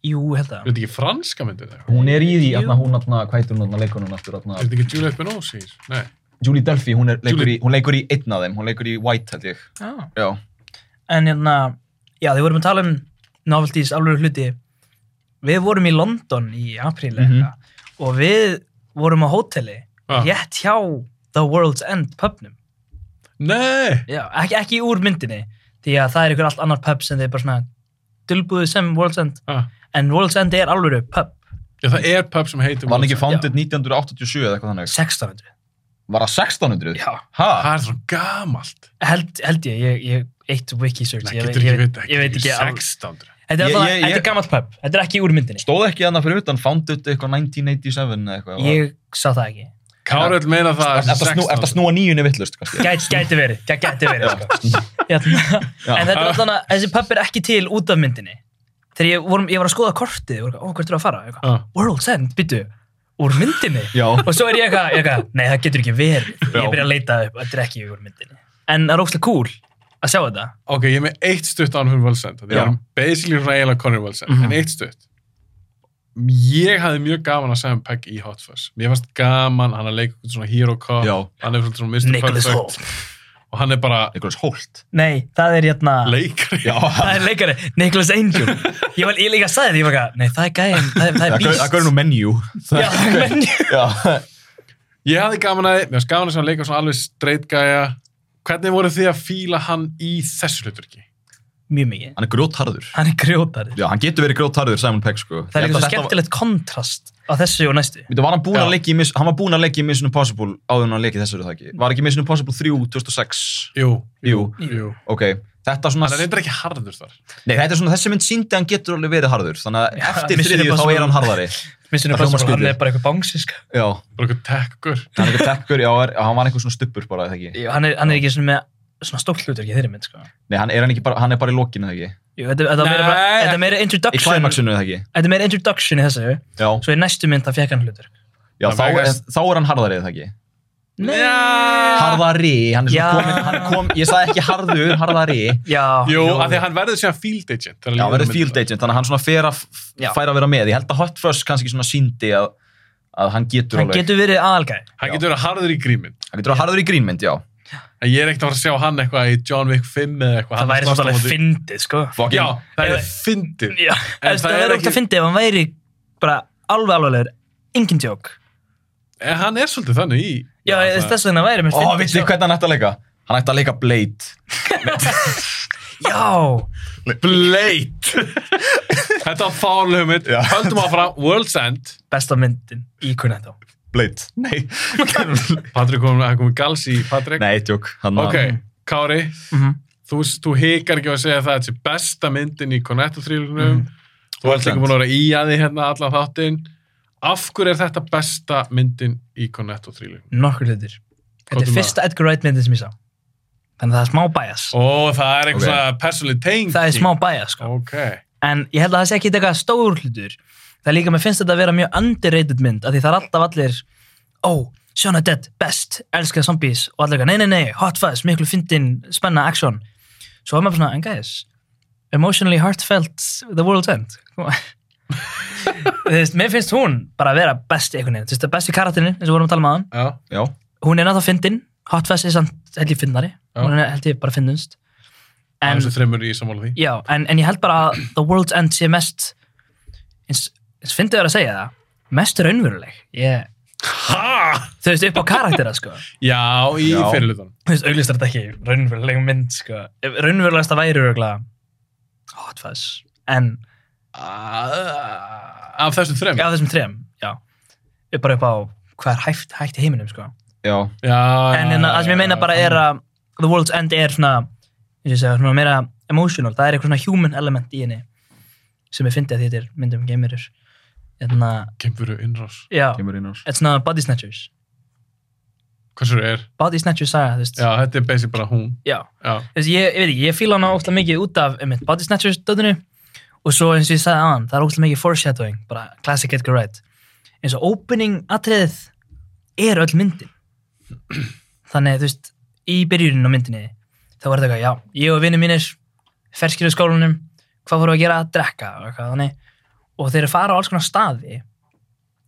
Jú, held Er að þetta ekki franska myndir þegar? hún er í því, atna, hún, atna, hvað heitir hún, atna, leikonun aftur, atna, Er þetta ekki Juliette Binoche í? þessu? Nei. Julie Delphi, hún, er, leikur í, Julie- hún leikur í einn af þeim, hún leikur í white, held ég. Já. Já. En hérna, já, þið vorum að tala um novelties, alveg hluti Við vorum í London í apríl mm Mhm. og við vorum á hóteli Ah. rétt hjá The World's End pubnum Nei! Já, ekki, ekki úr myndinni því að það er einhver allt annar pub sem þeir bara svona dulbúðu sem World's End Ah. en World's End er alveg pub Já, það er pub sem heitir... Var hann ekki Wilson. founded 1987 eða eitthvað þannig? 1600 Var það 1600? Já. Ha? Það er svona gamalt. held, held ég, ég, ég eitt wiki search Nei, ég, getur ekki ég, veit ég, ekki. veit ekki alveg. 1600. þetta Ég- er, ég- ég, ég- er gammalt pub, þetta er ekki úr myndinni Stóð ekki þannig fyrir utan, founded eitthvað 1987 eða eitthvað? ég sá það ekki Káröld meina það Er það snúa nýjunni vittlust, kannski? Gæt, gæti verið, gæ, gæti verið sko. Hérna. Já. en þetta er alltaf að þessi pub er ekki til út af myndinni þegar ég, vorum, ég var að skoða kortið og ó, hvert er að fara, Ég eitthvað, Ah. World's End, byttu úr myndinni Já. og svo er ég eitthvað, ég eitthvað, nei það getur ekki verið Já. ég byrja að leita upp, þetta er ekki úr myndinni en það er óslega cool að sjá þetta Ok, ég er með eitt stutt án fyrir Wilson. Það Já. er basically svona eiginlega Conor Wilson, en eitt stutt. Ég hafði mjög gaman að segja um Pegg í Hot Fuzz. Mér fannst gaman, hann að leika einhvern svona hero cop, Já. hann er svona Mr. Nicholas Perfect Holt og hann er bara Nicholas Holt. nei, það er hérna leikari. Já, það er leikari, Nicholas Angel ég var ég líka að sagði því, ég var ekki, nei það er gæðin það er, það er það gaur nú býst menu. Já, menn- Já. Ég hafði gaman að því, mér fannst gaman að segja hann leika svona alveg straight gæja. Hvernig voru þið að fíla hann í þessu hluturki? mjög mikið, Hann er grótharður. hann er grjótarið Já, hann getur verið grótharður, Simon Pegg, sko. Ég held það er eitthvað að þetta var- skemmtilegt kontrast á þessu og næstu Býtu, var hann búinn Já. að leika í Miss- hann var búinn að leika í Mission Impossible áður en hann leikið þessu er það ekki? Var ekki Mission Impossible 3 2006? Jú, Jú. jú. Ok, þetta svona... Hann er reyndar ekki harður þar. Nei, þetta er svona, þessi mynd síndi að hann getur alveg verið harður, þannig að Já, eftir Mission þriðju þá Impossible. er hann harðari. Mission Það hljómar Impossible, hann skrítið. er bara eitthvað sko. bánsiska Já, Bara eitthvað tekkur. hann er eitthvað tekkur, já, er, hann var eitthvað svona stuppur bara, eða ekki? hann er, hann er ekki svona með svona stórt hlutur ekki þeirri mynd sko Nei, hann er, hann ekki bara, hann er bara í lokinu, eða ekki? Jú, þetta, þetta, Nei, meira, bara, ekki- þetta er meira Í introduction climaxinu, eða ekki? þetta er meira introduction í þessu Já, svo í næstu mynd það fekk hann hlutur já Það þá, er, vegast- þá er hann harðari, eða ekki? Já. Harðari, hann er Já. svona komin, hann kom, ég sagði ekki harður, harðari. já, Jú, af því að hann verður síðan field agent. Já, þegar líður á hann verður myndina. field agent, þannig að hann svona fer að, Já. fær að vera með. Ég held að Hot Fuzz kannski svona síndi að, að hann getur hann alveg. getur verið aðalgæði Hann getur verið harður í gríminn. Hann getur að harður í grínmynd, já. En ég er ekkert að fara að sjá hann eitthvað í John Wick 5 eða eitthvað. það Hann er væri svona slást á alveg móti- fyndið sko Fucking- Já, það er Ef- fyndið. Já, En það það, það er er ógt ekki- að fyndi ef hann væri bara alveg alveglegur, engin djók. En hann er svolítið þannig í... Já, það- þess vegna væri mér Ó, fyndið, vitið sko. þið hvernig hann ætti að leika? Hann ætti að leika Blade. Já, Blade! Þetta var fál hugmynd. Já. Höldum áfram, World's End. besta myndin í Cornetto. Blade? Nei. Patrik kom, hann kom í gals í Patrik. Nei, tjók. Hann Ok, Kári, Mhm. þú, þú hikar ekki að segja það að þetta er besta myndin í Cornetto Mhm. þrýlunum. Þú ert World's líka End. búin að vera í að því hérna allan þáttinn. Af hverju er þetta besta myndin í Cornetto þrýlunum? Nokkur hlutir. Þetta Komdu er með fyrsta Edgar Wright myndin sem ég sá. Þannig að það er smá bias. Ó, það er Ok. eitthvað okay. personally tengd. Það er smá bias, sko. Ok. En ég held að það sé ekki eitthvað stór hlutur. Það er líka, mér finnst þetta að vera mjög underrated mynd, af því það er alltaf allir, ó, oh, Shaun of the Dead, best, elska zombies, og allir eitthvað, nei, nei, nei, hot fuzz, miklu fyndin, spenna, action. Svo er maður svona, en guys, emotionally heartfelt, the world's end. Come on. Þú veist, mér finnst hún bara að vera best í einhvern veginn. Þú veist, best í karakterinu, eins og við vorum að tala um aðan. Já. Já. Hún er náttúrulega fyndin, hot fuzz er samt, held ég, fyndnari. Já. Hún er, held ég, bara fyndunst. En, þessu þreymur í sammála því. Já, en, en ég held bara að The World's End sé mest eins, eins fyndið er að segja það mest raunveruleg ég, Ha! þau veist upp á karaktera sko Já, í Já. fyrirlutan. þú veist, auglist er þetta ekki raunveruleg mynd sko Ef raunverulegasta væri örgla hot fuzz en Af þessum þreymur. já þessum trem, já upp bara upp á hvað er hæft, hægt í heiminum sko Já. Já. en en það sem ég meina bara er að The World's End er svona, eins og ég segja, svona meira emotional, það er eitthvað svona human element í henni sem ég fyndi að þetta er myndum Hérna, geimirur Þannig Kemfuru innrás. Já, Kemur inn ás. þetta er svona body snatchers hversu það er. Body Snatcher saga, þú veist. Já, þetta er basically bara hún. Já. Já, Þú veist, ég, ég veit ekki, ég fíla hana ógstlega mikið út af einmitt, Body Snatchers döðinu og svo eins og ég sagði aðan, það er ógstlega mikið foreshadowing, bara classic Edgar Wright. Eins og opening atriðið er öll myndin. Þannig, þú veist, í byrjunin á myndinni, þá var þetta eitthvað, já, ég og vinni mínir, ferskir í skólanum, hvað voru að gera að drekka og eitthvað þannig. Og þeir eru fara á alls konar staði,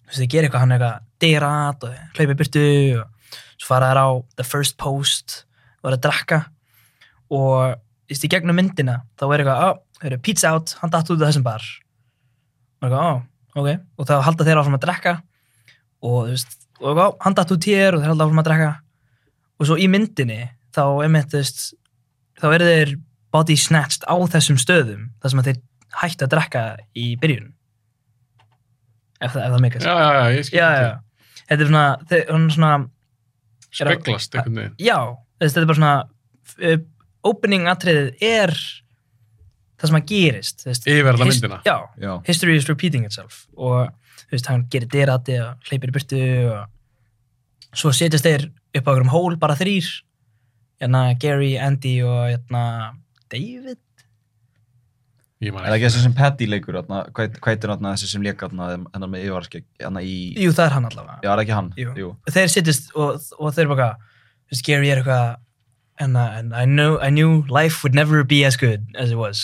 þú veist, þeir gera eitthvað hann eitthvað, deyrat og hlaupi burtu og svo fara þær á the first post og eru að drekka og þú veist, í gegnum myndina þá er eitthvað, á, það eru pizza out hann datt út af þessum bar og eitthvað, á, ok, og þá halda þeir áfram að drekka og þú veist og eitthvað, á, hann datt út hér og þeir halda áfram að drekka og svo í myndinni þá einmitt, þú veist, þá eru þeir body snatched á þessum stöðum þar sem að þeir hættu að drekka í byrjun ef, það- ef það meikast já, já, já ég skil já, já, þetta. þetta er svona, þeir, hún er svona Speglast einhvern veginn. já, þessi, þetta er bara svona uh, opening atriðið er það sem að gerist þessi, Yfir alla myndina. já, Já. history is repeating itself og þú veist, hann gerir derati og hleypir í burtu og svo setjast þeir upp á einhverjum hól bara þrýr hérna Gary, Andy og hérna David Ég man Er það ekki. ekki þessi sem Paddy leikur, þarna, hvað hvað heitir hann þessi sem leika hennar með yfarskegg, hann í, jú, það er hann allavega já, er ekki hann? Jú. þeir sittist og, og þeir bara eitthvað, Gary er eitthvað and, uh, and I, know, I knew life would never be as good as it was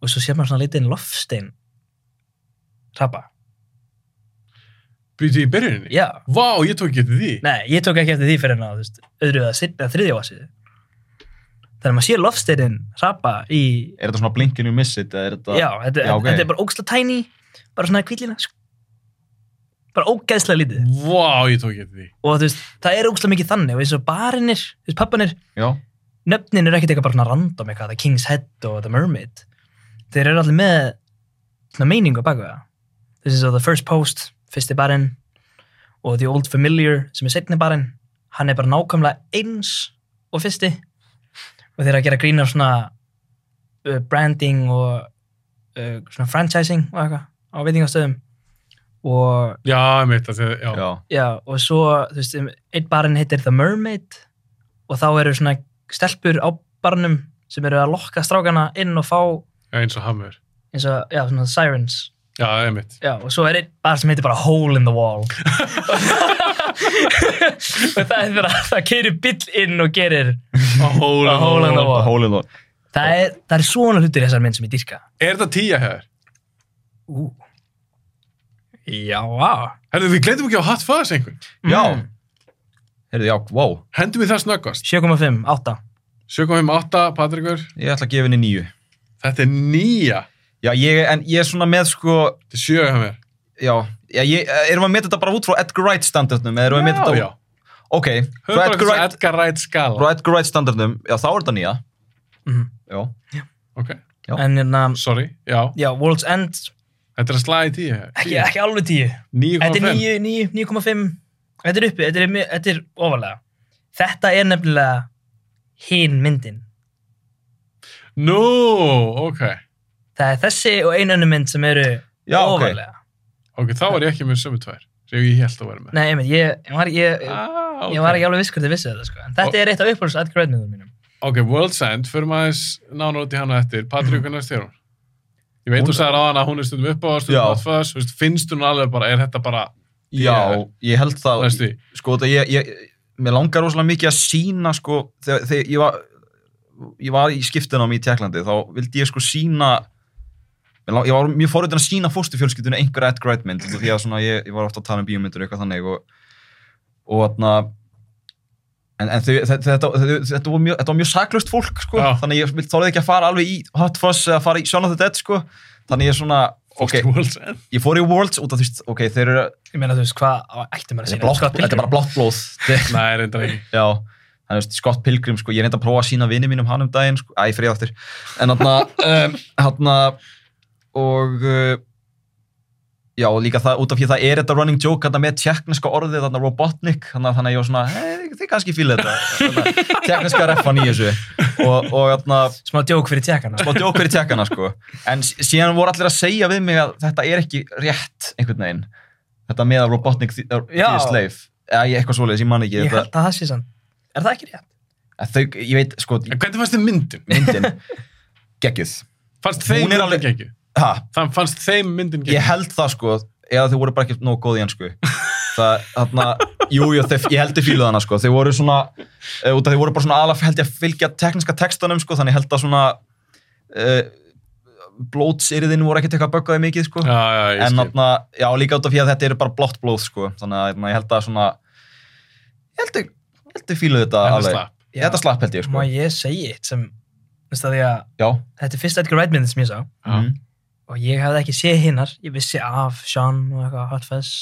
og svo sér maður svona litinn loftstein rappa Býtu í byrjuninni? já, Vá, ég tók ekki eftir því. nei, ég tók ekki eftir því fyrir hennar öðru að sitna þriðja vasið þannig að maður sér loftsteinin rappa í, Er þetta svona blinkinu missit, eða er þetta? já, þetta, já, ok. þetta er bara ógstlega tiny bara svona kvillina bara ógeðslega lítið Vá, ég tók ekki eftir því. og þú veist, það er ógstlega mikið þannig og eins og barinir, þú veist, pappanir Já, nöfnin eru ekkert eitthvað bara svona random eitthvað, The King's Head og The Mermaid þeir eru allir með svona meiningu á baku það this is the first post, fyrsti barinn og The Old Familiar sem er setni barinn hann er bara nákvæmlega eins og fyrsti og þeir eru að gera grín á svona uh, branding og uh, svona franchising og eitthvað á veitingastöðum og Já, ég meit að það, já. já, Já, og svo, þú veist, um, einn barinn heitir The Mermaid og þá eru svona stelpur á barnum sem eru að lokka strákana inn og fá já. Eins og hamur. eins og, já, svona sirens. Já, ég meit. Já, og svo er einn bar sem heitir bara Hole in the Wall. og það er þegar að það keirir bill inn og gerir. A hole A hole in the wall. hólið og, Það er, það er svona hlutir í þessar mynd sem ég dýrka. Er þetta tíja hefur? Ú. Já, vá. Herðu, við glemdum ekki á hot fuzz einhvern. já, Mm. heyrðu, já, wow, Hendum við það snöggast. 7,5, 8. 7,58, Patrikur. ég ætla að gefa henni nýju. Þetta er nýja. Já, ég, en ég er svona með, sko, Þetta er sjö hefur. já, já ég, eh, erum við að meta þetta bara út frá Edgar Wright standardnum, eða erum við að meta þetta já. Ok, frá Höfum Edgar bara Wright, Edgar Wright frá skala. Edgar Wright standardnum, já, þá er þetta nýja, Mhm. já, Ok, Já. En, hérna, sorry. Já, já, World's End, þetta er að slaga í tíja hefur. ekki, ekki alveg 10. Þetta er 9,5. 9, 9, 9,5 Þetta er uppi, þetta er, mi- þetta er ofalega Þetta er nefnilega hinn myndin Nú, ok. Það er þessi og einu önnu mynd sem eru Já, ok. ofalega Ok, þá var ég ekki með sömu tvær. Sem ég held að vera með. Nei, einmitt, ég, ég, var, ég, Ah, ég var ok. ekki alveg viss hvort ég vissi þetta sko. En þetta Og- er eitt af uppáhalds Edgar Wright myndum mínum Ok, World's End, förum aðeins nána út í hana eftir. Patrik, hvernig er hún? Ég veit Hún- þú sagði á hana að hún er stundum upp á, Já. stundum hotfuss, þú veist, finnst hún alveg bara, er þetta bara, já, ég held það, næstu, því? sko þetta ég, ég mér langar rosalega mikið að sína sko þegar, þegar ég var ég var í skiptunum í Tjekklandi þá vildi ég sko sína mér lang- ég var mjög forröðin að sína fóstufjölskyldunni einhver Edgar Wright mynd út af því að svona ég, ég var ofta að tala um bíómyndur og eitthvað þannig og og þarna en, en þau, þetta, þetta, þetta, þetta, var mjög, þetta var mjög saklaust fólk sko Já. þannig ég vil þorði ekki að fara alveg í Hot Fuzz eða fara í Shaun of the Dead sko þannig ég svona ok, Fórstu í World's End. ég fór í Worlds út af því ok, þeir eru Ég meina þú veist hvað ættum maður að þetta er, sína blátt, þetta er bara blátt blóð Þetta er- Nei, reyndar ekki. Já, þannig veist, Scott Pilgrim, sko, ég reyndi að prófa að sína vini mínum hann um daginn, sko, æ, fyrir áttir, en hann um, hann og uh, já, og líka það, út af því að það er þetta running joke hann með tjekkneska orðið, hann Robotnik hann þannig að ég var svona, hey, þið kannski fíla þetta tjekkneska refan í þessu og, og hann Smá djók fyrir tjekkana smá djók fyrir tjekkana sko en s- síðan voru allir að segja við mig að þetta er ekki rétt einhvern veginn þetta með að Robotnik Já. því sleif eða ég- eitthvað svoleiðis, ég man ekki Ég þetta, held að það sé sann. Er það ekki rétt? en þau, ég veit, sko, En hvernig fannst þið myndin? myndin geggjuð, Fannst þeim Hún er myndin alveg- alveg... ekki? ha, Þann fannst þeim myndin ekki? ég held það sko eða þau voru bara ekki nógu góð í ennsku það, þarna, jú, jú, þau, ég held þau fíluð hana sko, þau voru svona eh, út af þau voru bara svona alveg, held ég að fylgja tekniska textanum sko, þannig ég held að svona uh, blótsyrðin voru ekkert eitthvað að bögga þau mikið sko Já, já, ég en skil. þarna, já, líka út af því að þetta eru bara blótt blóð sko, þannig að þarna, ég held að svona ég held þau, ég held þau fíluð þetta Þetta alveg, slapp. Ég- þetta slapp held ég Má sko ég segja eitt sem, veist það því að já, þetta er fyrst Edgar Wright myndin sem ég sá Já. Mhm. og ég hafði ekki séð hinnar, ég vissi af Sean og eitthvað Hot Fuzz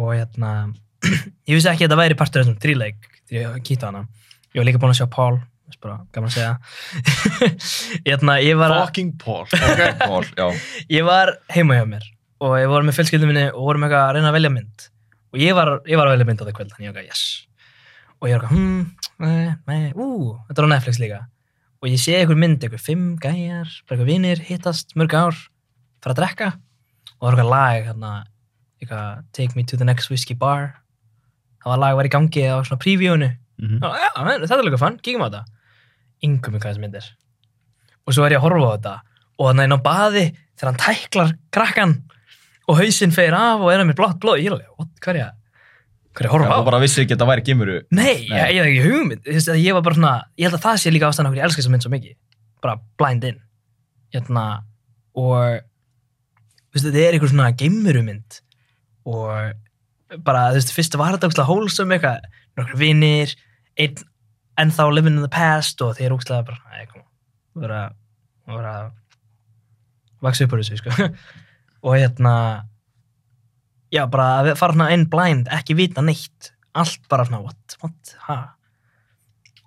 og hérna, ég vissi ekki að þetta væri partur af þessum þrýleik þegar ég kýta hana. Ég var líka búinn að sjá Paul, veist bara, gaman að segja. hérna, ég var að... Fucking Paul. Okay. Paul, já, ég var heima hjá mér og ég var með fjölskyldum minni og vorum eitthvað að reyna að velja mynd og ég var, ég var að velja mynd á það kvöld þannig ég var eitthvað, yes og ég var eitthvað, hmm, nei, nei, ú þetta var á Netflix líka og ég sé einhver mynd, einhver fimm gæjar bara eitthvað vinir, hittast mörg ár fara að drekka og það var eitthvað lag hérna, eitthvað, take me to the next whiskey bar það var lag var í gangi á svona previewinu Mhm. og, já, men, þetta er líka fann, kíkjum á þetta yngum eitthvað þessi myndir og svo er ég að horfa á þetta og þannig inn á baði þegar hann tæklar krakkan og hausinn fer af og er að mér blátt blóð ég er alveg, what, hvað er ég að- hvað er ég já að horfa á? þú bara vissi ekki að þetta væri gimuru Nei, Nei. ég, ég hef ekki hugmynd Þú veist, að ég var bara svona, ég held að það sé líka ástæðan okkur ég elska þessa mynd svo mikið, bara blind in hérna og þú veist, þetta er einhver svona geimurumynd og bara, þú veist, fyrst var þetta ógstlega hólsum eitthvað, nokkur vinir einn ennþá living in the past og þeir ógstlega bara, nei, kom þú verður að þú verður að vaksa upp úr þessu, sko og hérna já, bara að fara hérna inn blind, ekki vita neitt allt bara svona, what, what, ha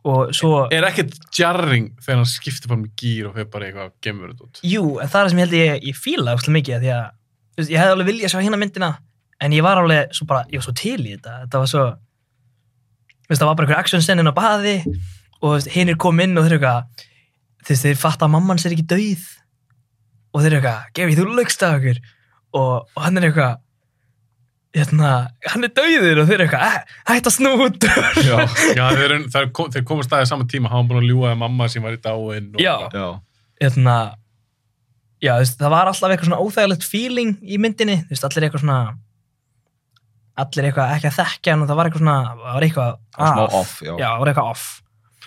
og svo Er ekkert jarring þegar hann skiptir bara með gýr og fyrir bara í eitthvað gemur þetta út? Jú, en það er það sem ég held ég, ég fíla óslega mikið af því að þú veist, ég hefði alveg viljað sjá hérna myndina en ég var alveg svo bara, ég var svo til í þetta þetta var svo þú veist, það var bara einhver action scenin á baði og þú veist, hinir kom inn og þeir eru eitthvað þú veist, þeir fatta að mamman sér ekki dauð og þeir eru eitthvað, gefi þú lögst af okkur og, og hann er eitthvað hérna, hann er dauður og þeir eru eitthvað, "Æ, hætt að snú út Já, já þeir, eru- þeir, kom, þeir komast aðeins saman tíma, hann var búin að ljúga að mamma sem var í dáin. Og, Já. já, hérna já, þú veist, það var alltaf eitthvað svona óþægilegt feeling í myndinni, þú veist, allir eitthvað svona allir eitthvað ekki að þekkja hann og það var eitthvað svona, það var eitthvað Það var smá að. off, já. það var eitthvað off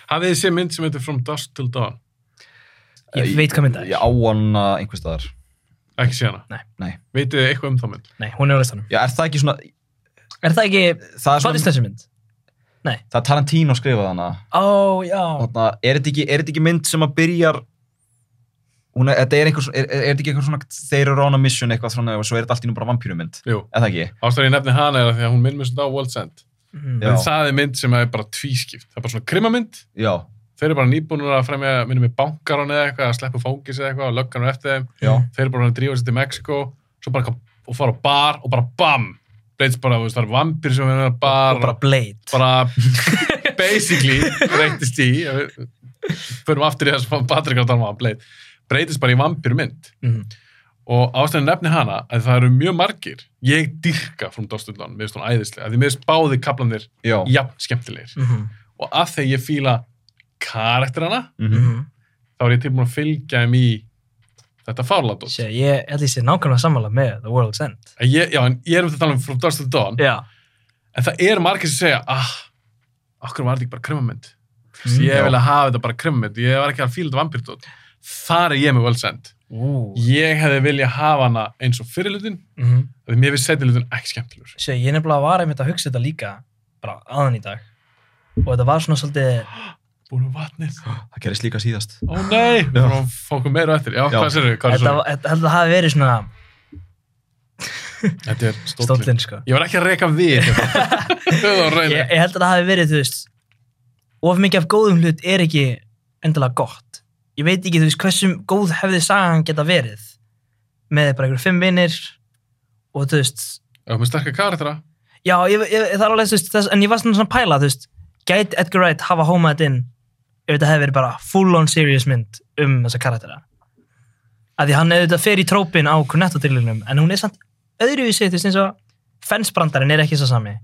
Hafið þið séð mynd sem heitir From Dusk Till Dawn? ég veit hvað mynda ég á hana einhver staðar Ekki séð hana? Nei. Nei. Vitið þið eitthvað um þá mynd? nei, hún er á listanum, Já, er það ekki svona, er það ekki það er hvað svona, er þessi mynd? það er Tarantino skrifað hana. ó, já, Þarna, er þetta ekki, er þetta ekki mynd sem að byrjar, hún er, þetta er einhver, svona- er, er þetta ekki einhver svona, þeir eru on a mission eitthvað svona, og svo er þetta allt í nú bara vampýrumynd, Jú. er það ekki? Ástæðan ég nefni hana er að því að hún minn mér svona á World's End. mm. Já. En það er mynd sem er bara tvískipt. Það er bara svona krimamynd. Já, Þeir eru bara nýbúinur að fremja, minnum við bankaran eða eitthvað, að sleppu fóngis eða eitthvað og löggan er eftir þeim. Já. Þeir eru bara að drífa sér til Mexiko, svo bara eitthvað- og fara á bar og bara bam! Bleits bara, þú veist, það er vampir sem er að bar og bara Blade bara basically breytist í ef við förum aftur í það sem Patrik var að tala um bleit, breytist bara í vampirmynd mm. og ástæðan nefni hana að það eru mjög margir ég dyrka frá Dostundan, mér finnst hún æðislega af því mér finnst báði kaplanir já, jafn skemmtilegir Mm. og af því ég fíla karakterana mhm. Mm. þá er ég tilbúin að fylgja þeim í þetta fárlátt Sé, ég held ég sé nákvæmlega sammála með The World's End ég, já, en ég er um þetta að tala um frá Dostundan já, en það eru margir sem segja ah, okkur var þetta ekki bara krumamynd mm, já. ég vil að hafa þetta bara krumamynd ég var ekki að fíla þetta vampirtótt þar er ég með völdsend ú ég hefði viljað hafa hana eins og fyrirlutin mm. því mér finnst setnilutin ekki skemmtilegur Sjö, ég nefnilega var einmitt að hugsa þetta líka bara aðan í dag og þetta var svona svolítið búin um vatnið, það gerist líka síðast. ó nei við þurfum að fókum meira á eftir, já, Já. hvað sérðu hvað er þetta, svo, var- þetta held að hafi verið svona þetta er stóllin stóllinn sko ég var ekki að reyka við hérna. höfðu á ég, reyna ég held að það hafi verið þú veist of mikið af góðum hlut er ekki endilega gott ég veit ekki þú veist hversum góð hefði sagan geta verið með bara einhverjum fimm vinnir og þú veist og með sterkar karaktera já ég, ég, það er alveg þú veist þess, en ég var svona svona að pæla þú veist gæti Edgar Wright hafa homað þetta inn ef þetta hefði verið bara full on serious mynd um þessa karaktera að því hann auðvitað fer í trópin á Cornetto-dillunum en hún er samt öðruvísi þú veist eins og fensbrandarinn er ekki svo sami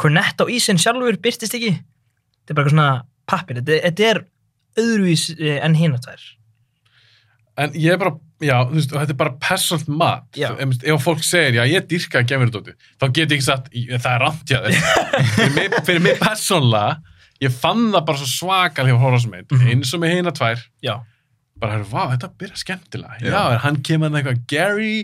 Cornett á ísinn sjálfur byrtist ekki þetta er bara eitthvað svona pappir þetta, þetta er öðruvís en hinatær En ég er bara, já, þú veist, þetta er bara persónt mat. Já. Þú- Ef, ef fólk segir, já, ég dýrka gemurudótið, þá get ég ekki sagt, "Í- það er rámt hjá þér. fyrir, mig, fyrir mig persónlega, ég fann það bara svo svakal hjá Horarsmeit, mm Mhm. eins og með hina tvær, já, bara, hörru, vá, þetta byrja skemmtilega. Já, Já. já hann kemur hann eitthvað, Gary,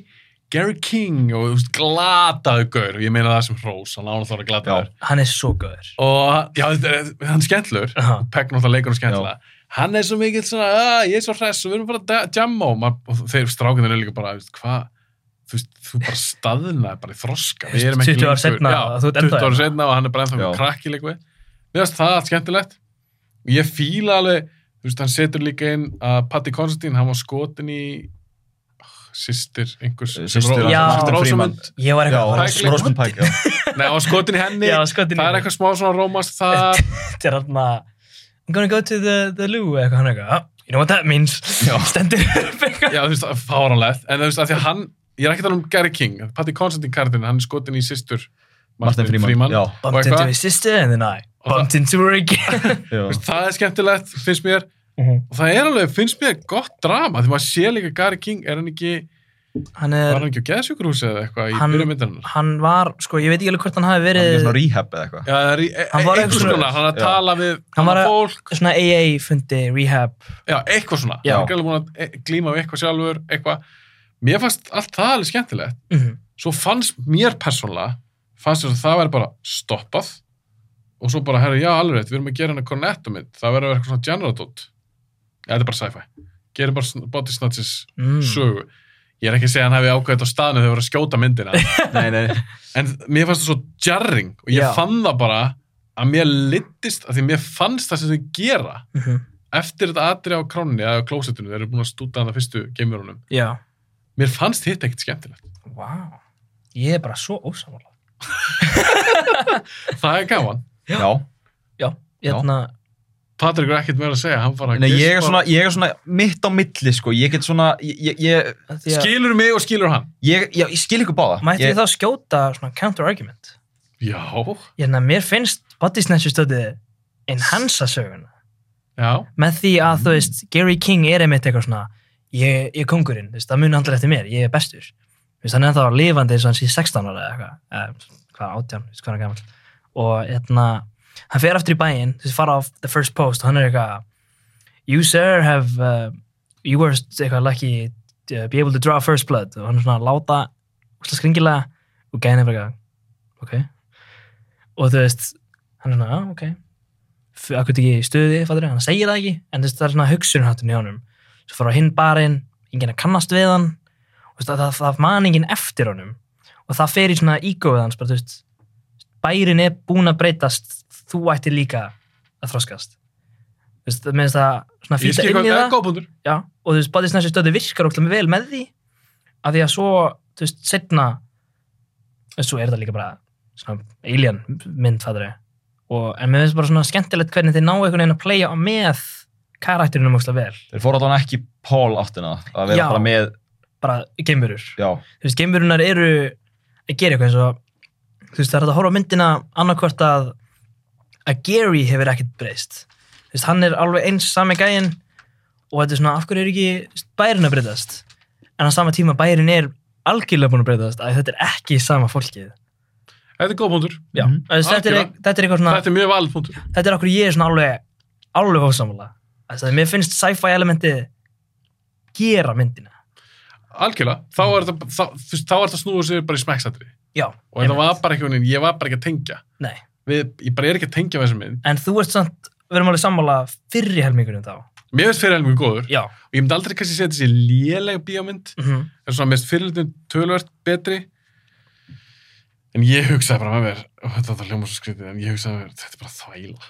Gary King og, þú veist, glataðu gaur, og ég meina það sem hrós, hann án að þóra glataður. hann er svo góður Og, já, þetta er- hann er skemmtlur, Aha. Peck náttúrulega leikur og skemmtilega hann er svo mikill svona, "Ah, ég er svo hress og við erum bara að da- jamma og, maður, og þeir strákinir eru líka bara, veist, hvað þú veist, þú bara staðnaði bara í þroska við erum ekki 20 ára seinna já, og þú 20 ert ennþá ára hérna. setna og hann er bara ennþá Já. með krakki líka við mér finnst það allt skemmtilegt og ég fíla alveg, þú veist, hann setur líka inn að Patti Konstantín, hann var skotin í oh, sýstir einhvers Systir Já. hans, Martin Freeman. Rósamund ég var Já, eitthvað Pike- Rosamund Pike, já. Nei, hann var skotin í henni, Já, skotin það í er henni. eitthvað smá svona rómast þar þetta er hann að I'm gonna go to the, the loo eitthvað hann er eitthvað "Ah, you know what that means stendur upp eitthvað Já, þú veist, fáranlegt, en þú veist, að því að hann, ég er ekki að tala um Gary King, Patti Constantine Cardin, hann er skotin í sýstur Martin Freeman, já. og bumped into eitthvað, his sister and then I Og bumped into her again Já. Þú veist, það er skemmtilegt, finnst mér, og það er alveg, finnst mér gott drama, því maður sé líka Gary King, er hann ekki, hann var er hann ekki á geðsjúkurhúsi eða eitthvað í Hann- byrjum myndarinnar? hann var sko ég veit ekki alveg hvort hann hafi Hann er verið í svona rehab eða eitthvað. Já, það er í, e Hann var eitthvað einhver- svona, hann er að Já. tala við Hann var annað að- fólk, svona AA fundi rehab já, eitthvað svona, Já. hann er alveg búin að e- glíma við eitthvað sjálfur, eitthvað, mér fannst allt það alveg skemmtilegt, Mhm. svo fannst mér persónlega fannst þess að það væri bara stoppað og svo bara, herri, já, alveg rétt, við erum að gera hennar cornetto mynd, það verður að vera eitthvað svona generadótt ja, þetta er bara sci-fi gerir bara sn- body snatches Mm. sögu ég er ekki að segja að hann hefði ákveðið á staðinu þegar það voru að skjóta myndina Nei, nei. en mér fannst það svo jarring og ég Já. fann það bara að mér littist, að því mér fannst það sem þau gera Mhm. eftir þetta atri á kránni eða á klósetinu, þeir eru búin að stúta hann fyrstu geimurunum, já mér fannst hitt ekkert skemmtilegt Vá, ég er bara svo ósamála. það er gaman Já. Já, hérna, Patrik er ekkert meira að segja, hann bara Nei, ég er geispar. svona, ég er svona mitt á milli, sko. Ég get svona, ég, ég, að því að- Skilur mig og skilur hann ég, já, ég skil ykkur báða. mætti ég, ég þá skjóta svona counter-argument? Já, Hérna, mér finnst body snatcher stöðið enhansa söguna. já, Með því að, þú veist, Gary King er einmitt eitthvað svona, ég, ég er kongurinn, þú veist, það muni handlar eftir mér, ég er bestur. Þú veist, hann er ennþá lifandi eins og hann sé 16 ára eða eitthvað, eða, hvað, 18, þú veist, hvað hann er gammal. Og, hérna, hann fer aftur í bæinn, þú veist, fara á the first post, og hann er eitthvað, you sir have uh, you were eitthvað lucky to be able to draw first blood og hann er svona að láta úrslega skringilega og gæðin er bara eitthvað ok og þú veist hann er svona, já, ok F- akkur þetta ekki í stuði, fattur hann segir það ekki en þú veist, það er svona hugsunháttin í honum svo fara á hinn barinn, enginn að kannast við hann og þú veist, það, það, það man enginn eftir honum og það fer í svona ígóið hans bara, þú veist, bærin er búin að breytast þú ættir líka að þroskast þú veist, það meðist það svona ég fýta skil inn hvað í það það er góðbundur Já, og þú veist, body snatcher stöðu virkar okkur vel með því af því að svo, þú veist, setna svo er það líka bara svona alien mynd, fæðri og, en mér finnst bara svona skemmtilegt hvernig þeir ná einhvern veginn að playa á með karakterinu mjög vel, Þeir fóru allan ekki Paul áttina að vera Já. bara með, bara geimurur já, þú veist, geimverunar eru að gera eitthvað eins og þú veist, það er hægt að horfa á myndina annarkvort að að Gary hefur ekkert breyst þú veist, hann er alveg eins sami gæinn og þetta er svona, af hverju er ekki þú veist, bærin að breytast en á sama tíma bærin er algjörlega búin að breytast að þetta er ekki sama fólkið Þetta er góðbundur, Já, Mhm. mm -hmm. þetta, er, Algjörlega. þetta er eitthvað svona þetta er mjög valið punktur þetta er okkur ég er svona alveg alveg ósamlega, þess að mér finnst sci-fi elementið gera myndina Algjörlega, þá er þetta þá, þú veist, þá er þetta snúið sér bara í smekksatri Já, og þetta einmitt. var bara ekki, ég var bara ekki að tengja Nei. Við, ég bara er ekki að tengja með þessum mynd en þú ert samt, við erum alveg sammála fyrri helmingunum þá mér veist fyrir helmingu góður Já, og ég myndi aldrei kannski segja þessi léleg bíómynd mm -hmm. en svona mest fyrirlutin tölvert betri en ég hugsaði bara með mér og þetta var hljóma svo skrítið en ég hugsaði með mér, þetta er bara þvæla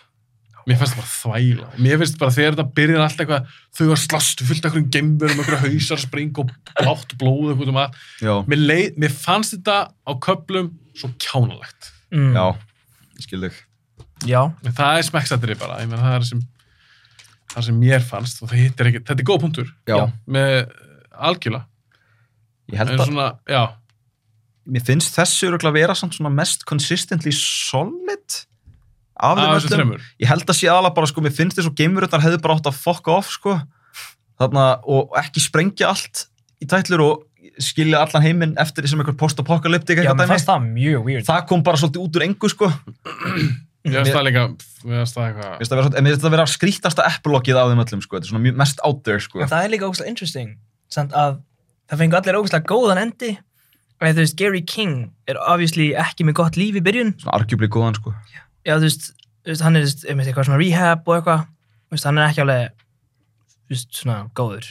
mér finnst þetta bara þvæla mér finnst bara þegar þetta byrjar allt eitthvað þau að slast fullt okkur um gemverum okkur hausar spring og blátt blóð eitthvað um allt já, mér, leið, mér fannst þetta á köplum svo kjánalegt mm. já, ég skil þig. Já, en það er smekksatrið bara ég menn það er sem það sem mér fannst og það hittir ekki þetta er góð punktur Já. með algjörlega Ég held en að, svona, já, mér finnst þessu öruglega vera samt svona mest consistently solid af Af þeim þessum öllum. þremur. Ég held að sé aðalega bara, sko, mér finnst þessu geimurutnar hefðu bara átt að fuck off, sko. Þarna, og ekki sprengja allt í tætlur og skilja allan heiminn eftir því sem einhver post-apokalyptik Já, eitthvað mér dæmi. fannst það mjög weird. Það kom bara svolítið út úr engu, sko. Ég veist það líka, ég veist það eitthvað. Mér finnst það vera, svona- en mér finnst það vera skrítasta eppulokið af þeim öllum, sko. Þetta er svona mjög- mest out there, sko. En það er líka ógustlega interesting samt að það fengi allir ógustlega góðan endi en þú veist, Gary King er obviously ekki með gott líf í byrjun Svona arguably góðan, sko. já, þú veist, þú veist hann er þú veist, einmitt eitthvað svona rehab og eitthvað Þú veist, hann er ekki alveg þú veist, svona góður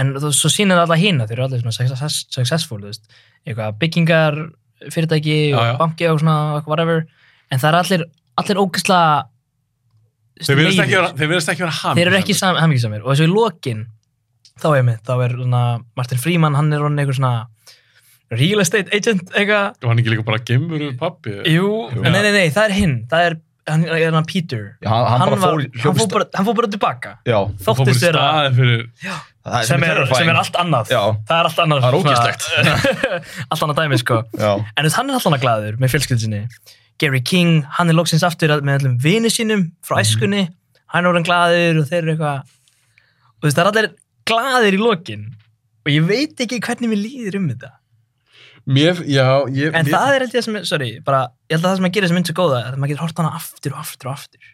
en þú, svo sýnir það alla hina, þeir eru allir svona success, successful, þú veist, eitthvað byggingar fyrirtæki og Já, já. banki og svona eitthvað whatever, en það er allir allir ógislega þú veist, Þeir verðast leiðir. ekki vera, þeir verðast ekki vera ham. þeir eru ekki sam, hamingisamir og þessu í lokin þá er mitt, þá er svona Martin Freeman, hann er hann einhver svona real estate agent eitthvað Og hann er ekki líka bara gemur úr pappi. Jú, Jú. nei, nei, nei, það er hinn það er hann, er hann Peter Já, hann, hann, bara var- fór, í- hann, fór hljópst- bara, hann fór bara tilbaka Já, Og fór bara í þóttist vera staðinn fyrir, það sem er, sem terrifying. er allt annað Já. það er allt annað Það er svona- eh, ógeðslegt. allt annað dæmi sko Já. en þú veist, hann er allan að glæður með fjölskyldinni Gary King, hann er loksins aftur að- með allum vini sínum Mhm. frá æskunni hann er orðin glæður og þeir eru eitthvað og þú veist, það er allir glæðir í lokin og ég veit ekki hvernig mér líður um þetta mér, já, ég, en mér, það er alltaf sem, sorry, bara ég held að það sem að gera sem mynd svo góða er að maður getur hort hana aftur og aftur og aftur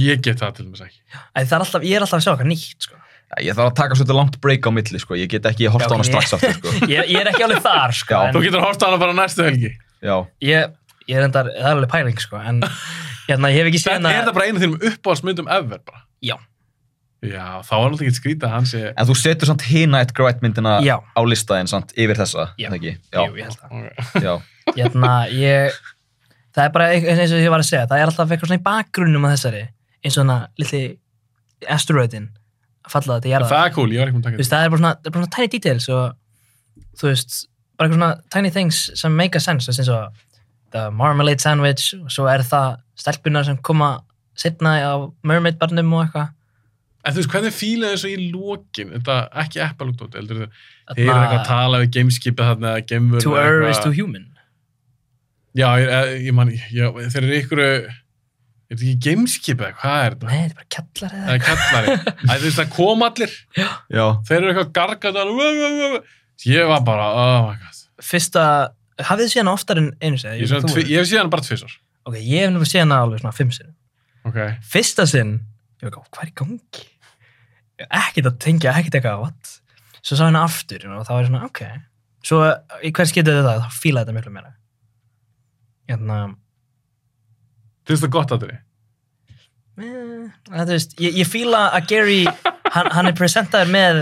ég get það til og með ekki. en það er alltaf, ég er alltaf að sjá eitthvað nýtt sko. Já, Ég þarf að taka svolítið langt break á milli, sko. Ég get ekki, ég horta Já, á hana ok. strax aftur, sko. ég, ég er ekki alveg þar sko, Já. en- Þú getur horta hana bara næstu helgi. Já. ég, ég er endar, það er alveg pæling sko, en hérna, ég hef ekki séð Þetta hana er það bara einu af þínum uppáhaldsmyndum ever bara. Já. Já, þá er alltaf ekki skrítið að hann sé... En þú setur samt hina eitt græt myndina Já. á listaðin samt yfir þessa, Já. er það ekki? Jú, ég held það. Ok. já. hérna, ég það er bara eins eins og ég var að segja það er alltaf eitthvað svona í bakgrunnum að þessari eins og hana litli asteroidin að falla þetta En jarðar Það er cool, ég var ekki með að Þú taka veist, það er bara svona, það er bara svona tiny details og þú veist, bara eitthvað svona tiny things sem make a sense, þú veist eins og the marmalade sandwich og svo er það stelpunar sem koma setna á mermaid barnum og eitthvað En þú veist, hvernig fílaði þessu í lokin? Þetta ekki eppalúkdótt, heldur þau? Þeir eru Þarna- eitthvað að tala við gameskipið þarna, gemur... to err is to human Já, ég, eh, ég- ég man, já, þeir eru ykkur... Er þetta ekki gameskipið eða hvað er þetta? nei, þetta er bara kjallar eða Það er kallari. Æ, þú veist, það kom allir. Já. Þeir eru eitthvað gargað og... vö, vö, vö, vö. Ég var bara, oh my god. fyrsta, hafið þið séð hana oftar en einu Ég, segja? svona, tvi, ég hef séð hann bara tvisar. ok, ég hef nefnilega séð hana alveg svona fimm sinni Ok. fyrsta sinn ég var ekki, hvað er í gangi? ekkert að tengja, ekkert eitthvað what? svo sá hérna aftur og þá var ég svona, ok svo í hvers getur þetta, þá fílaði þetta miklu meira hérna Finnst það gott að þeirri? eh, það, þú veist, ég, ég fíla að Gary hann, hann er presentaður með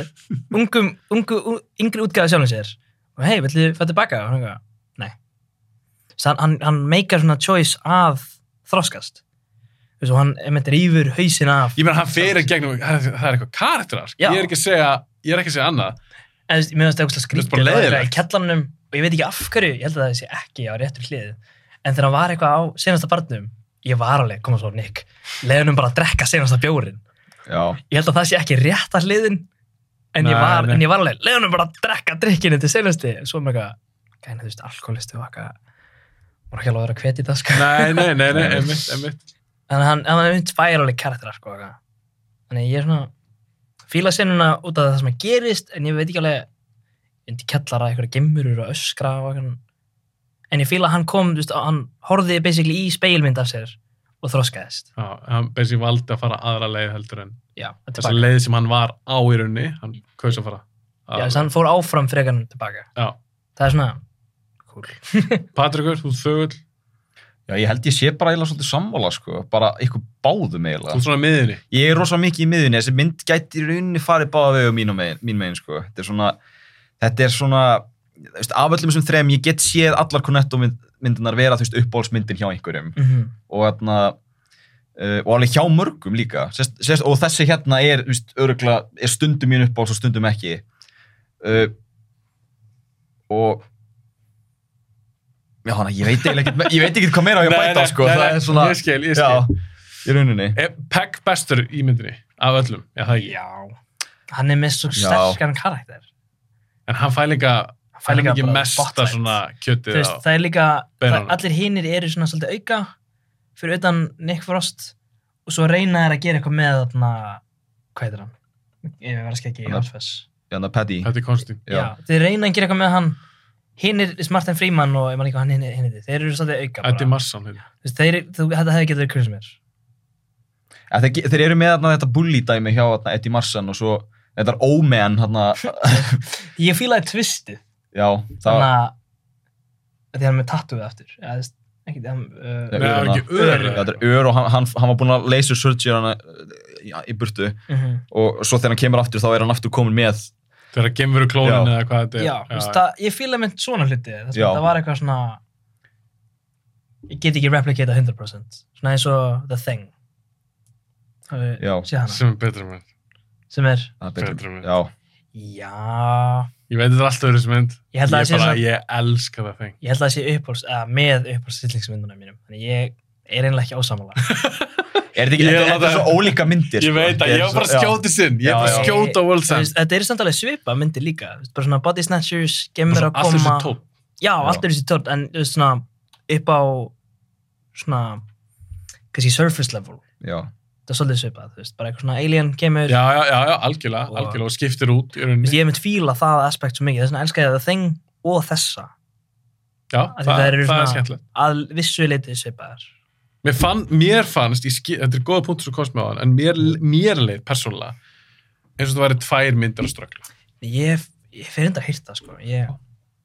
ungum, ungu, un- yngri útgáðu sjálfum sér og hei, villu fæta tilbaka og hann eitthvað, nei Svo hann, hann, hann meikar svona choice að þroskast Þú veist, og hann einmitt rýfur hausinn af Ég meina, hann fer í gegnum, það er það er eitthvað karakterar. Já. Ég er ekki að segja, ég er ekki að segja annað. en þú veist, mér finnst það eitthvað Þetta er bara skrítið það var eitthvað leiðilegt. í kellanum og ég veit ekki af hverju, ég held að það sé ekki á réttur hlið en þegar hann var eitthvað á senasta barnum ég var alveg, koma svo Nick leiðunum bara að drekka senasta bjórin Já. ég held að það sé ekki rétta hliðin en, ég Nei, var, nei. en ég var alveg, leiðunum bara að drekka drikkinu til senasti, en svo er mér eitthvað gæna þú veist, alkoholistu og eitthvað maður ekki alveg að vera hvet í það sko Nei, nei, nei, nei, emitt, emitt. en hann, hann er mynd færa alveg karakterar sko eitthvað. þannig ég er svona fíla senuna út af það sem að gerist en ég veit ekki alveg undir kellara eitthvað gemurur og öskra og eitthvað en ég fíla að hann kom þú veist, að hann horfði basically í speilmynd af sér og þroskaðist Já, hann basic valdi að fara aðra leið heldur en já, þessa tilbaka. leið sem hann var á í rauninni, hann kaus að fara. já, þess að hann fór áfram frekar en tilbaka Já. það er svona cool Patrikur, þú ert þögull, Já, ég held ég sé bara eiginlega svolítið sammála, sko. Bara ykkur báðum þú eiginlega. ert svona miðinni. Ég er rosa mikið í miðunni, þessi mynd gæti í rauninni farið báða vegu mín, megin, mín megin, sko. Þetta er svona, þetta er svona, þú veist, af öllum þessum þrem, ég get séð allar Cornetto-myndinar vera, þú veist, uppbólsmyndin hjá einhverjum. mm og hérna uh, og alveg hjá mörgum líka sest, sest, og þessi hérna er, þú veist, örugla, er stundum mín uppáhalds og stundum ekki uh, og já, hana, ég veit eiginlega ekkert me- ég veit ekki hvað meira á ég að Nei, bæta nei, sko, nei, það nei, er svona ég skil, ég skil. já, í rauninni Er Pegg bestur í myndinni, af öllum, já það ekki. já hann er með svo Já. sterkan karakter En hann fæ líka, Það er líka ekki bara mesta spotlight. svona Þú kjötið veist, á. það er líka, það, Benana. allir hinir eru svona svolítið auka fyrir utan Nick Frost og svo reyna þeir að gera eitthvað með þarna, hvað heitir hann? Ég verðast ekki í Hann- Hálfess. Þannig að Hérna, Paddy. Þetta er konstant. Já, þeir reyna að gera eitthvað með hann, hinir Martin Freeman og ég man ekki hvað hann hinir, hinir þeir eru svolítið auka Þetta er bara. massan. hérna. Þú veist, þeir, þú, þetta hefði getið verið hvernig sem er. Ja, þeir, þeir eru með þarna, þetta bully dæmi hjá þarna, Eddie Marsan og svo þetta er Omen þarna, Ég fílaði tvistið, já, það þannig var að þetta er hann með tattooið aftur. Já, þú veist, ekki, hann, Nei, uh, Nei, það er ekki Ör. öðru. þetta er ör og hann, hann, hann var búinn að laser surgery hana eh, já, í burtu mhm. og svo þegar hann kemur aftur þá er hann aftur komin með Það er að gemveru klónin Já. eða hvað þetta er. Já, þú veist, það, ég fíla mynd svona hluti það, Já. það var eitthvað svona ég get ekki replicata 100% svona eins og The Thing Já. sé hana Sem er betra mynd. sem er, Það er betra- Betra mynd. já, já Ég veit þetta er alltaf öðru sem mynd. Ég held að það sé bara, svona- ég elska það þeng. ég held að það sé uppáls, eða með uppálstillingsmyndunum mínum, þannig ég er einlega ekki ásamála er þetta ekki, þetta Ég er þetta er að- svo ólíka myndir Ég sko. veit að Þetta er ég var svo- bara að skjóta sinn. Ég Já, var bara já. að skjóta World Sense. þetta eru samt alveg svipa myndir líka þú veist, bara svona body snatchers, gemur að Allt þessi koma tótt. já, allt er þessi tótt en þú veist, svona upp á svona kannski surface level já, já, það er svolítið svipað, þú veist, bara eitthvað svona alien Já, kemur, já, já, já, algjörlega, Og- algjörlega og skiptir út í þú veist, rauninni. ég hef mynd fíla það aspekt svo mikið, þess vegna elska ég það þing og þessa, Já, af því það, þær eru það er svona- skemmtilegt. að vissu leiti svipaðar Mér, fann, mér fannst, ég skil, þetta er góða punktur sem komst með á hann, en mér, mér leið persónulega eins og það væri tvær myndir að ströggla. ég, ég fyrir enda að hýrta, sko ég,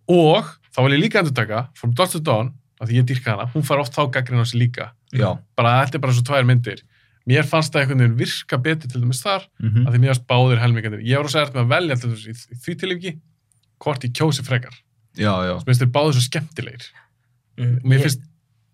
Og þá vil ég líka endurtaka, From Dust to Dawn, af því ég dýrka hana, hún fær oft þá gaggrinn á sig líka. já. Bara þetta er bara svo tvær myndir. Mér fannst það einhvern veginn virka betur til dæmis þar, mhm. af því mér fannst báðir helmingandir. Ég var að segja þetta með að velja til dæmis í- í því tilíki, hvort ég kjósi frekar. já, já, Mér finnst þeir báðir svo skemmtilegir. mm, Og Mér ég, finnst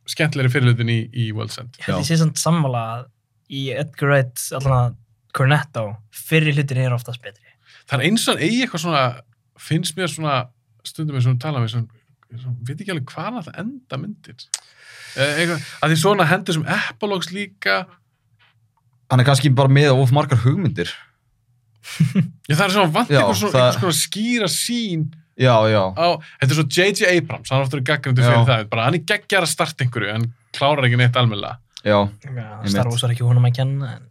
skemmtilegri fyrirlutin í, í World Send. ég held ég sé samt sammála að í Edgar Wright, allan að Cornetto, fyrir hlutin er oftast betri það er eins og hann eigi eitthvað svona finnst mér svona stundum eins og hún tala með svona, svona veit ekki alveg hvað hann alltaf enda myndir Eh, eitthvað, að því svona hendur sem Epilógs líka hann er kannski bara með of margar hugmyndir ég, það er svona vant Já, eitthvað svona, það- það... svona skýra sín já, já, á, þetta er svo J.J. Abrams hann er aftur gaggrindu fyrir Já. það, bara hann er geggjar að starta einhverju en klárar ekki neitt almennilega já, Já, Einmitt. Star Wars var ekki húnum að kenna en,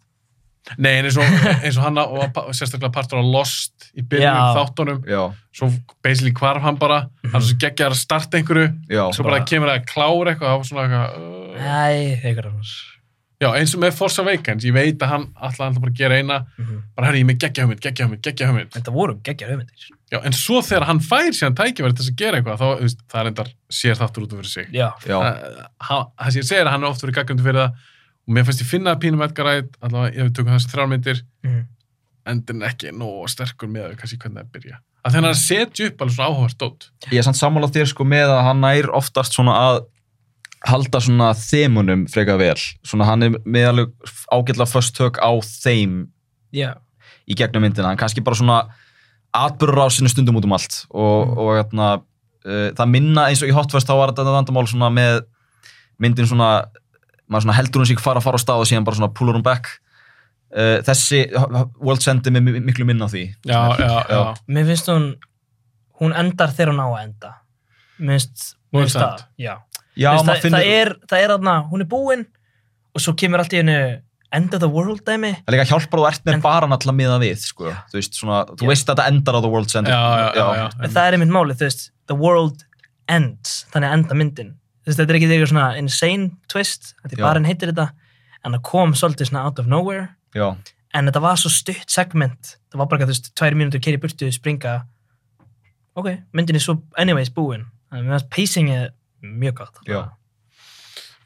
nei, en eins og, eins og hann á- og pa- sérstaklega partur á Lost í byrjunum Já. þáttunum, já, svo basically hvarf hann bara, hann Mhm. er svo geggjar að starta einhverju já svo bara, kemur að klára eitthvað það var svona eitthvað uh, nei, eitthvað annars Já, eins og með Force Awakens, ég veit að hann alltaf alltaf bara að gera eina, Mhm. bara herri, ég er með geggja hugmynd, geggja hugmynd, geggja hugmynd. þetta voru geggjar hugmyndir Já, en svo þegar hann fær síðan tækifæri til þess að gera eitthvað, þá, þú veist, það er endar sér þáttur út af fyrir sig. já, já, Það hann- það sem ég segir að hann er oft verið gaggjandi fyrir það og mér finnst ég finna að pínum Edgar Wright, allavega ef við tökum þessi þrjármyndir, mm, endur ekki nóg sterkur með þau, kannski hvernig það byrja. Að þannig að hann setja upp alveg svona áhugavert dót. ég er samt sammála þér sko með að hann nær oftast svona að halda svona þemunum frekar vel svona hann er með alveg ágætlega föst tök á þeim já, í gegnum myndina hann kannski bara svona atbyrur á sinni stundum út um allt og, og hérna, uh, það minna eins og í hotfest þá var þetta vandamál svona með myndin svona maður svona heldur hún sig fara að fara á stað og síðan bara svona pullur hún back uh, þessi World Send er með mi- miklu minna á því Já, já, já. Já. mér finnst hún hún endar þegar hún á að enda mér finnst Nú er mér finnst sent. það, já já, Þú veist, maður það, finnur það er, það er aðna, hún er búin og svo kemur allt í hennu end of the world dæmi Það er líka hjálpar að þú ert með En- bara náttúrulega miða við, sko. Þú veist, svona, þú Já. veist að þetta endar á The World's End. Já, já, já, já. en það er einmitt málið, þú veist, the world ends þannig að enda myndin þú veist, þetta er ekki eitthvað svona insane twist þetta Já. er bara henn heitir þetta en það kom svolítið svona out of nowhere Já, en þetta var svo stutt segment það var bara eitthvað, þú veist, tvær mínútur keri burtu springa, ok, myndin er svo anyways búin, þannig að pacing er mjög gott Já.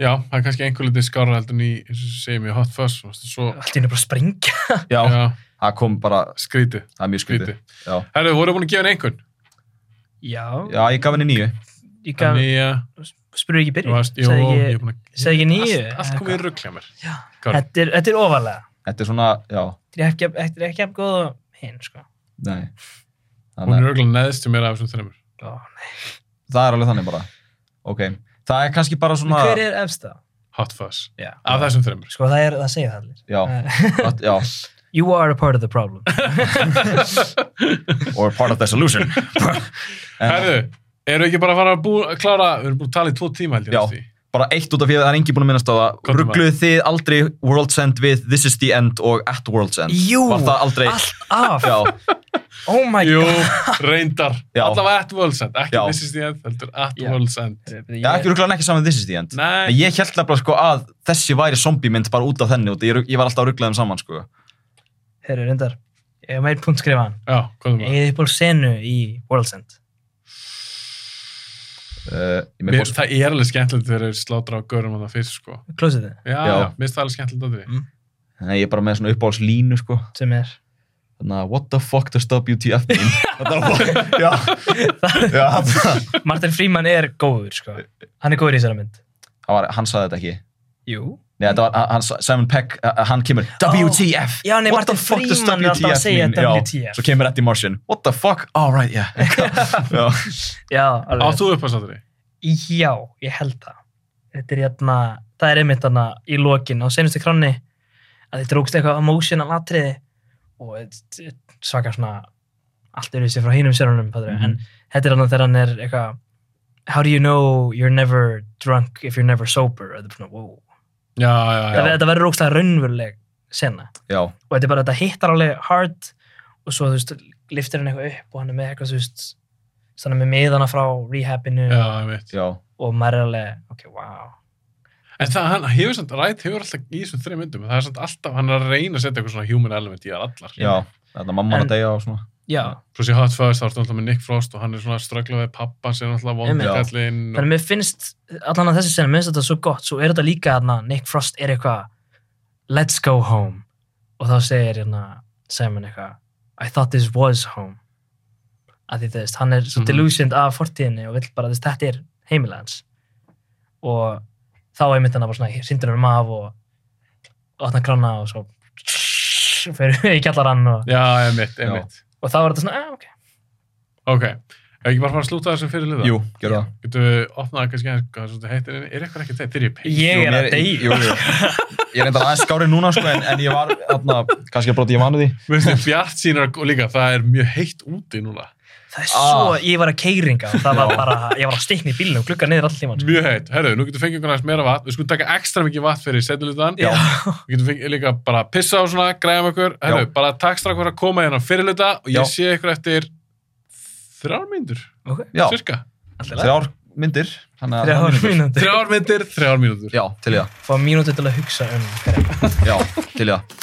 Já, það er kannski einhver litið skára heldur en í, eins og ég segi mér, Hot Fuzz, þú veist, svo, allt í hennu bara springa já. já, Það kom bara, skrítið, það er mjög skrítið. skrítið. Já. Herru, voru búin að gefa henni einhvern? já, já, ég gaf henni nýju. ég gaf, Nýja, spurðu ekki í Þú byrjun varst, jú, Sagði ég, ekki- er búin að... sagði ekki níu, Allt, allt eða komið í hvað? ruggla mér. Já. Karl. Þetta er, þetta er ofalega. Þetta er svona, já, Þetta er ekki, þetta er ekki jafn góð og hinn, sko. nei. Hún Þannig, er ruggla neðst til mér af þessum þreymur. Ó, það er alveg þannig bara. Ok. Það er kannski bara svona, Hver er efsta? Hot Fuzz. Já. Af þessum þreymur. Sko, það, er, það segir það allir. já, Eh, að, já. You are a part of the problem. or part of the solution Herðu, eru ekki bara að fara að bú, klára, við erum búin að tala í tvo tíma held ég. Já, næst því. bara eitt út af því að það er engin búin að minnast á það Komdu ruggluðu þið aldrei World's End við This is the End og At World's End Jú, var það aldrei allt af. já, Oh my Jú, god. reyndar. Já. Allavega at world's end, ekki Já. this is the end, heldur at Já. world's end. já, ekki rugglaðan ekki saman við This is the End En Nei. ég held nefnilega sko að þessi væri zombiemynd bara út af þenni út, ég, rugg- ég var alltaf að ruggla þeim saman sko Herru, reyndar. Ég hef meitt punkt skrifa hann. Já, um komum við. Ég hef ból senu í World's End. uh, ég með Mér, fórst- það er alveg skemmtilegt þegar þeir slátra á görum að það fyrst, sko. Close it, Já, Já. já, mér finnst það alveg skemmtilegt að því. Nei, ég er bara með svona uppáhaldslínu sko sem er. Þannig að what the fuck does WTF mean? Þetta var- já, já það Martin Freeman er góður, sko. Hann er góður í þessari mynd. það var, hann sagði þetta ekki Jú. Nei, þetta var, hann, Simon Peck, uh, hann kemur WTF, Já, nei, Martin Freeman er alltaf að segja WTF. Já, svo kemur Eddie Martian, what the fuck, all right, yeah já, Já, Á alveg. þú upp að sáttur því? Já, ég held það. Þetta er hérna, það er einmitt hana í lokin á senustu kranni að þetta er ógst eitthvað emotional atriði og þetta- þetta svaka svona allt eru sér frá hinum sérunum, mm. Mhm. en þetta er hana þegar hann er eitthvað How do you know you're never drunk if you're never sober? Og Þetta er svona, wow. Já, já, já. Þetta þetta verður ógst að raunveruleg sena já, og þetta er bara, þetta hittar alveg hard og svo, þú veist, liftir hann eitthvað upp og hann er með eitthvað, þú veist, þannig með miðana frá rehabinu Já, ég veit. já, og maður er alveg, ok, wow. En það, hann hefur samt, Rætt hefur alltaf í þessum þreim myndum, það er samt alltaf, hann er að reyna að setja eitthvað svona human element í þær allar. já Þannig að mamma er En- að deyja og svona Já, Plus í Hot Fuzz, þá ertu alltaf með Nick Frost og hann er svona að ströggla við pappa, sem er alltaf Einmitt. Já. vondikallinn. þannig að mér finnst allan að þessi sena, mér finnst þetta svo gott svo er þetta líka að Nick Frost er eitthvað let's go home og þá segir hérna Simon eitthvað I thought this was home að því þú veist, hann er svo Mhm. delusioned af fortíðinni og vill bara, þú veist, þetta er heimilega hans og þá er mitt hann bara svona, sindur hann um af og opna kranna og svo fyrir í kjallarann og, Já, ég mitt, ég Já. mitt. og þá er þetta svona, ah, ok Ok, ef ekki bara fara að slúta þessum fyrir liða? Jú, gerðu það Getum við opnað kannski aðeins hvað svolítið heitir en er eitthvað ekki þetta? Þeir eru í peil. ég er Jú, að mér- deyja Jú, jú, ég er enda aðeins skárið núna sko, en, en ég var, þarna, kannski að broti ég vanu því Mér finnst þið bjart sínar og líka, það er mjög heitt úti núna. það er svo, Ah. ég var að keiringa og það var bara, ég var að stikna í bílnum, glugga niður all tíman Mjög heitt. Herru, nú getum við fengið einhvern aðeins meira vatn. Við skulum taka ekstra mikið vatn fyrir setjulutan. Já. Við getum fengið líka bara að pissa á svona, græða með okkur. Herru, Já. bara takk strax fyrir að koma hérna fyrirluta og ég Já. sé ykkur eftir þrjár myndur, Já, cirka. þrjár myndir þannig að- Þrjár mínútur. Þrjár myndir, þrjár mínútur. Já, til í það Fá mínútur til að hugsa um hverja. Já, til í það